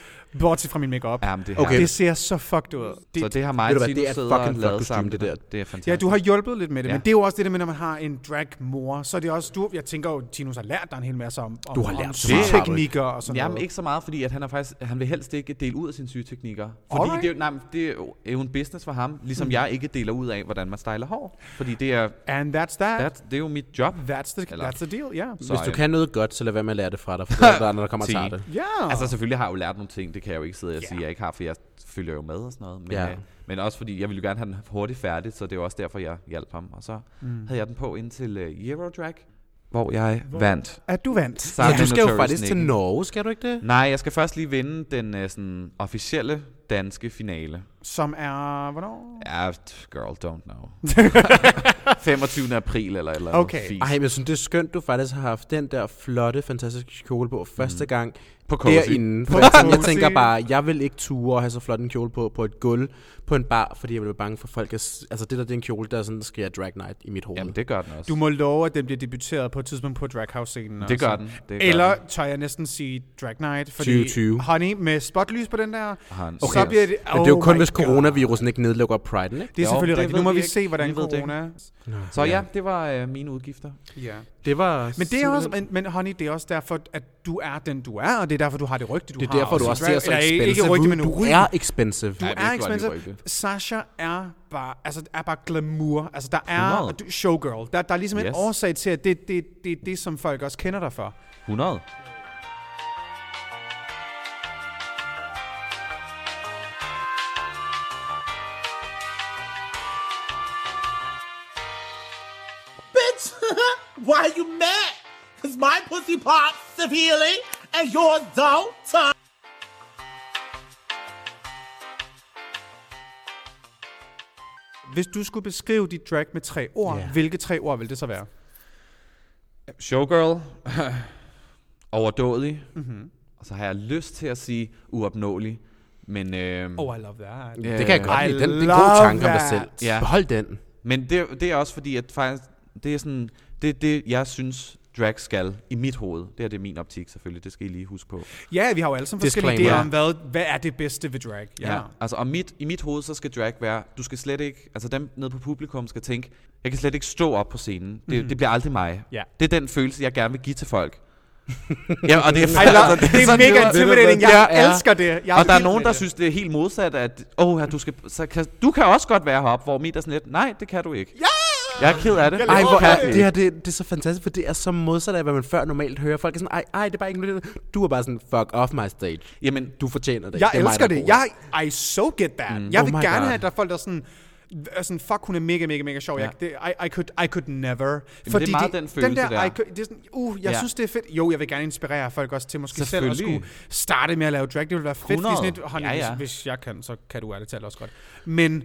[SPEAKER 2] bortset fra min makeup.
[SPEAKER 4] Ja, men det er
[SPEAKER 1] Okay.
[SPEAKER 2] okay.
[SPEAKER 4] herligt.
[SPEAKER 2] Det ser så fucked ud.
[SPEAKER 4] Så
[SPEAKER 2] Det,
[SPEAKER 4] det har mig
[SPEAKER 1] Ved du
[SPEAKER 4] og
[SPEAKER 1] hvad, det er
[SPEAKER 4] Tinus
[SPEAKER 1] et
[SPEAKER 4] siddet og
[SPEAKER 1] fucking flot
[SPEAKER 4] lavet
[SPEAKER 1] kostume,
[SPEAKER 4] sammen.
[SPEAKER 1] det
[SPEAKER 4] Det, der.
[SPEAKER 1] der.
[SPEAKER 4] det er fantastisk.
[SPEAKER 2] ja, du har hjulpet lidt med det,
[SPEAKER 4] Ja.
[SPEAKER 2] men det er jo også det der med, når man har en drag mor, så er det også, du, jeg tænker jo, Tinus har lært dig en hel masse om, om,
[SPEAKER 1] Du har
[SPEAKER 2] om
[SPEAKER 1] lært så meget, har du
[SPEAKER 2] sygeteknikker og sådan
[SPEAKER 4] Jamen
[SPEAKER 2] noget.
[SPEAKER 4] ikke så meget, fordi at han, er faktisk, han vil helst ikke dele ud af sine sygeteknikker. Fordi
[SPEAKER 2] Alright.
[SPEAKER 4] det, er jo- nej, men det er jo- er jo en business for ham, ligesom mm. jeg ikke deler ud af, hvordan man styler hår. Fordi det er,
[SPEAKER 2] And that's that.
[SPEAKER 4] that, det er jo mit job.
[SPEAKER 2] That's the,
[SPEAKER 4] Eller-
[SPEAKER 2] that's the deal, ja. Yeah.
[SPEAKER 1] Hvis du
[SPEAKER 4] øh,
[SPEAKER 1] kan noget godt, så lad være med at lære det fra dig, for der er andre, der kommer og
[SPEAKER 4] Ti.
[SPEAKER 1] tager det.
[SPEAKER 2] Ja.
[SPEAKER 4] Altså selvfølgelig har jeg jo lært nogle ting, det kan jeg jo ikke sidde og
[SPEAKER 2] Ja.
[SPEAKER 4] sige, jeg ikke har, for jeg følger jo med og sådan noget. Men,
[SPEAKER 1] Ja.
[SPEAKER 4] øh, men også fordi, jeg ville jo gerne have den hurtigt færdig, så det var også derfor, jeg hjalp ham. Og så mm. havde jeg den på indtil uh, Eurodrag, hvor jeg hvor? vandt.
[SPEAKER 2] at du vandt.
[SPEAKER 4] Sammen
[SPEAKER 1] Ja, du
[SPEAKER 4] med
[SPEAKER 1] skal jo
[SPEAKER 4] Notorious
[SPEAKER 1] faktisk til
[SPEAKER 4] Nicken.
[SPEAKER 1] Norge, skal du ikke det?
[SPEAKER 4] Nej, jeg skal først lige vinde den uh, sådan, officielle danske finale.
[SPEAKER 2] Som er, hvornår?
[SPEAKER 4] Ja, t- girl, don't know. 25. april eller et eller andet.
[SPEAKER 2] Okay.
[SPEAKER 4] Fis.
[SPEAKER 1] Ej, men jeg synes, det er skønt, du faktisk har haft den der flotte, fantastiske kjole på første gang
[SPEAKER 4] Mhm. På Cozy.
[SPEAKER 1] derinde. For jeg, tænker, jeg
[SPEAKER 2] Cozy.
[SPEAKER 1] tænker bare, jeg vil ikke ture at have så flot en kjole på på et gulv på en bar, fordi jeg vil være bange for folk. at s- Altså det der, det er en kjole, der sådan sker drag night i mit hoved.
[SPEAKER 4] Jamen, det gør den også.
[SPEAKER 2] Du må love, at den bliver debuteret på et tidspunkt på Drag House-scenen.
[SPEAKER 4] det
[SPEAKER 2] også.
[SPEAKER 4] gør den. Det gør
[SPEAKER 2] Eller
[SPEAKER 4] den.
[SPEAKER 2] tør jeg næsten sige Drag Night, fordi
[SPEAKER 1] 2020.
[SPEAKER 2] honey med spotlys på den der,
[SPEAKER 4] Han-
[SPEAKER 2] okay. så
[SPEAKER 4] Okay.
[SPEAKER 2] bliver det...
[SPEAKER 1] Men det er jo
[SPEAKER 2] oh
[SPEAKER 1] kun,
[SPEAKER 2] my
[SPEAKER 1] hvis
[SPEAKER 2] God.
[SPEAKER 1] coronavirusen ikke nedlukker Pride'en, ikke?
[SPEAKER 2] Det er
[SPEAKER 4] Jo,
[SPEAKER 2] selvfølgelig
[SPEAKER 4] det
[SPEAKER 2] rigtigt.
[SPEAKER 4] ved
[SPEAKER 2] Nu må
[SPEAKER 4] vi
[SPEAKER 2] vi
[SPEAKER 4] ikke.
[SPEAKER 2] se, hvordan
[SPEAKER 4] Vi ved det ikke.
[SPEAKER 2] corona...
[SPEAKER 4] Så ja, det var øh, mine udgifter.
[SPEAKER 2] Ja.
[SPEAKER 1] Det var
[SPEAKER 2] Men det er også, men, men honey, det er også derfor, at du er den, du er, og det er derfor, du har det rygte, du
[SPEAKER 1] det er
[SPEAKER 2] har.
[SPEAKER 1] derfor, du
[SPEAKER 2] som
[SPEAKER 1] også
[SPEAKER 2] drag-
[SPEAKER 1] ser så
[SPEAKER 2] eller ikke-
[SPEAKER 1] expensive
[SPEAKER 2] Ikke rygte, men
[SPEAKER 1] ud. Du
[SPEAKER 2] ry.
[SPEAKER 1] er expensive.
[SPEAKER 2] Du
[SPEAKER 4] Ja, det er
[SPEAKER 2] er
[SPEAKER 4] et godt
[SPEAKER 2] expensive.
[SPEAKER 4] rygte.
[SPEAKER 2] Sasha er bare, altså, er bare glamour. Altså, der er
[SPEAKER 4] 100.
[SPEAKER 2] du- showgirl. Der, der er ligesom yes. en
[SPEAKER 4] Yes.
[SPEAKER 2] årsag til, at det er det, det, det, det, som folk også kender dig for.
[SPEAKER 4] 100.
[SPEAKER 7] Bitch, why are you mad? Because my pussy pops severely and yours don't.
[SPEAKER 2] Hvis du skulle beskrive dit drag med tre ord,
[SPEAKER 1] Ja.
[SPEAKER 2] hvilke tre ord ville det så være?
[SPEAKER 4] Showgirl. Overdådig. Mm-hmm. Og så har jeg lyst til at sige uopnåelig. Men, øh,
[SPEAKER 2] Oh, I love that.
[SPEAKER 4] øh,
[SPEAKER 1] Det kan jeg godt
[SPEAKER 2] I
[SPEAKER 1] lide. Den, det er en god
[SPEAKER 2] love
[SPEAKER 1] tanke om dig
[SPEAKER 2] that.
[SPEAKER 1] selv.
[SPEAKER 4] Ja.
[SPEAKER 1] Behold den.
[SPEAKER 4] Men det, det er også fordi, at faktisk, det er sådan, det, er det jeg synes, drag skal i mit hoved. Det er det er min optik selvfølgelig, det skal I lige huske på.
[SPEAKER 2] Ja, vi har jo alle sammen forskellige
[SPEAKER 1] Disclaimer.
[SPEAKER 2] idéer om, hvad, hvad er det bedste ved drag. Ja.
[SPEAKER 4] Altså, og mit, i mit hoved, så skal drag være, du skal slet ikke, altså dem nede på publikum skal tænke, jeg kan slet ikke stå op på scenen. Det,
[SPEAKER 1] Mm-hmm.
[SPEAKER 4] mm. det bliver aldrig mig.
[SPEAKER 2] Ja.
[SPEAKER 4] Det er den følelse, jeg gerne vil give til folk. ja, og det er,
[SPEAKER 2] I love, Altså, det er
[SPEAKER 4] sådan,
[SPEAKER 2] mega
[SPEAKER 4] det er-
[SPEAKER 2] intimidating. Jeg
[SPEAKER 4] Ja, ja.
[SPEAKER 2] elsker det. Jeg
[SPEAKER 4] og der er
[SPEAKER 2] vild
[SPEAKER 4] nogen,
[SPEAKER 2] med
[SPEAKER 4] der
[SPEAKER 2] det.
[SPEAKER 4] synes, det er helt modsat, at oh, ja, du, skal, så kan, du kan også godt være heroppe, hvor mit er sådan lidt, nej, det kan du ikke. Ja! Jeg er ked af det.
[SPEAKER 1] Ej, hvor
[SPEAKER 4] Kan
[SPEAKER 1] er
[SPEAKER 4] du
[SPEAKER 1] det
[SPEAKER 4] ikke.
[SPEAKER 1] her, det, det er så fantastisk, for det er så modsat af, hvad man før normalt hører. Folk er sådan, ej, ej, det er bare ikke noget. Du er bare sådan, fuck off my stage.
[SPEAKER 4] Jamen,
[SPEAKER 1] Du fortjener det.
[SPEAKER 2] Jeg
[SPEAKER 1] er mig,
[SPEAKER 2] elsker
[SPEAKER 1] der er
[SPEAKER 2] det.
[SPEAKER 1] god.
[SPEAKER 2] Jeg, I so get that. Mm. Jeg
[SPEAKER 1] Oh
[SPEAKER 2] vil
[SPEAKER 1] my
[SPEAKER 2] oh gerne
[SPEAKER 1] God.
[SPEAKER 2] have, at der er folk, der er sådan, er sådan, fuck, hun er mega, mega, mega sjov. Ja. Jeg, det, I, I, could, I could never.
[SPEAKER 4] det er meget den følelse
[SPEAKER 2] den der.
[SPEAKER 4] der.
[SPEAKER 2] I could, det er sådan, uh, jeg
[SPEAKER 4] Ja.
[SPEAKER 2] ja. synes, det er fedt. Jo, jeg vil gerne inspirere folk også til måske selv at
[SPEAKER 4] Selvfølgelig.
[SPEAKER 2] skulle starte med at lave drag. Det ville være fedt.
[SPEAKER 4] 100.
[SPEAKER 2] Hvis, lidt, honey,
[SPEAKER 4] Ja,
[SPEAKER 2] ja,
[SPEAKER 4] ja.
[SPEAKER 2] ja. Hvis, hvis jeg kan, så kan du ærligt talt også godt. Men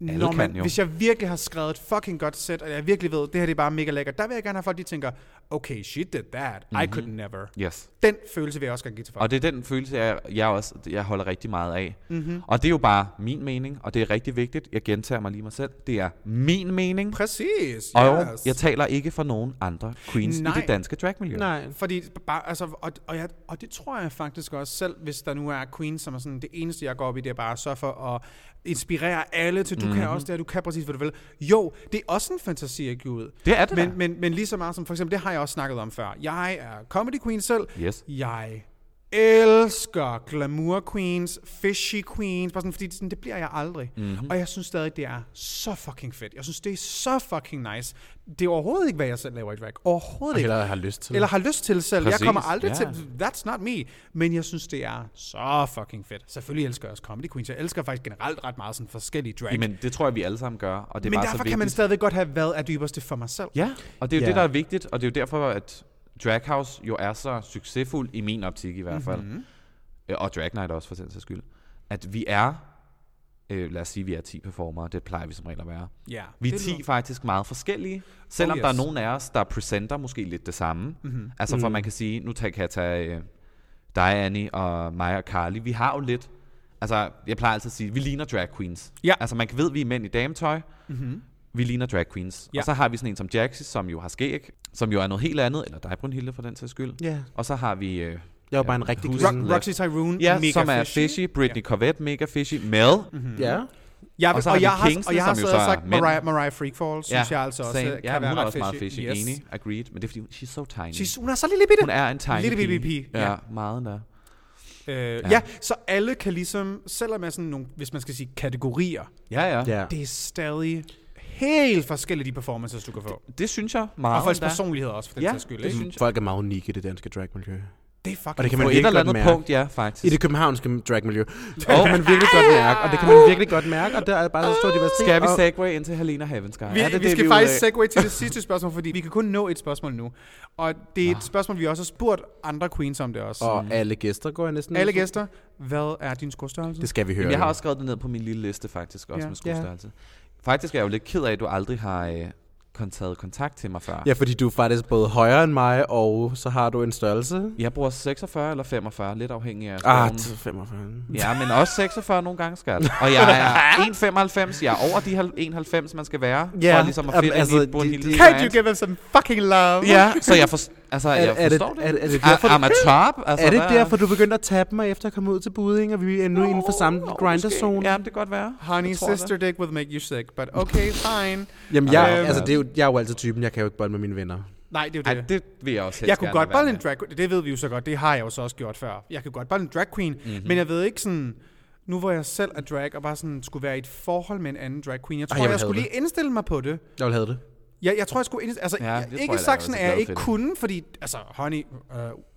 [SPEAKER 2] når
[SPEAKER 4] kan
[SPEAKER 2] man,
[SPEAKER 4] jo.
[SPEAKER 2] hvis jeg virkelig har skrevet et fucking godt sæt, og jeg virkelig ved, det her det er bare mega lækkert, der vil jeg gerne have folk, de tænker, okay, she did that. Mm-hmm. I could never.
[SPEAKER 4] Yes.
[SPEAKER 2] Den følelse vil jeg også gerne give til folk.
[SPEAKER 4] Og det er den følelse, jeg, jeg også jeg holder rigtig meget af. Mm-hmm. Og det er jo bare min mening, og det er rigtig vigtigt. Jeg gentager mig lige mig selv. Det er min mening,
[SPEAKER 2] Præcis.
[SPEAKER 4] og
[SPEAKER 2] yes.
[SPEAKER 4] jeg taler ikke for nogen andre queens Nej. i
[SPEAKER 2] Nej.
[SPEAKER 4] det danske dragmiljø.
[SPEAKER 1] Nej.
[SPEAKER 2] Fordi, bare, altså, og, og, jeg, og det tror jeg faktisk også selv, hvis der nu er Queen, som er sådan, det eneste, jeg går op i, det er bare at sørge for at inspirere alle til, du
[SPEAKER 4] Mhm.
[SPEAKER 2] mm-hmm. kan også det her, du kan præcis, hvad du vil. Jo, det er også en fantasi at give ud.
[SPEAKER 4] Det er det da.
[SPEAKER 2] men, men, men lige så meget som, for eksempel, det har jeg også snakket om før. Jeg er comedy queen selv.
[SPEAKER 4] Yes.
[SPEAKER 2] Jeg elsker glamour queens, fishy queens, bare sådan, fordi det, er sådan, det bliver jeg aldrig.
[SPEAKER 4] Mhm.
[SPEAKER 2] Mm-hmm. Og jeg synes stadig, det er så fucking fedt. Jeg synes, det er så fucking nice. Det er overhovedet ikke, hvad jeg selv laver i drag. Overhovedet ikke.
[SPEAKER 1] Eller har lyst til
[SPEAKER 2] Eller har lyst til selv.
[SPEAKER 4] Præcis,
[SPEAKER 2] Jeg kommer aldrig
[SPEAKER 4] ja.
[SPEAKER 2] ja. til... That's not me. Men jeg synes, det er så fucking fedt. Selvfølgelig elsker jeg også comedy queens. Jeg elsker faktisk generelt ret meget sådan forskellige drag.
[SPEAKER 4] Jamen, det tror jeg, vi alle sammen gør. Og det er
[SPEAKER 2] Men
[SPEAKER 4] bare
[SPEAKER 2] derfor
[SPEAKER 4] så
[SPEAKER 2] kan man
[SPEAKER 4] vigtigt.
[SPEAKER 2] stadigvæk godt have, hvad er dybest for mig selv.
[SPEAKER 4] Ja, og det er jo
[SPEAKER 1] Ja.
[SPEAKER 4] det, der er vigtigt, og det er jo derfor, at Draghouse jo er så succesfuld, i min optik i hvert fald,
[SPEAKER 2] Mhm.
[SPEAKER 4] mm-hmm. og Drag Knight også for den sags skyld, at vi er, øh, lad os sige, vi er 10 performere, det plejer vi som regel at være.
[SPEAKER 2] Ja,
[SPEAKER 4] vi er
[SPEAKER 2] det
[SPEAKER 4] 10
[SPEAKER 2] lyder-
[SPEAKER 4] faktisk meget forskellige, selvom
[SPEAKER 2] Oh,
[SPEAKER 4] der er
[SPEAKER 2] yes. Mhm.
[SPEAKER 4] nogen af os, der presenter måske lidt det samme. Mm-hmm. Altså for man kan sige, nu tag- kan jeg tage øh, dig, Annie, og mig og Carly, vi har jo lidt, altså jeg plejer altid at sige, vi ligner drag queens.
[SPEAKER 2] Ja. Mhm.
[SPEAKER 4] Altså man kan ved, at vi er mænd i dametøj, vi ligner drag queens. Ja.
[SPEAKER 2] Ja.
[SPEAKER 4] Og så har vi sådan en som Jaxi, som jo har skæg, som jo er noget helt andet, eller dig, Brunhilde, for den sags skyld.
[SPEAKER 1] Ja.
[SPEAKER 4] Og så har vi... Øh,
[SPEAKER 1] Jeg er jo bare en rigtig
[SPEAKER 4] Husk-
[SPEAKER 1] kvinde.
[SPEAKER 2] Ro- Roxy Tyrone,
[SPEAKER 4] ja,
[SPEAKER 2] mega
[SPEAKER 4] som er
[SPEAKER 2] fishy. Mhm.
[SPEAKER 4] fishy. Britney ja. Corvette, mega fishy. Mel, mm-hmm.
[SPEAKER 1] Ja.
[SPEAKER 2] Jeg,
[SPEAKER 4] Og
[SPEAKER 2] og,
[SPEAKER 4] så
[SPEAKER 2] så
[SPEAKER 4] har
[SPEAKER 2] og,
[SPEAKER 4] vi
[SPEAKER 2] jeg har,
[SPEAKER 4] Kingsene,
[SPEAKER 2] og jeg har
[SPEAKER 4] som jo
[SPEAKER 2] siddet og
[SPEAKER 4] så er
[SPEAKER 2] sagt,
[SPEAKER 4] mænd.
[SPEAKER 2] Mariah, Mariah Freefall, synes jeg altså også
[SPEAKER 4] same.
[SPEAKER 2] øh, kan
[SPEAKER 4] ja,
[SPEAKER 2] være
[SPEAKER 4] hun er
[SPEAKER 2] ret
[SPEAKER 4] også meget
[SPEAKER 2] fishy.
[SPEAKER 4] fishy.
[SPEAKER 2] Yes.
[SPEAKER 4] Enig, agreed. Men det er fordi, hun- she's so tiny.
[SPEAKER 2] She's, hun er så lille bitte.
[SPEAKER 4] hun er en tiny
[SPEAKER 2] Lille
[SPEAKER 4] pige.
[SPEAKER 2] bitte pige.
[SPEAKER 4] Ja,
[SPEAKER 2] Ja.
[SPEAKER 4] meget endda.
[SPEAKER 2] Øh, ja. ja, så alle kan ligesom, selvom er sådan nogle, hvis man skal sige kategorier,
[SPEAKER 4] Ja, ja.
[SPEAKER 1] ja.
[SPEAKER 2] det er stadig helt forskellige de performances, du kan få.
[SPEAKER 4] Det synes jeg meget
[SPEAKER 2] Og folks
[SPEAKER 4] endda.
[SPEAKER 2] personlighed også, for den
[SPEAKER 4] Ja,
[SPEAKER 2] sags skyld.
[SPEAKER 4] det
[SPEAKER 2] ikke?
[SPEAKER 4] synes jeg.
[SPEAKER 1] Folk er meget unikke i det danske dragmiljø.
[SPEAKER 2] Det er fucking
[SPEAKER 1] Og det kan
[SPEAKER 4] På
[SPEAKER 1] man
[SPEAKER 4] et
[SPEAKER 1] virkelig
[SPEAKER 4] eller
[SPEAKER 1] godt
[SPEAKER 4] andet
[SPEAKER 1] mærke.
[SPEAKER 4] punkt, ja, faktisk.
[SPEAKER 1] I det københavnske dragmiljø. Det kan man virkelig godt mærke, og det kan man virkelig godt mærke, og der er bare så stor diversitet.
[SPEAKER 4] Ah! Skal vi
[SPEAKER 1] og-
[SPEAKER 4] segue ind til Helena Havensky?
[SPEAKER 2] Vi, vi skal faktisk segue til det sidste spørgsmål, fordi vi kan kun nå et spørgsmål nu. Og det er et spørgsmål, vi også har spurgt andre queens om det også.
[SPEAKER 1] Og alle gæster går jeg næsten...
[SPEAKER 2] Alle gæster, hvad er din skostørrelse?
[SPEAKER 1] Det skal vi høre.
[SPEAKER 4] Jamen, jeg har
[SPEAKER 1] jo.
[SPEAKER 4] også skrevet det ned på min lille liste faktisk, også
[SPEAKER 2] Ja.
[SPEAKER 4] med skostørrelse. Faktisk er jeg jo lidt ked af, at du aldrig har øh, kon- taget kontakt til mig før.
[SPEAKER 1] Ja, fordi du er faktisk både højere end mig, og så har du en størrelse.
[SPEAKER 4] Jeg bruger 46 eller 45, lidt afhængig af
[SPEAKER 1] Ah,
[SPEAKER 4] skoven.
[SPEAKER 1] 45.
[SPEAKER 4] Ja, men også 46 nogle gange, skat. Og jeg er 1,95. Jeg er over de hal- 91, man skal være,
[SPEAKER 1] Ja,
[SPEAKER 4] for ligesom at finde
[SPEAKER 1] jamen, altså,
[SPEAKER 4] altså, en bund
[SPEAKER 1] det-
[SPEAKER 4] lille
[SPEAKER 1] det-
[SPEAKER 4] brand.
[SPEAKER 2] Can't you give them some fucking love?
[SPEAKER 4] Ja, så jeg, for, altså, jeg
[SPEAKER 1] er det-
[SPEAKER 4] forstår det.
[SPEAKER 1] er det- er det
[SPEAKER 4] Ah,
[SPEAKER 1] derfor, du-
[SPEAKER 4] I'm a top. Altså,
[SPEAKER 1] Er det
[SPEAKER 4] hvad
[SPEAKER 1] derfor, du begyndte at tabe mig efter at komme ud til budding, og vi er nu inden for samme
[SPEAKER 4] Nå, måske.
[SPEAKER 1] grinderzone?
[SPEAKER 4] Ja, det kan godt være.
[SPEAKER 2] Honey,
[SPEAKER 4] Jeg tror det.
[SPEAKER 2] sister dick will make you sick, but okay, fine.
[SPEAKER 1] Jamen, jeg,
[SPEAKER 4] Øhm.
[SPEAKER 1] altså, det er jo, jeg er jo altid typen, jeg kan jo ikke bolle med mine venner.
[SPEAKER 2] Nej, det er
[SPEAKER 4] Ej,
[SPEAKER 2] jo det.
[SPEAKER 4] det vil jeg også helst
[SPEAKER 2] jeg kunne
[SPEAKER 4] gerne
[SPEAKER 2] godt
[SPEAKER 4] lade være
[SPEAKER 2] bolle en
[SPEAKER 4] med.
[SPEAKER 2] drag queen. Det ved vi jo så godt. Det har jeg jo så også gjort før. Jeg kan godt bolle en drag queen, mm-hmm. men jeg ved ikke sådan... Nu hvor jeg selv er drag og bare sådan skulle være i et forhold med en anden drag queen, jeg tror,
[SPEAKER 1] jeg
[SPEAKER 2] jeg,
[SPEAKER 1] ville
[SPEAKER 2] jeg skulle
[SPEAKER 1] have
[SPEAKER 2] lige indstille mig på det.
[SPEAKER 1] Jeg vil have det.
[SPEAKER 2] Jeg, jeg tror, jeg skulle... Indst- altså,
[SPEAKER 4] Ja,
[SPEAKER 2] ja,
[SPEAKER 4] det tror
[SPEAKER 2] jeg,
[SPEAKER 4] jeg,
[SPEAKER 2] ikke
[SPEAKER 4] der er
[SPEAKER 2] saksen
[SPEAKER 4] også
[SPEAKER 2] er jeg
[SPEAKER 4] glad
[SPEAKER 2] ikke
[SPEAKER 4] for det.
[SPEAKER 2] kunne, fordi... Altså, honey,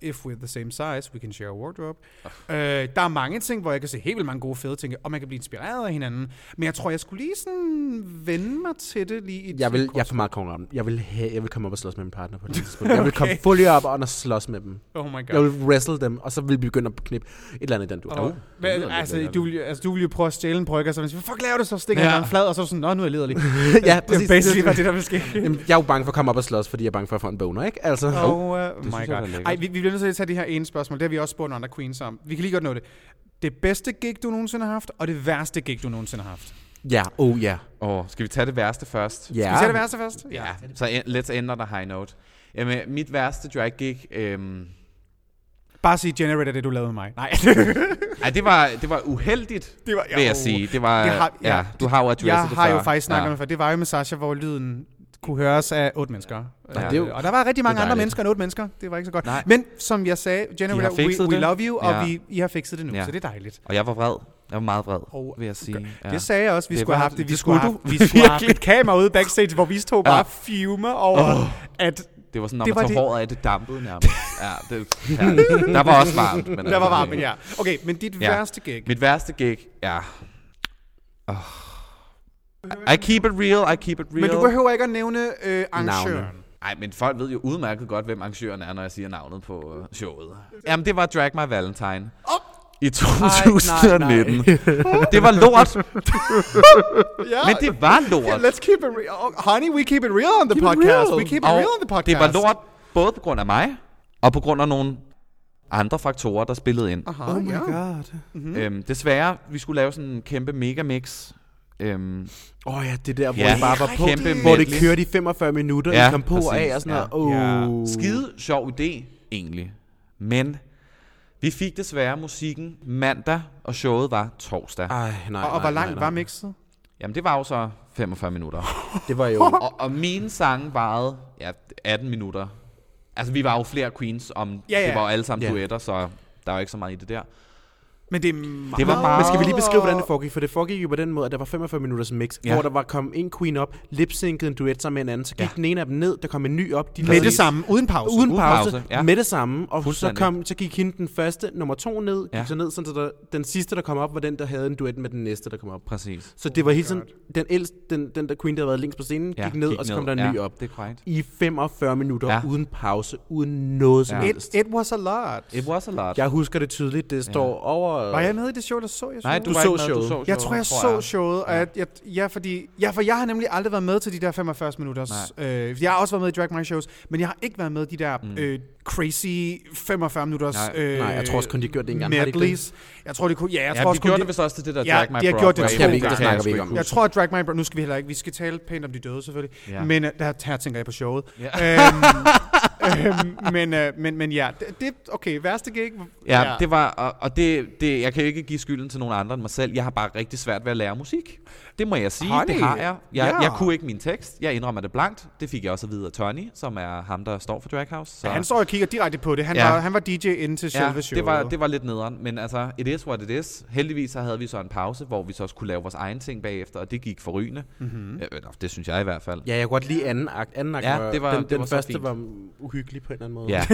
[SPEAKER 2] uh, if we're the same size, we can share a wardrobe. Uh, der er mange ting, hvor jeg kan se helt vildt mange gode fede ting, og man kan blive inspireret af hinanden. Men jeg tror, jeg skulle lige sådan vende mig til det lige i
[SPEAKER 1] Jeg vil, jeg er for meget konkurrent. Jeg vil, have, jeg vil komme op og slås med min partner på det tidspunkt. Jeg vil komme fuldt op og slås med dem.
[SPEAKER 2] Oh my
[SPEAKER 1] Jeg
[SPEAKER 2] god.
[SPEAKER 1] vil wrestle dem, og så vil vi begynde at knippe et eller andet i den du.
[SPEAKER 2] Oh. Men,
[SPEAKER 4] lidt
[SPEAKER 2] altså,
[SPEAKER 4] lækkert.
[SPEAKER 2] du vil, altså, du vil jo prøve at stjæle en brygger, så man siger, fuck, lav det så, stikker ja. en flad, og så er du sådan, nå, nu er jeg lederlig.
[SPEAKER 1] ja,
[SPEAKER 2] Det
[SPEAKER 1] præcis.
[SPEAKER 2] er basically var det, der vil ske.
[SPEAKER 1] Jamen, jeg er jo bange for at komme op og slås, fordi jeg er bange for at få en boner, ikke? Altså,
[SPEAKER 2] Og, uh,
[SPEAKER 4] synes jeg,
[SPEAKER 2] my
[SPEAKER 4] der er
[SPEAKER 2] god.
[SPEAKER 4] lækkert.
[SPEAKER 2] Ej, vi, vi bliver nødt til at tage det her ene spørgsmål. Det har vi også spurgt andre queens om. Vi kan lige godt nå det. Det bedste gig, du nogensinde har haft, og det værste gig, du nogensinde har haft.
[SPEAKER 4] Ah.
[SPEAKER 1] ja, oh ja.
[SPEAKER 4] Åh, skal vi tage det værste først?
[SPEAKER 1] Ja.
[SPEAKER 2] Skal vi tage det værste først?
[SPEAKER 4] Ja, så en- let's end on a high note. Jamen, mit værste drag gig, øhm,
[SPEAKER 2] Bare sig generator, det du lavede med mig. Nej.
[SPEAKER 4] ej, det var, det var uheldigt, det var, vil jeg sige. Det var,
[SPEAKER 2] uh, Det har-
[SPEAKER 4] det har,
[SPEAKER 2] ja,
[SPEAKER 4] ja, du har jo adresset
[SPEAKER 2] jeg
[SPEAKER 4] det
[SPEAKER 2] har
[SPEAKER 4] før.
[SPEAKER 2] jo faktisk snakket ja.
[SPEAKER 4] ja.
[SPEAKER 2] med for det var jo med Sasha, hvor lyden kunne høres af otte mennesker. Ja,
[SPEAKER 1] det er jo-
[SPEAKER 2] og der var rigtig mange
[SPEAKER 4] det
[SPEAKER 2] andre
[SPEAKER 4] er dejligt.
[SPEAKER 2] mennesker end otte mennesker. Det var ikke så godt.
[SPEAKER 4] Nej.
[SPEAKER 2] Men som jeg sagde, generator,
[SPEAKER 4] fikset
[SPEAKER 2] we, we
[SPEAKER 4] det.
[SPEAKER 2] love you, og
[SPEAKER 4] Ja.
[SPEAKER 2] vi, I har fikset det nu, ja.
[SPEAKER 4] Ja.
[SPEAKER 2] så det er dejligt.
[SPEAKER 4] Og jeg var vred. Jeg var meget vred,
[SPEAKER 2] Og-
[SPEAKER 4] oh, vil jeg sige. Ja.
[SPEAKER 2] Det sagde jeg også, vi
[SPEAKER 4] Det
[SPEAKER 2] skulle have
[SPEAKER 4] var-
[SPEAKER 2] haft det. Vi
[SPEAKER 4] det
[SPEAKER 2] skulle
[SPEAKER 4] skulle
[SPEAKER 2] have haft,
[SPEAKER 4] du.
[SPEAKER 2] vi skulle have haft et
[SPEAKER 4] Virkelig.
[SPEAKER 2] kamera ude backstage, hvor vi to bare fumer over, at
[SPEAKER 4] det var sådan, når
[SPEAKER 2] det
[SPEAKER 4] man
[SPEAKER 2] var
[SPEAKER 4] tog
[SPEAKER 2] det-
[SPEAKER 4] håret af, det dampede nærmest. ja, det, ja. Der var også varmt. Men altså,
[SPEAKER 2] der var varmt, men ja. Okay, men dit ja. værste gig.
[SPEAKER 4] Mit værste gig, ja. Oh. I keep it real, I keep it real.
[SPEAKER 2] Men du behøver ikke at nævne øh, arrangøren.
[SPEAKER 4] Nej, men folk ved jo udmærket godt, hvem arrangøren er, når jeg siger navnet på øh, showet. Jamen, det var Drag My Valentine. Oh. I 2019. det var lort.
[SPEAKER 2] Ja,
[SPEAKER 4] Men det var lort.
[SPEAKER 2] let's keep it real. Oh, honey, we keep it real on the
[SPEAKER 1] Keep it
[SPEAKER 2] podcast.
[SPEAKER 1] real.
[SPEAKER 2] We keep it
[SPEAKER 4] Og
[SPEAKER 2] real on the podcast.
[SPEAKER 4] det var lort både på grund af mig, og på grund af nogle andre faktorer, der spillede ind.
[SPEAKER 2] Aha, oh my ja. God. Mm-hmm.
[SPEAKER 4] Mm. Øhm, desværre, vi skulle lave sådan en kæmpe megamix. Øhm,
[SPEAKER 1] Åh oh, ja, det der, hvor
[SPEAKER 4] Ja.
[SPEAKER 1] ja. I bare var på,
[SPEAKER 4] Kæmpe
[SPEAKER 1] hvor det
[SPEAKER 4] medley.
[SPEAKER 1] kørte i 45 minutter, ja,
[SPEAKER 4] Ja,
[SPEAKER 1] I kom på og
[SPEAKER 4] præcis,
[SPEAKER 1] af og sådan
[SPEAKER 4] ja.
[SPEAKER 1] noget.
[SPEAKER 2] Ja.
[SPEAKER 1] Oh.
[SPEAKER 4] Skide sjov idé, egentlig. Men vi fik desværre musikken mandag, og showet var torsdag. Ah.
[SPEAKER 1] Ej, nej,
[SPEAKER 2] Og, og hvor
[SPEAKER 1] nej, nej,
[SPEAKER 2] langt
[SPEAKER 1] nej.
[SPEAKER 2] var mixet?
[SPEAKER 4] Jamen, det var jo så 45 minutter.
[SPEAKER 1] Det var jo...
[SPEAKER 4] og, og mine sange varede ja, 18 minutter. Altså, vi var jo flere queens, om
[SPEAKER 2] Ja,
[SPEAKER 4] ja,
[SPEAKER 2] ja.
[SPEAKER 4] ja. det var jo alle sammen
[SPEAKER 1] Ja.
[SPEAKER 4] ja. duetter, så der var jo ikke så meget i det der.
[SPEAKER 2] Men det er meget...
[SPEAKER 4] Det var meget...
[SPEAKER 1] Men skal vi lige beskrive, hvordan det foregik? For det foregik jo på den måde, at der var 45 minutters mix, ja.
[SPEAKER 4] Ja.
[SPEAKER 1] hvor der var kom en queen op, lipsynkede en duet sammen med en anden, så gik ja. den ene af dem ned, der kom en ny op, de
[SPEAKER 2] Med
[SPEAKER 1] lavede-
[SPEAKER 2] det samme, uden pause.
[SPEAKER 1] Uden
[SPEAKER 4] Uden
[SPEAKER 1] pause,
[SPEAKER 4] pause,
[SPEAKER 1] ja.
[SPEAKER 4] ja.
[SPEAKER 1] med det samme, og så,
[SPEAKER 4] Fuldstændig.
[SPEAKER 1] kom, så gik hende den første, nummer to ned, gik ja.
[SPEAKER 4] Ja.
[SPEAKER 1] så ned, sådan, så der, den sidste, der kom op, var den, der havde en duet med den næste, der kom op.
[SPEAKER 4] Præcis.
[SPEAKER 1] Så det var hele
[SPEAKER 2] Oh
[SPEAKER 1] tiden, den, ældste, den, den der queen, der havde været længst på scenen, ja, gik ned, gik og så kom ned. der en ny op.
[SPEAKER 4] Det er korrekt.
[SPEAKER 1] I 45 minutter, ja.
[SPEAKER 4] Ja.
[SPEAKER 1] uden pause, uden noget som
[SPEAKER 4] Ja.
[SPEAKER 1] helst.
[SPEAKER 2] It, it was a lot.
[SPEAKER 4] It was a lot.
[SPEAKER 1] Jeg husker det tydeligt, det står ja. over...
[SPEAKER 2] Var jeg med i det show, der så jeg
[SPEAKER 4] Nej,
[SPEAKER 2] showet?
[SPEAKER 4] du,
[SPEAKER 1] Du
[SPEAKER 4] var
[SPEAKER 1] så
[SPEAKER 4] ikke med,
[SPEAKER 1] showet.
[SPEAKER 4] Du så showet,
[SPEAKER 2] Jeg tror, jeg så showet, og jeg, jeg, ja, fordi, ja, for jeg har nemlig aldrig været med til de der 45 minutters. Øh, jeg har også været med i Drag My Shows, men jeg har ikke været med i de der mm. øh, crazy 45 minutters
[SPEAKER 4] Nej.
[SPEAKER 2] øh,
[SPEAKER 1] Nej, jeg tror også kun, de gjorde det engang. Har de ikke
[SPEAKER 2] medleys. Jeg tror, de kunne... Ja, jeg tror
[SPEAKER 4] Ja, de
[SPEAKER 2] også kun,
[SPEAKER 4] gjorde
[SPEAKER 2] de-
[SPEAKER 4] det vist også til det der
[SPEAKER 2] Ja,
[SPEAKER 4] Drag My
[SPEAKER 2] de har gjort det
[SPEAKER 4] Broadway.
[SPEAKER 2] to gange.
[SPEAKER 1] Det snakker vi ikke om.
[SPEAKER 2] Jeg tror, at Drag My Bro... Nu skal vi heller ikke... Vi skal tale pænt om de døde, selvfølgelig. Ja.
[SPEAKER 4] Ja.
[SPEAKER 2] Men øh, der, her tænker jeg på showet.
[SPEAKER 4] Ja.
[SPEAKER 2] øhm, men, øh, men, men ja, det- det... Okay, værste gig...
[SPEAKER 4] Ja, det var, og, og det, det, jeg kan jo ikke give skylden til nogen andre end mig selv. Jeg har bare rigtig svært ved at lære musik. Det må jeg sige, Honey.
[SPEAKER 2] Honey,
[SPEAKER 4] det har jeg. Jeg,
[SPEAKER 2] ja.
[SPEAKER 4] jeg kunne ikke min tekst. Jeg indrømmer det blankt. Det fik jeg også at vide af Tony, som er ham, der står for Drag House. Så.
[SPEAKER 2] Han står og kigger direkte på det. Han, ja.
[SPEAKER 4] Ja.
[SPEAKER 2] var, han var DJ inden til selve showet.
[SPEAKER 4] det var, det var lidt nederen, men altså, it is what it is. Heldigvis så havde vi så en pause, hvor vi så også kunne lave vores egen ting bagefter, og det gik forrygende.
[SPEAKER 2] Mhm.
[SPEAKER 4] Mm-hmm. det synes jeg i hvert fald.
[SPEAKER 1] Ja, jeg kan godt lide anden akt. Anden akt
[SPEAKER 4] Ja,
[SPEAKER 1] var,
[SPEAKER 4] det var-
[SPEAKER 1] den,
[SPEAKER 4] det
[SPEAKER 1] den
[SPEAKER 4] var så
[SPEAKER 1] første
[SPEAKER 4] fint.
[SPEAKER 1] var uhyggelig på en eller anden måde.
[SPEAKER 4] Ja.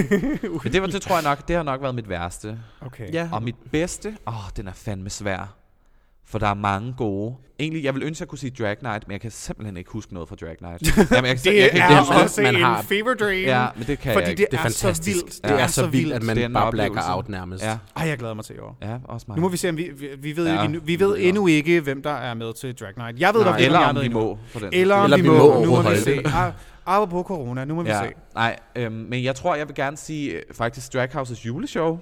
[SPEAKER 4] Men det, var, det tror jeg nok, det har nok været mit værste.
[SPEAKER 2] Okay.
[SPEAKER 1] ja.
[SPEAKER 4] Og mit bedste, åh, den er fandme svær. For der er mange gode. Egentlig, jeg vil ønske, at jeg kunne sige Drag Knight, men jeg kan simpelthen ikke huske noget fra Drag Knight. Jamen, jeg,
[SPEAKER 2] Det
[SPEAKER 4] jeg
[SPEAKER 2] er,
[SPEAKER 4] kan ikke
[SPEAKER 1] huske,
[SPEAKER 2] er
[SPEAKER 1] at
[SPEAKER 2] også
[SPEAKER 1] man
[SPEAKER 2] en
[SPEAKER 1] har-
[SPEAKER 2] fever dream.
[SPEAKER 4] Ja, men det kan
[SPEAKER 2] Fordi
[SPEAKER 4] jeg ikke.
[SPEAKER 2] det,
[SPEAKER 1] Det er
[SPEAKER 2] er, så
[SPEAKER 1] fantastisk.
[SPEAKER 2] vildt.
[SPEAKER 1] Det er så vildt, at
[SPEAKER 4] Det er en
[SPEAKER 1] man bare blacker
[SPEAKER 4] oplevelse.
[SPEAKER 1] out nærmest.
[SPEAKER 4] Ja,
[SPEAKER 2] Ej, jeg glæder mig til i år.
[SPEAKER 4] ja også mig.
[SPEAKER 2] Nu må vi se, om vi, vi, vi ved,
[SPEAKER 4] Ja,
[SPEAKER 2] ja, ikke, endnu- vi
[SPEAKER 4] vi
[SPEAKER 2] ved
[SPEAKER 4] ved det
[SPEAKER 2] endnu ikke, hvem der er med til Drag Night. Jeg ved Nej,
[SPEAKER 4] Nej,
[SPEAKER 2] ikke,
[SPEAKER 4] eller
[SPEAKER 2] hvem jeg er
[SPEAKER 4] om
[SPEAKER 2] med
[SPEAKER 4] vi
[SPEAKER 2] endnu.
[SPEAKER 4] må, for den
[SPEAKER 2] Eller om
[SPEAKER 1] Eller
[SPEAKER 2] vi
[SPEAKER 1] vi må
[SPEAKER 2] må. nu må vi
[SPEAKER 1] overholde
[SPEAKER 2] se. Ah, ah, på corona, nu må vi
[SPEAKER 4] Ja,
[SPEAKER 2] se.
[SPEAKER 4] nej, øhm, men jeg tror, jeg vil gerne sige øh, faktisk Drag Houses juleshow.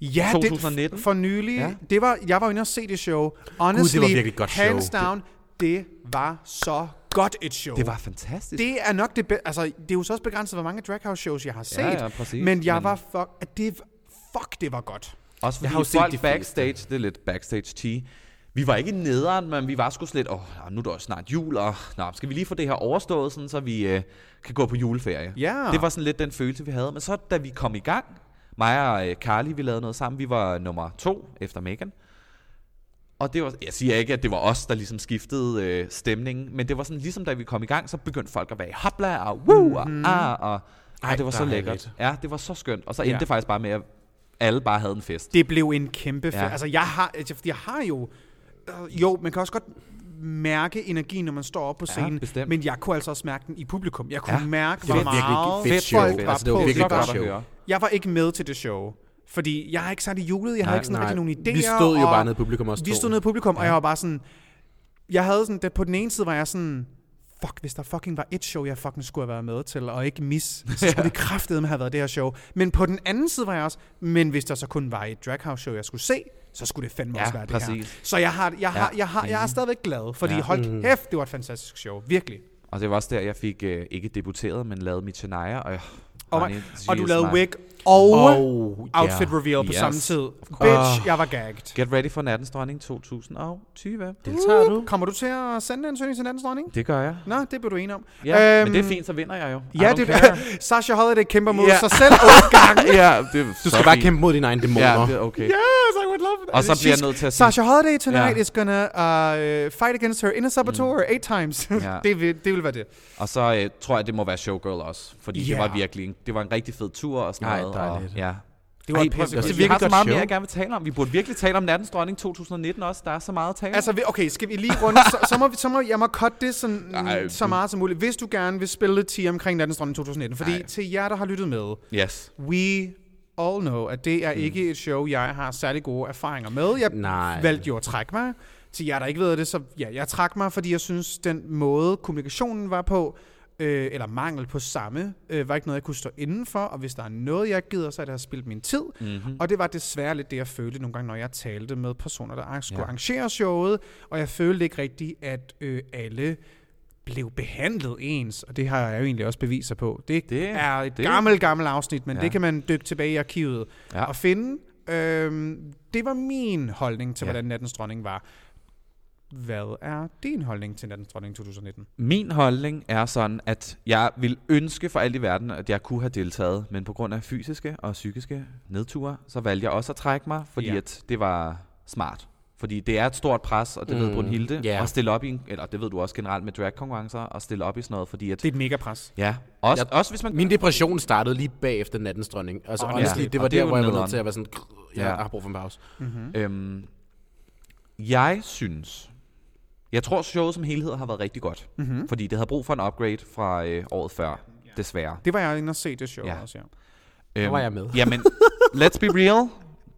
[SPEAKER 2] Ja,
[SPEAKER 4] 2019.
[SPEAKER 2] det for nylig. Ja.
[SPEAKER 4] Ja.
[SPEAKER 2] Det var, jeg var inde og se det show. Honestly,
[SPEAKER 1] virkelig et godt
[SPEAKER 2] hands
[SPEAKER 1] show.
[SPEAKER 2] down, det var så godt et show.
[SPEAKER 4] Det var fantastisk.
[SPEAKER 2] det er nok det bedste. Altså, det er jo så også begrænset, hvor mange Drag House shows, jeg har set.
[SPEAKER 4] ja, præcis.
[SPEAKER 2] Men jeg
[SPEAKER 4] Men-
[SPEAKER 2] var fuck, at det, fuck, det var godt.
[SPEAKER 4] Også fordi
[SPEAKER 1] har
[SPEAKER 4] jeg
[SPEAKER 1] jo
[SPEAKER 4] har
[SPEAKER 1] set
[SPEAKER 4] folk
[SPEAKER 1] de
[SPEAKER 4] de
[SPEAKER 1] fleste.
[SPEAKER 4] backstage, det er lidt backstage tea. Vi var ikke nederen, men vi var sgu slet, åh, oh, nu er det også snart jul, og nå, skal vi lige få det her overstået, sådan, så vi øh, kan gå på juleferie.
[SPEAKER 2] Ja.
[SPEAKER 4] Det var sådan lidt den følelse, vi havde. Men så da vi kom i gang, mig og øh, Carly, vi lavede noget sammen, vi var nummer to efter Megan. Og det var, jeg siger ikke, at det var os, der ligesom skiftede øh, stemningen, men det var sådan, ligesom da vi kom i gang, så begyndte folk at være i hopla, og woo, og ah, og,
[SPEAKER 1] Ej,
[SPEAKER 4] og det
[SPEAKER 1] der
[SPEAKER 4] var så
[SPEAKER 1] er
[SPEAKER 4] lækkert.
[SPEAKER 1] lidt.
[SPEAKER 4] Ja, det var så skønt. Og så endte
[SPEAKER 2] Ja.
[SPEAKER 4] det faktisk bare med, at alle bare havde en fest.
[SPEAKER 2] Det blev en kæmpe fest.
[SPEAKER 4] Ja.
[SPEAKER 2] Ja. Altså, jeg har, altså, fordi jeg har jo... øh, Jo, man kan også godt mærke energien, når man står op på
[SPEAKER 4] Ja,
[SPEAKER 2] scenen.
[SPEAKER 4] bestemt.
[SPEAKER 2] men jeg kunne altså også mærke den i publikum. Jeg kunne
[SPEAKER 4] Ja.
[SPEAKER 2] ja. mærke,
[SPEAKER 1] Det
[SPEAKER 2] hvor
[SPEAKER 1] var virkelig
[SPEAKER 2] meget
[SPEAKER 1] fedt show.
[SPEAKER 2] folk var
[SPEAKER 1] Altså, det
[SPEAKER 2] på.
[SPEAKER 1] var virkelig
[SPEAKER 2] Jeg
[SPEAKER 1] godt
[SPEAKER 2] var-
[SPEAKER 1] show.
[SPEAKER 2] Jeg var ikke med til det show. Fordi jeg er ikke særlig julet, jeg har
[SPEAKER 1] Nej,
[SPEAKER 2] ikke sådan rigtig
[SPEAKER 1] nej.
[SPEAKER 2] nogen idéer.
[SPEAKER 1] Vi stod jo
[SPEAKER 2] og
[SPEAKER 1] bare nede i publikum også
[SPEAKER 2] Vi
[SPEAKER 1] to.
[SPEAKER 2] stod nede i publikum, ja. og jeg var bare sådan... Jeg havde sådan... Det, på den ene side var jeg sådan... Fuck, hvis der fucking var et show, jeg fucking skulle have været med til, og ikke mis, så skulle det kraftedeme have været det her show. Men på den anden side var jeg også... Men hvis der så kun var et draghouse-show, jeg skulle se, så skulle det fandme
[SPEAKER 4] Ja,
[SPEAKER 2] også være det her.
[SPEAKER 4] præcis.
[SPEAKER 2] Så jeg, har, jeg, har,
[SPEAKER 4] Ja,
[SPEAKER 2] jeg, har, jeg er
[SPEAKER 4] enig.
[SPEAKER 2] stadigvæk glad, fordi
[SPEAKER 4] Ja. Mm.
[SPEAKER 2] ja. hold kæft, det var et fantastisk show. Virkelig.
[SPEAKER 4] Og det var også der, jeg fik øh, ikke debuteret, men lavet mit Shania, og, øh,
[SPEAKER 2] Og,
[SPEAKER 4] Ronny,
[SPEAKER 2] og du
[SPEAKER 4] Jesus,
[SPEAKER 2] lavede
[SPEAKER 4] nej.
[SPEAKER 2] wig og
[SPEAKER 1] Oh, ja.
[SPEAKER 2] outfit reveal på
[SPEAKER 4] Yes.
[SPEAKER 2] samme tid.
[SPEAKER 4] Of course.
[SPEAKER 2] Bitch, jeg var gagged.
[SPEAKER 4] Get ready for Nattens Dronning 2020. Det,
[SPEAKER 1] Deltager du?
[SPEAKER 2] Kommer du til at sende en søgning til Nattens Dronning?
[SPEAKER 4] det gør jeg.
[SPEAKER 2] Nå, det blev du enig om.
[SPEAKER 4] Ja, øhm, men det er fint, så vinder jeg jo. I
[SPEAKER 2] Ja,
[SPEAKER 4] don't
[SPEAKER 2] det
[SPEAKER 4] care.
[SPEAKER 2] er Sasha Holiday kæmper mod
[SPEAKER 4] Ja.
[SPEAKER 2] sig selv otte gange.
[SPEAKER 4] ja, det er
[SPEAKER 1] Du skal bare kæmpe mod dine egne dæmoner.
[SPEAKER 4] Ja, det er okay.
[SPEAKER 2] Yes, I would love it.
[SPEAKER 4] Og så bliver jeg
[SPEAKER 2] She's-
[SPEAKER 4] nødt til at sige-
[SPEAKER 2] Sasha Holiday tonight
[SPEAKER 4] Ja.
[SPEAKER 2] is gonna uh, fight against her inner saboteur eight times.
[SPEAKER 4] Ja.
[SPEAKER 2] det, vil, det vil være det.
[SPEAKER 4] Og så øh, tror jeg, det må være Showgirl også. Fordi yeah.
[SPEAKER 2] Ja.
[SPEAKER 4] det var virkelig en, det var en rigtig fed tur og sådan
[SPEAKER 1] Ej,
[SPEAKER 4] noget.
[SPEAKER 1] dejligt.
[SPEAKER 4] Og, ja.
[SPEAKER 2] Det var
[SPEAKER 1] Ej,
[SPEAKER 2] et
[SPEAKER 1] prøv-
[SPEAKER 2] pisse-
[SPEAKER 1] jeg
[SPEAKER 4] Det
[SPEAKER 1] synes,
[SPEAKER 4] er altså,
[SPEAKER 1] vi har
[SPEAKER 4] virkelig så
[SPEAKER 1] godt
[SPEAKER 4] meget
[SPEAKER 1] show.
[SPEAKER 4] mere, jeg gerne vil tale om. Vi burde virkelig tale om Nattens Dronning 2019 også. Der er så meget at tale
[SPEAKER 2] Altså,
[SPEAKER 4] om.
[SPEAKER 2] vi- okay, skal vi lige runde, så, så, må, vi, så må jeg må cutte det sådan,
[SPEAKER 4] Ej.
[SPEAKER 2] så meget som muligt, hvis du gerne vil spille lidt 10 omkring Nattens Dronning 2019. Fordi
[SPEAKER 4] Ej.
[SPEAKER 2] til jer, der har lyttet med,
[SPEAKER 4] Yes.
[SPEAKER 2] We all know, at det er ikke et show, jeg har særlig gode erfaringer med. Jeg
[SPEAKER 1] Nej.
[SPEAKER 2] valgte jo at trække mig. Til jer, der ikke ved det, så ja, jeg trak mig, fordi jeg synes, den måde kommunikationen var på, øh, eller mangel på samme, øh, var ikke noget, jeg kunne stå indenfor. Og hvis der er noget, jeg ikke gider, så er det at have spildt min tid. Mm-hmm. Og det var desværre lidt det, jeg følte nogle gange, når jeg talte med personer, der ar- skulle ja. arrangere showet. Og jeg følte ikke rigtigt, at øh, alle blev behandlet ens, og det har jeg jo egentlig også beviser på. Det,
[SPEAKER 4] Det-
[SPEAKER 2] det er et
[SPEAKER 4] det-
[SPEAKER 2] det. gammelt, gammelt afsnit, men
[SPEAKER 4] Ja.
[SPEAKER 2] ja. det kan man dykke tilbage i arkivet
[SPEAKER 4] Ja.
[SPEAKER 2] ja. og finde. Øhm, det var min holdning til, ja. hvordan Nattens Dronning var. Hvad er din holdning til Nattens Dronning 2019?
[SPEAKER 4] Min holdning er sådan, at jeg vil ønske for alt i verden, at jeg kunne have deltaget, men på grund af fysiske og psykiske nedture, så valgte jeg også at trække mig, fordi ja.
[SPEAKER 2] Ja.
[SPEAKER 4] at det var smart. Fordi det er et stort pres, og det mm, ved Brunhilde,
[SPEAKER 1] ja.
[SPEAKER 4] yeah. at stille op i, en, eller det ved du også generelt med dragkonkurrencer, at stille op i sådan noget, fordi at,
[SPEAKER 2] Det er et mega pres.
[SPEAKER 4] ja, også,
[SPEAKER 1] Jeg-
[SPEAKER 4] også hvis man
[SPEAKER 1] Min depression startede lige bagefter nattens dronning. Altså,
[SPEAKER 2] Åh,
[SPEAKER 1] oh,
[SPEAKER 2] ja.
[SPEAKER 1] honestly, det
[SPEAKER 4] Og
[SPEAKER 1] var
[SPEAKER 4] det er
[SPEAKER 1] der,
[SPEAKER 4] jo
[SPEAKER 1] hvor jeg var
[SPEAKER 4] nederen.
[SPEAKER 1] nødt til at være sådan...
[SPEAKER 4] Ja.
[SPEAKER 1] Ja. Jeg har brug for en pause.
[SPEAKER 4] Øhm, jeg synes, jeg tror showet som helhed har været rigtig godt, mm-hmm. fordi det havde brug for en upgrade fra øh, året før, desværre.
[SPEAKER 2] Det var jeg inde og se det show
[SPEAKER 4] Ja.
[SPEAKER 2] ja. også, ja.
[SPEAKER 4] Øhm,
[SPEAKER 1] var jeg med.
[SPEAKER 4] Jamen, let's be real,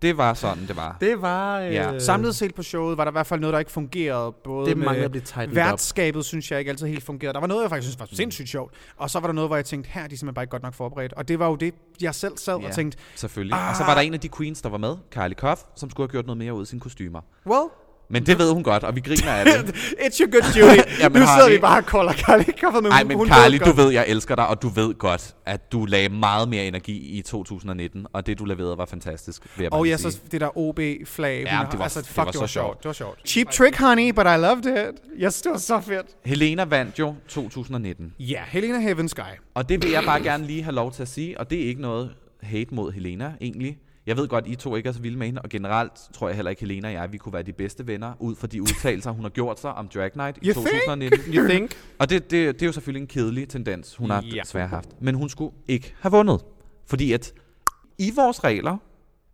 [SPEAKER 4] det var sådan, det var.
[SPEAKER 1] Det var... Øh,
[SPEAKER 4] Ja.
[SPEAKER 2] Samlet set på showet var der i hvert fald noget, der ikke fungerede. Både
[SPEAKER 1] Det
[SPEAKER 2] med
[SPEAKER 1] mangler at blive tightened op.
[SPEAKER 2] Værtskabet synes jeg ikke altid helt fungerede. Der var noget, jeg faktisk synes var sindssygt sjovt. Og så var der noget, hvor jeg tænkte, her er de simpelthen bare ikke godt nok forberedt. Og det var jo det, jeg selv sad
[SPEAKER 4] Ja,
[SPEAKER 2] og tænkte,
[SPEAKER 4] Selvfølgelig. Ah. Og så var der en af de queens, der var med, Kylie Koff, som skulle have gjort noget mere ud af sine kostymer.
[SPEAKER 2] well,
[SPEAKER 4] Men det ved hun godt, og vi griner af det.
[SPEAKER 2] It's your good Judy.
[SPEAKER 4] Jamen,
[SPEAKER 2] nu
[SPEAKER 4] har
[SPEAKER 2] sidder
[SPEAKER 4] vi-
[SPEAKER 2] vi bare og kolder Carly Koffer med
[SPEAKER 4] Nej, men Carly, du ved, jeg elsker dig, og du ved godt, at du lagde meget mere energi i 2019, og det, du leverede, var fantastisk, vil jeg bare
[SPEAKER 2] Og
[SPEAKER 4] lige
[SPEAKER 2] ja,
[SPEAKER 4] sige.
[SPEAKER 2] så det der OB-flag. hun
[SPEAKER 4] Ja,
[SPEAKER 2] har- altså,
[SPEAKER 4] det var- det var så sjovt.
[SPEAKER 2] Det var sjovt. Cheap trick, honey, but I loved it. Yes, det var så fedt.
[SPEAKER 4] Helena vandt jo 2019.
[SPEAKER 2] Ja, Helena Heaven Sky.
[SPEAKER 4] Og det vil jeg bare gerne lige have lov til at sige, og det er ikke noget hate mod Helena egentlig. Jeg ved godt, I to ikke er så vilde med hende, og generelt tror jeg heller ikke, Helena og jeg, vi kunne være de bedste venner, ud fra de udtalelser, hun har gjort sig om Drag Night i
[SPEAKER 2] You think?
[SPEAKER 4] 2019. Think?
[SPEAKER 1] You think?
[SPEAKER 4] Og det, det, det er jo selvfølgelig en kedelig tendens, hun har
[SPEAKER 2] Ja.
[SPEAKER 4] desværre haft. Men hun skulle ikke have vundet. Fordi at i vores regler,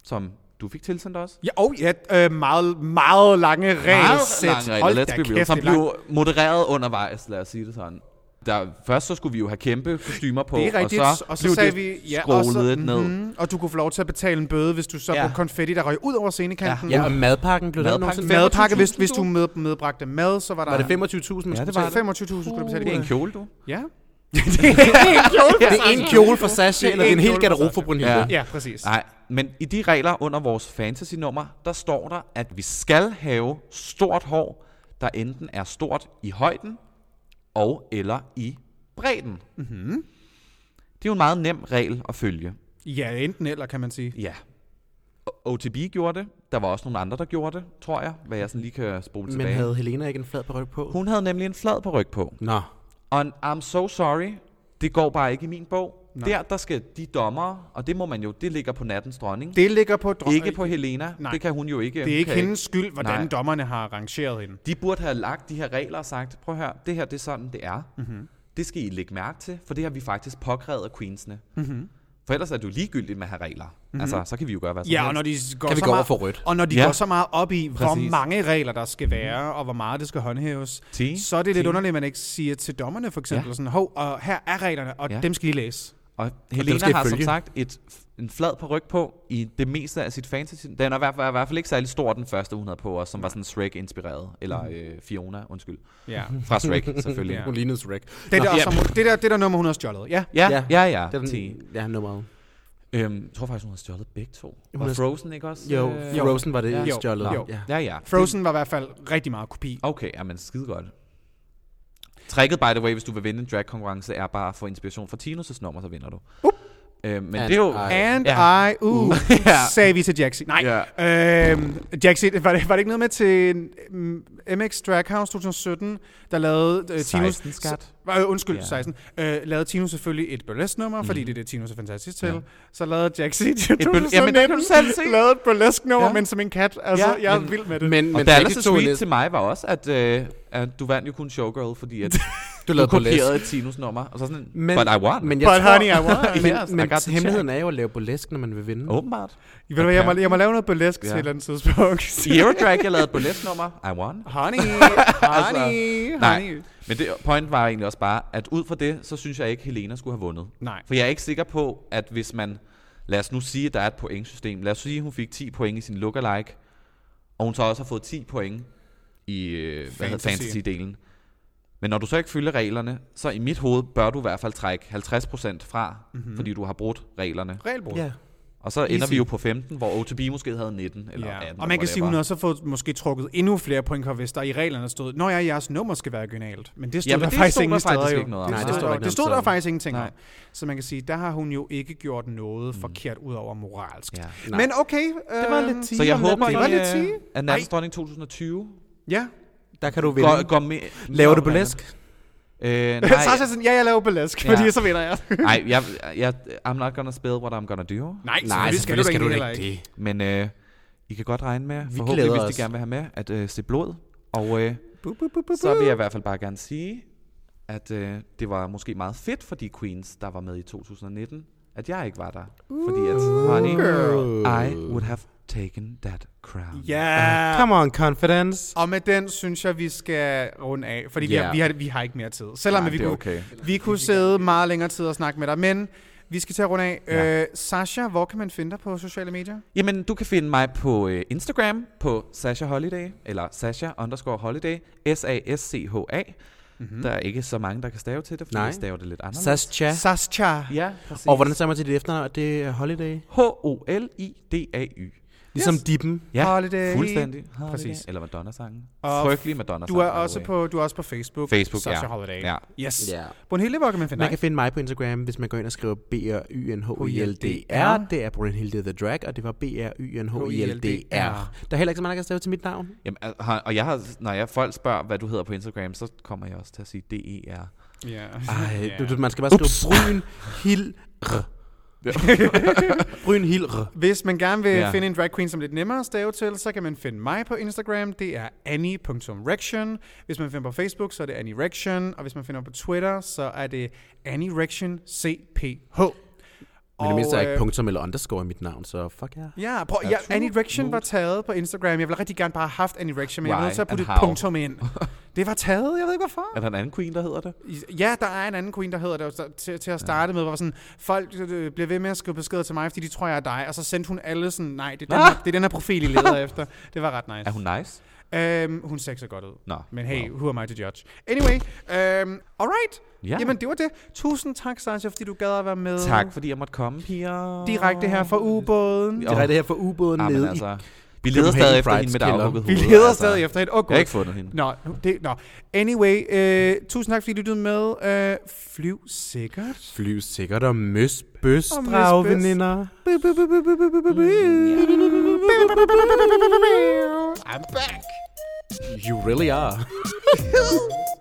[SPEAKER 4] som du fik tilsendt os,
[SPEAKER 2] Ja, og ja, øh, meget, meget lange regelsæt.
[SPEAKER 4] Meget lange regler, let's be real, som
[SPEAKER 2] det er langt.
[SPEAKER 4] blev modereret undervejs, lad os sige det sådan. Der, først så skulle vi jo have kæmpe kostymer på,
[SPEAKER 2] Det er rigtigt,
[SPEAKER 4] og så,
[SPEAKER 2] og så
[SPEAKER 4] blev
[SPEAKER 2] sagde
[SPEAKER 4] det
[SPEAKER 2] vi... Ja, og,
[SPEAKER 4] scrollet
[SPEAKER 2] så,
[SPEAKER 4] lidt ned.
[SPEAKER 2] Mhm, og du kunne få lov til at betale en bøde, hvis du så
[SPEAKER 4] Ja.
[SPEAKER 2] ja. på konfetti, der røg ud over scenekanten.
[SPEAKER 1] Ja, og madpakken blev lavet
[SPEAKER 4] Madpakken-
[SPEAKER 1] nogensinde.
[SPEAKER 2] Madpakke, hvis,
[SPEAKER 4] 25.000
[SPEAKER 2] hvis du med, medbragte mad, så var der...
[SPEAKER 1] Var det 25.000? man
[SPEAKER 4] Ja, det
[SPEAKER 1] skulle
[SPEAKER 4] var
[SPEAKER 1] betale?
[SPEAKER 4] det.
[SPEAKER 2] 25.000 skulle du betale i
[SPEAKER 4] Det er en
[SPEAKER 2] bøde.
[SPEAKER 4] kjole, du.
[SPEAKER 2] Ja.
[SPEAKER 1] Det er en kjole for Sasha, eller det er en hel
[SPEAKER 2] kjole for
[SPEAKER 1] garderobe for Brunhilde.
[SPEAKER 4] Ja.
[SPEAKER 1] Ja.
[SPEAKER 2] Ja, præcis.
[SPEAKER 4] Nej, men i de regler under vores fantasy-nummer, der står der, at vi skal have stort hår, der enten er stort i højden og eller i bredden. Mm-hmm.
[SPEAKER 2] Mhm.
[SPEAKER 4] Det er jo en meget nem regel at følge.
[SPEAKER 2] Ja, enten eller, kan man sige.
[SPEAKER 4] Ja. O- OTB gjorde det. Der var også nogle andre, der gjorde det, tror jeg. Hvad jeg sådan lige kan spole
[SPEAKER 1] Men
[SPEAKER 4] tilbage.
[SPEAKER 1] havde Helena ikke en flad på på?
[SPEAKER 4] Hun havde nemlig en flad på ryg på.
[SPEAKER 1] Nå.
[SPEAKER 4] Og en I'm so sorry, Det går bare ikke i min bog. Nej. Der, der skal de dommer, og det må man jo, det ligger på nattens dronning.
[SPEAKER 2] Det ligger på dron-
[SPEAKER 4] ikke på Helena.
[SPEAKER 2] Nej.
[SPEAKER 4] Nej. Det kan hun jo ikke.
[SPEAKER 2] Det er ikke
[SPEAKER 4] kan
[SPEAKER 2] hendes skyld, hvordan
[SPEAKER 4] Nej.
[SPEAKER 2] Nej. dommerne har arrangeret hende.
[SPEAKER 4] De burde have lagt de her regler og sagt, prøv at høre, det her det er sådan, det er.
[SPEAKER 2] Mhm.
[SPEAKER 4] Mm-hmm. Det skal I lægge mærke til, for det har vi faktisk påkrævet af queensene. Mm-hmm.
[SPEAKER 2] Mhm.
[SPEAKER 4] For ellers er det jo ligegyldigt med at have regler. Mm-hmm. Altså, så kan vi jo gøre hvad som
[SPEAKER 2] Ja,
[SPEAKER 4] helst.
[SPEAKER 2] og når de går,
[SPEAKER 8] Kan vi
[SPEAKER 2] så
[SPEAKER 8] gå over
[SPEAKER 2] meget,
[SPEAKER 8] for rødt?
[SPEAKER 2] Og når de
[SPEAKER 4] Ja.
[SPEAKER 2] går så meget op i, Præcis. hvor
[SPEAKER 4] Præcis.
[SPEAKER 2] mange regler der skal være, og hvor meget det skal håndhæves,
[SPEAKER 4] Ti.
[SPEAKER 2] så er det lidt
[SPEAKER 4] Ti.
[SPEAKER 2] underligt, at man ikke siger til dommerne for eksempel,
[SPEAKER 4] Ja.
[SPEAKER 2] ja. sådan, hov, og her er reglerne, og ja.
[SPEAKER 4] Ja.
[SPEAKER 2] dem skal I læse.
[SPEAKER 4] Og Helena
[SPEAKER 1] skal I
[SPEAKER 4] har som
[SPEAKER 1] følge.
[SPEAKER 4] sagt et, en flad paryk på i det meste af sit fantasy. Den er i hvert fald, i hvert fald ikke særlig stor, den første hun havde på os, som var sådan Shrek-inspireret. Eller
[SPEAKER 1] Mhm.
[SPEAKER 4] øh, Fiona, undskyld.
[SPEAKER 2] Ja.
[SPEAKER 4] Fra Shrek, selvfølgelig.
[SPEAKER 2] Ja.
[SPEAKER 1] Hun lignede Shrek.
[SPEAKER 2] Det, der,
[SPEAKER 1] Nå,
[SPEAKER 2] ja. som, hun- det, der, det der nummer, hun har stjålet. Ja.
[SPEAKER 4] Ja, ja, ja. ja.
[SPEAKER 1] Det er
[SPEAKER 4] Ti.
[SPEAKER 1] den, ja, nummeret.
[SPEAKER 4] Øhm, jeg tror faktisk, hun har stjålet begge to. Hun
[SPEAKER 1] har-
[SPEAKER 4] og Frozen, ikke også?
[SPEAKER 1] Jo,
[SPEAKER 4] Øh,
[SPEAKER 1] jo, Rosen var det
[SPEAKER 2] Jo.
[SPEAKER 1] ja. stjålet.
[SPEAKER 2] Jo.
[SPEAKER 1] Ja.
[SPEAKER 4] Ja, ja.
[SPEAKER 2] Frozen var i hvert fald rigtig meget kopi.
[SPEAKER 4] Okay, jamen skide godt. Tricket, by the way, hvis du vil vinde en drag-konkurrence, er bare at få inspiration fra Tinus' nummer, så vinder du. Øhm, men
[SPEAKER 1] And
[SPEAKER 4] det er jo...
[SPEAKER 1] I-
[SPEAKER 2] And
[SPEAKER 4] Ja.
[SPEAKER 2] ja. I, uh,
[SPEAKER 4] Ja.
[SPEAKER 2] sagde vi til Jaxi. Nej, ja. øhm, Jaxi, var det, var det ikke noget med til mm, MX Drag House 2017, der lavede øh, Tinus...
[SPEAKER 4] 16, skat.
[SPEAKER 2] S- øh, undskyld,
[SPEAKER 4] Ja. Mhm.
[SPEAKER 2] ja. 16. Øh, lavede Tinus selvfølgelig et burlesque-nummer, mm. fordi det er det, Tinus er fantastisk til. Ja. Så lavede Jaxi i
[SPEAKER 4] jamen, det kan
[SPEAKER 2] 2019,
[SPEAKER 4] du selv se.
[SPEAKER 2] lavede et burlesque-nummer,
[SPEAKER 4] Ja.
[SPEAKER 2] ja. men som en kat. Altså,
[SPEAKER 4] Ja,
[SPEAKER 2] ja, jeg er
[SPEAKER 4] men-
[SPEAKER 2] vild med det.
[SPEAKER 1] Men,
[SPEAKER 4] Og
[SPEAKER 1] men
[SPEAKER 4] Dallas'
[SPEAKER 1] begge to
[SPEAKER 4] tweet
[SPEAKER 1] læs-
[SPEAKER 4] til mig var også, at, øh, at du vandt jo kun showgirl, fordi at
[SPEAKER 1] du
[SPEAKER 4] du
[SPEAKER 1] lavede burlesque.
[SPEAKER 4] kopierede Tinus' nummer. Og så sådan, men,
[SPEAKER 1] Men,
[SPEAKER 4] but I won.
[SPEAKER 1] Men
[SPEAKER 4] Men,
[SPEAKER 1] jeg
[SPEAKER 2] But
[SPEAKER 1] tror,
[SPEAKER 2] honey, I want.
[SPEAKER 1] men,
[SPEAKER 4] Yes, I
[SPEAKER 1] men
[SPEAKER 4] got the
[SPEAKER 1] hemmeligheden er jo at lave burlesk, når man vil vinde.
[SPEAKER 4] Åbenbart.
[SPEAKER 2] Ved du hvad, jeg må, jeg må lave noget burlesque
[SPEAKER 4] Ja.
[SPEAKER 2] ja. til et eller andet tidspunkt.
[SPEAKER 4] I Eurodrag, jeg lavede et burlesque-nummer. I won.
[SPEAKER 2] Honey,
[SPEAKER 4] Altså,
[SPEAKER 2] honey, honey.
[SPEAKER 4] Nej, men det point var egentlig også bare, at ud fra det, så synes jeg ikke, Helena skulle have vundet.
[SPEAKER 2] Nej.
[SPEAKER 4] For jeg er ikke sikker på, at hvis man... Lad os nu sige, at der er et pointsystem. Lad os sige, at hun fik 10 point i sin lookalike, og hun så også har fået 10 point i øh, hvad hedder,
[SPEAKER 2] Fantasy.
[SPEAKER 4] fantasy-delen. Men når du så ikke følger reglerne, så i mit hoved bør du i hvert fald trække 50% fra, mm-hmm. fordi du har brudt reglerne.
[SPEAKER 2] Regelbrud.
[SPEAKER 1] Ja.
[SPEAKER 4] Og så Easy. ender
[SPEAKER 2] Mhm. Easy.
[SPEAKER 4] vi jo på 15, hvor OTB måske havde 19 eller
[SPEAKER 2] Ja.
[SPEAKER 4] 18.
[SPEAKER 2] Og man kan sige, at
[SPEAKER 4] whatever.
[SPEAKER 2] hun har så fået måske trukket endnu flere point, hvis der i reglerne stod, når jeg jeres nummer skal være originalt. Men det stod
[SPEAKER 4] Jamen,
[SPEAKER 2] der
[SPEAKER 4] det
[SPEAKER 2] faktisk
[SPEAKER 4] stod
[SPEAKER 2] ingen
[SPEAKER 4] der faktisk
[SPEAKER 2] steder, jo.
[SPEAKER 4] ikke noget om.
[SPEAKER 1] Nej, det
[SPEAKER 2] stod
[SPEAKER 1] stod der
[SPEAKER 2] der-
[SPEAKER 1] ikke
[SPEAKER 2] det stod
[SPEAKER 1] noget
[SPEAKER 2] der
[SPEAKER 1] om.
[SPEAKER 2] faktisk ingenting om.
[SPEAKER 4] Nej. Mm.
[SPEAKER 2] Så man kan sige, der har hun jo ikke gjort noget forkert ud over moralsk.
[SPEAKER 4] Ja.
[SPEAKER 1] Nej.
[SPEAKER 2] Men okay. Det
[SPEAKER 1] var lidt ti.
[SPEAKER 4] Så jeg
[SPEAKER 1] Jamen,
[SPEAKER 4] håber,
[SPEAKER 1] det
[SPEAKER 2] var
[SPEAKER 4] at,
[SPEAKER 2] lidt
[SPEAKER 4] øh,
[SPEAKER 2] sige.
[SPEAKER 4] at Nattens Dronning 2020
[SPEAKER 2] Ja.
[SPEAKER 1] Der kan du vinde.
[SPEAKER 4] går, går med,
[SPEAKER 1] Laver du burlesk?
[SPEAKER 2] Så
[SPEAKER 4] Øh,
[SPEAKER 2] er jeg
[SPEAKER 4] nej,
[SPEAKER 2] sådan, ja, jeg laver burlesk,
[SPEAKER 4] Ja.
[SPEAKER 2] fordi så vinder jeg.
[SPEAKER 4] nej jeg, jeg, I'm not gonna spell what I'm gonna do.
[SPEAKER 2] Nej,
[SPEAKER 1] Nej, selvfølgelig skal du da ikke det.
[SPEAKER 4] Men øh, I kan godt regne med, vi
[SPEAKER 1] glæder
[SPEAKER 4] forhåbentlig hvis
[SPEAKER 1] os.
[SPEAKER 4] de gerne vil have med, at øh, se blod. Og øh,
[SPEAKER 2] Bu, bu, bu, bu,
[SPEAKER 4] så vil jeg i hvert fald bare gerne sige, at øh, det var måske meget fedt for de queens, der var med i 2019, at jeg ikke var der. Fordi at, honey, I would have taken that crown.
[SPEAKER 2] Ja.
[SPEAKER 1] Come on, confidence.
[SPEAKER 2] Og med den synes jeg, vi skal runde af, fordi yeah. vi,
[SPEAKER 4] Ja.
[SPEAKER 2] har, vi, har, vi har ikke mere tid. Selvom
[SPEAKER 4] Nej,
[SPEAKER 2] vi,
[SPEAKER 4] det er
[SPEAKER 2] kunne,
[SPEAKER 4] okay.
[SPEAKER 2] vi kunne sidde meget længere tid og snakke med dig, men vi skal til at runde af. Ja. Øh, Sasha, hvor kan man finde dig på sociale medier?
[SPEAKER 4] Jamen, du kan finde mig på øh, Instagram på Sasha Holiday, eller Sasha underscore Holiday, S-A-S-C-H-A.
[SPEAKER 2] Mhm.
[SPEAKER 4] Mm-hmm. Der er ikke så mange, der kan stave til det, fordi
[SPEAKER 1] Nej.
[SPEAKER 4] jeg staver det lidt anderledes.
[SPEAKER 1] Sascha.
[SPEAKER 2] Ja. Sascha.
[SPEAKER 4] Ja, præcis.
[SPEAKER 1] Og hvordan sagde man til dit efternavn? at Det er Holiday.
[SPEAKER 4] H-O-L-I-D-A-Y.
[SPEAKER 1] Ligesom Dippen.
[SPEAKER 4] Ja,
[SPEAKER 2] Holiday.
[SPEAKER 4] fuldstændig. Holiday.
[SPEAKER 2] Præcis.
[SPEAKER 4] Eller Madonna-sangen.
[SPEAKER 2] Og
[SPEAKER 4] Frygtelig Madonna-sang.
[SPEAKER 2] Du er,
[SPEAKER 4] by the
[SPEAKER 2] også
[SPEAKER 4] way.
[SPEAKER 2] på, du er også på Facebook.
[SPEAKER 4] Facebook,
[SPEAKER 2] Sasha
[SPEAKER 4] ja.
[SPEAKER 2] Holiday.
[SPEAKER 4] Ja.
[SPEAKER 2] Yes.
[SPEAKER 1] Ja.
[SPEAKER 2] Brunhilde, hvor kan man finde
[SPEAKER 1] Man
[SPEAKER 2] dig?
[SPEAKER 1] kan finde mig på Instagram, hvis man går ind og skriver b r y n h i l d r Det er Brunhilde The Drag, og det var b r y n h i l d r Der er heller ikke så mange, der kan stave til mit navn.
[SPEAKER 4] Jamen, al- har- og jeg har, når jeg, folk spørger, hvad du hedder på Instagram, så kommer jeg også til at sige E D-E-R.
[SPEAKER 2] Ja.
[SPEAKER 1] Ej, du, du, man skal bare skrive Bryn Hild Bryn Hild
[SPEAKER 2] Hvis man gerne vil
[SPEAKER 4] Ja.
[SPEAKER 2] ja. finde en drag queen, som er lidt nemmere at stave til, så kan man finde mig på Instagram. Det er annie.rection. Hvis man finder på Facebook, så er det annie.rection. Og hvis man finder på Twitter, så er det annie.rection.cph.
[SPEAKER 1] Men det
[SPEAKER 2] Og,
[SPEAKER 1] mindste er ikke
[SPEAKER 2] øh,
[SPEAKER 1] punktum eller underscore i mit navn, så fuck jer.
[SPEAKER 2] Ja, prøv, ja annie.rection var taget på Instagram. Jeg ville rigtig gerne bare have haft annie.rection, men jeg
[SPEAKER 4] Why
[SPEAKER 2] var nødt til at putte et
[SPEAKER 4] and how?
[SPEAKER 2] punktum ind. Det var taget, jeg ved ikke hvorfor.
[SPEAKER 4] Er der en anden queen, der hedder det?
[SPEAKER 2] Ja, der er en anden queen, der hedder det, der- til, til at starte ja. med, hvor sådan, folk øh, bliver ved med at skrive beskeder til mig, fordi de tror, jeg er dig, og så sendte hun alle sådan, nej, det er den, her, det er den her profil, I leder efter. Det var ret nice.
[SPEAKER 4] Er hun nice?
[SPEAKER 2] Øhm, hun ser ikke så godt ud.
[SPEAKER 4] Nå,
[SPEAKER 2] Men hey, who am I to judge? Anyway, øhm, alright.
[SPEAKER 4] Ja.
[SPEAKER 2] Jamen, det var det. Tusind tak, Sasha, fordi du gad at være med.
[SPEAKER 4] Tak, fordi jeg måtte komme, piger.
[SPEAKER 2] Direkte her fra ubåden.
[SPEAKER 1] Det er det her for ubåden
[SPEAKER 4] Ja, men
[SPEAKER 1] nede
[SPEAKER 4] altså,
[SPEAKER 1] i...
[SPEAKER 4] vi leder
[SPEAKER 1] Copenhagen
[SPEAKER 4] stadig efter
[SPEAKER 1] Pride's
[SPEAKER 4] hende med det
[SPEAKER 1] kælder.
[SPEAKER 2] Vi
[SPEAKER 4] aflukkede hoved.
[SPEAKER 2] leder stadig efter hende. Åh,
[SPEAKER 4] altså. Jeg har
[SPEAKER 2] gud.
[SPEAKER 4] ikke fundet hende.
[SPEAKER 2] Nå, nu- det, nå. Anyway, øh, tusind tak, fordi du lyttede med. Øh, flyv sikkert.
[SPEAKER 1] Flyv sikkert og møs bøs,
[SPEAKER 2] Og møs bøs.
[SPEAKER 1] dragveninder. Mm,
[SPEAKER 2] I'm back.
[SPEAKER 1] You really are.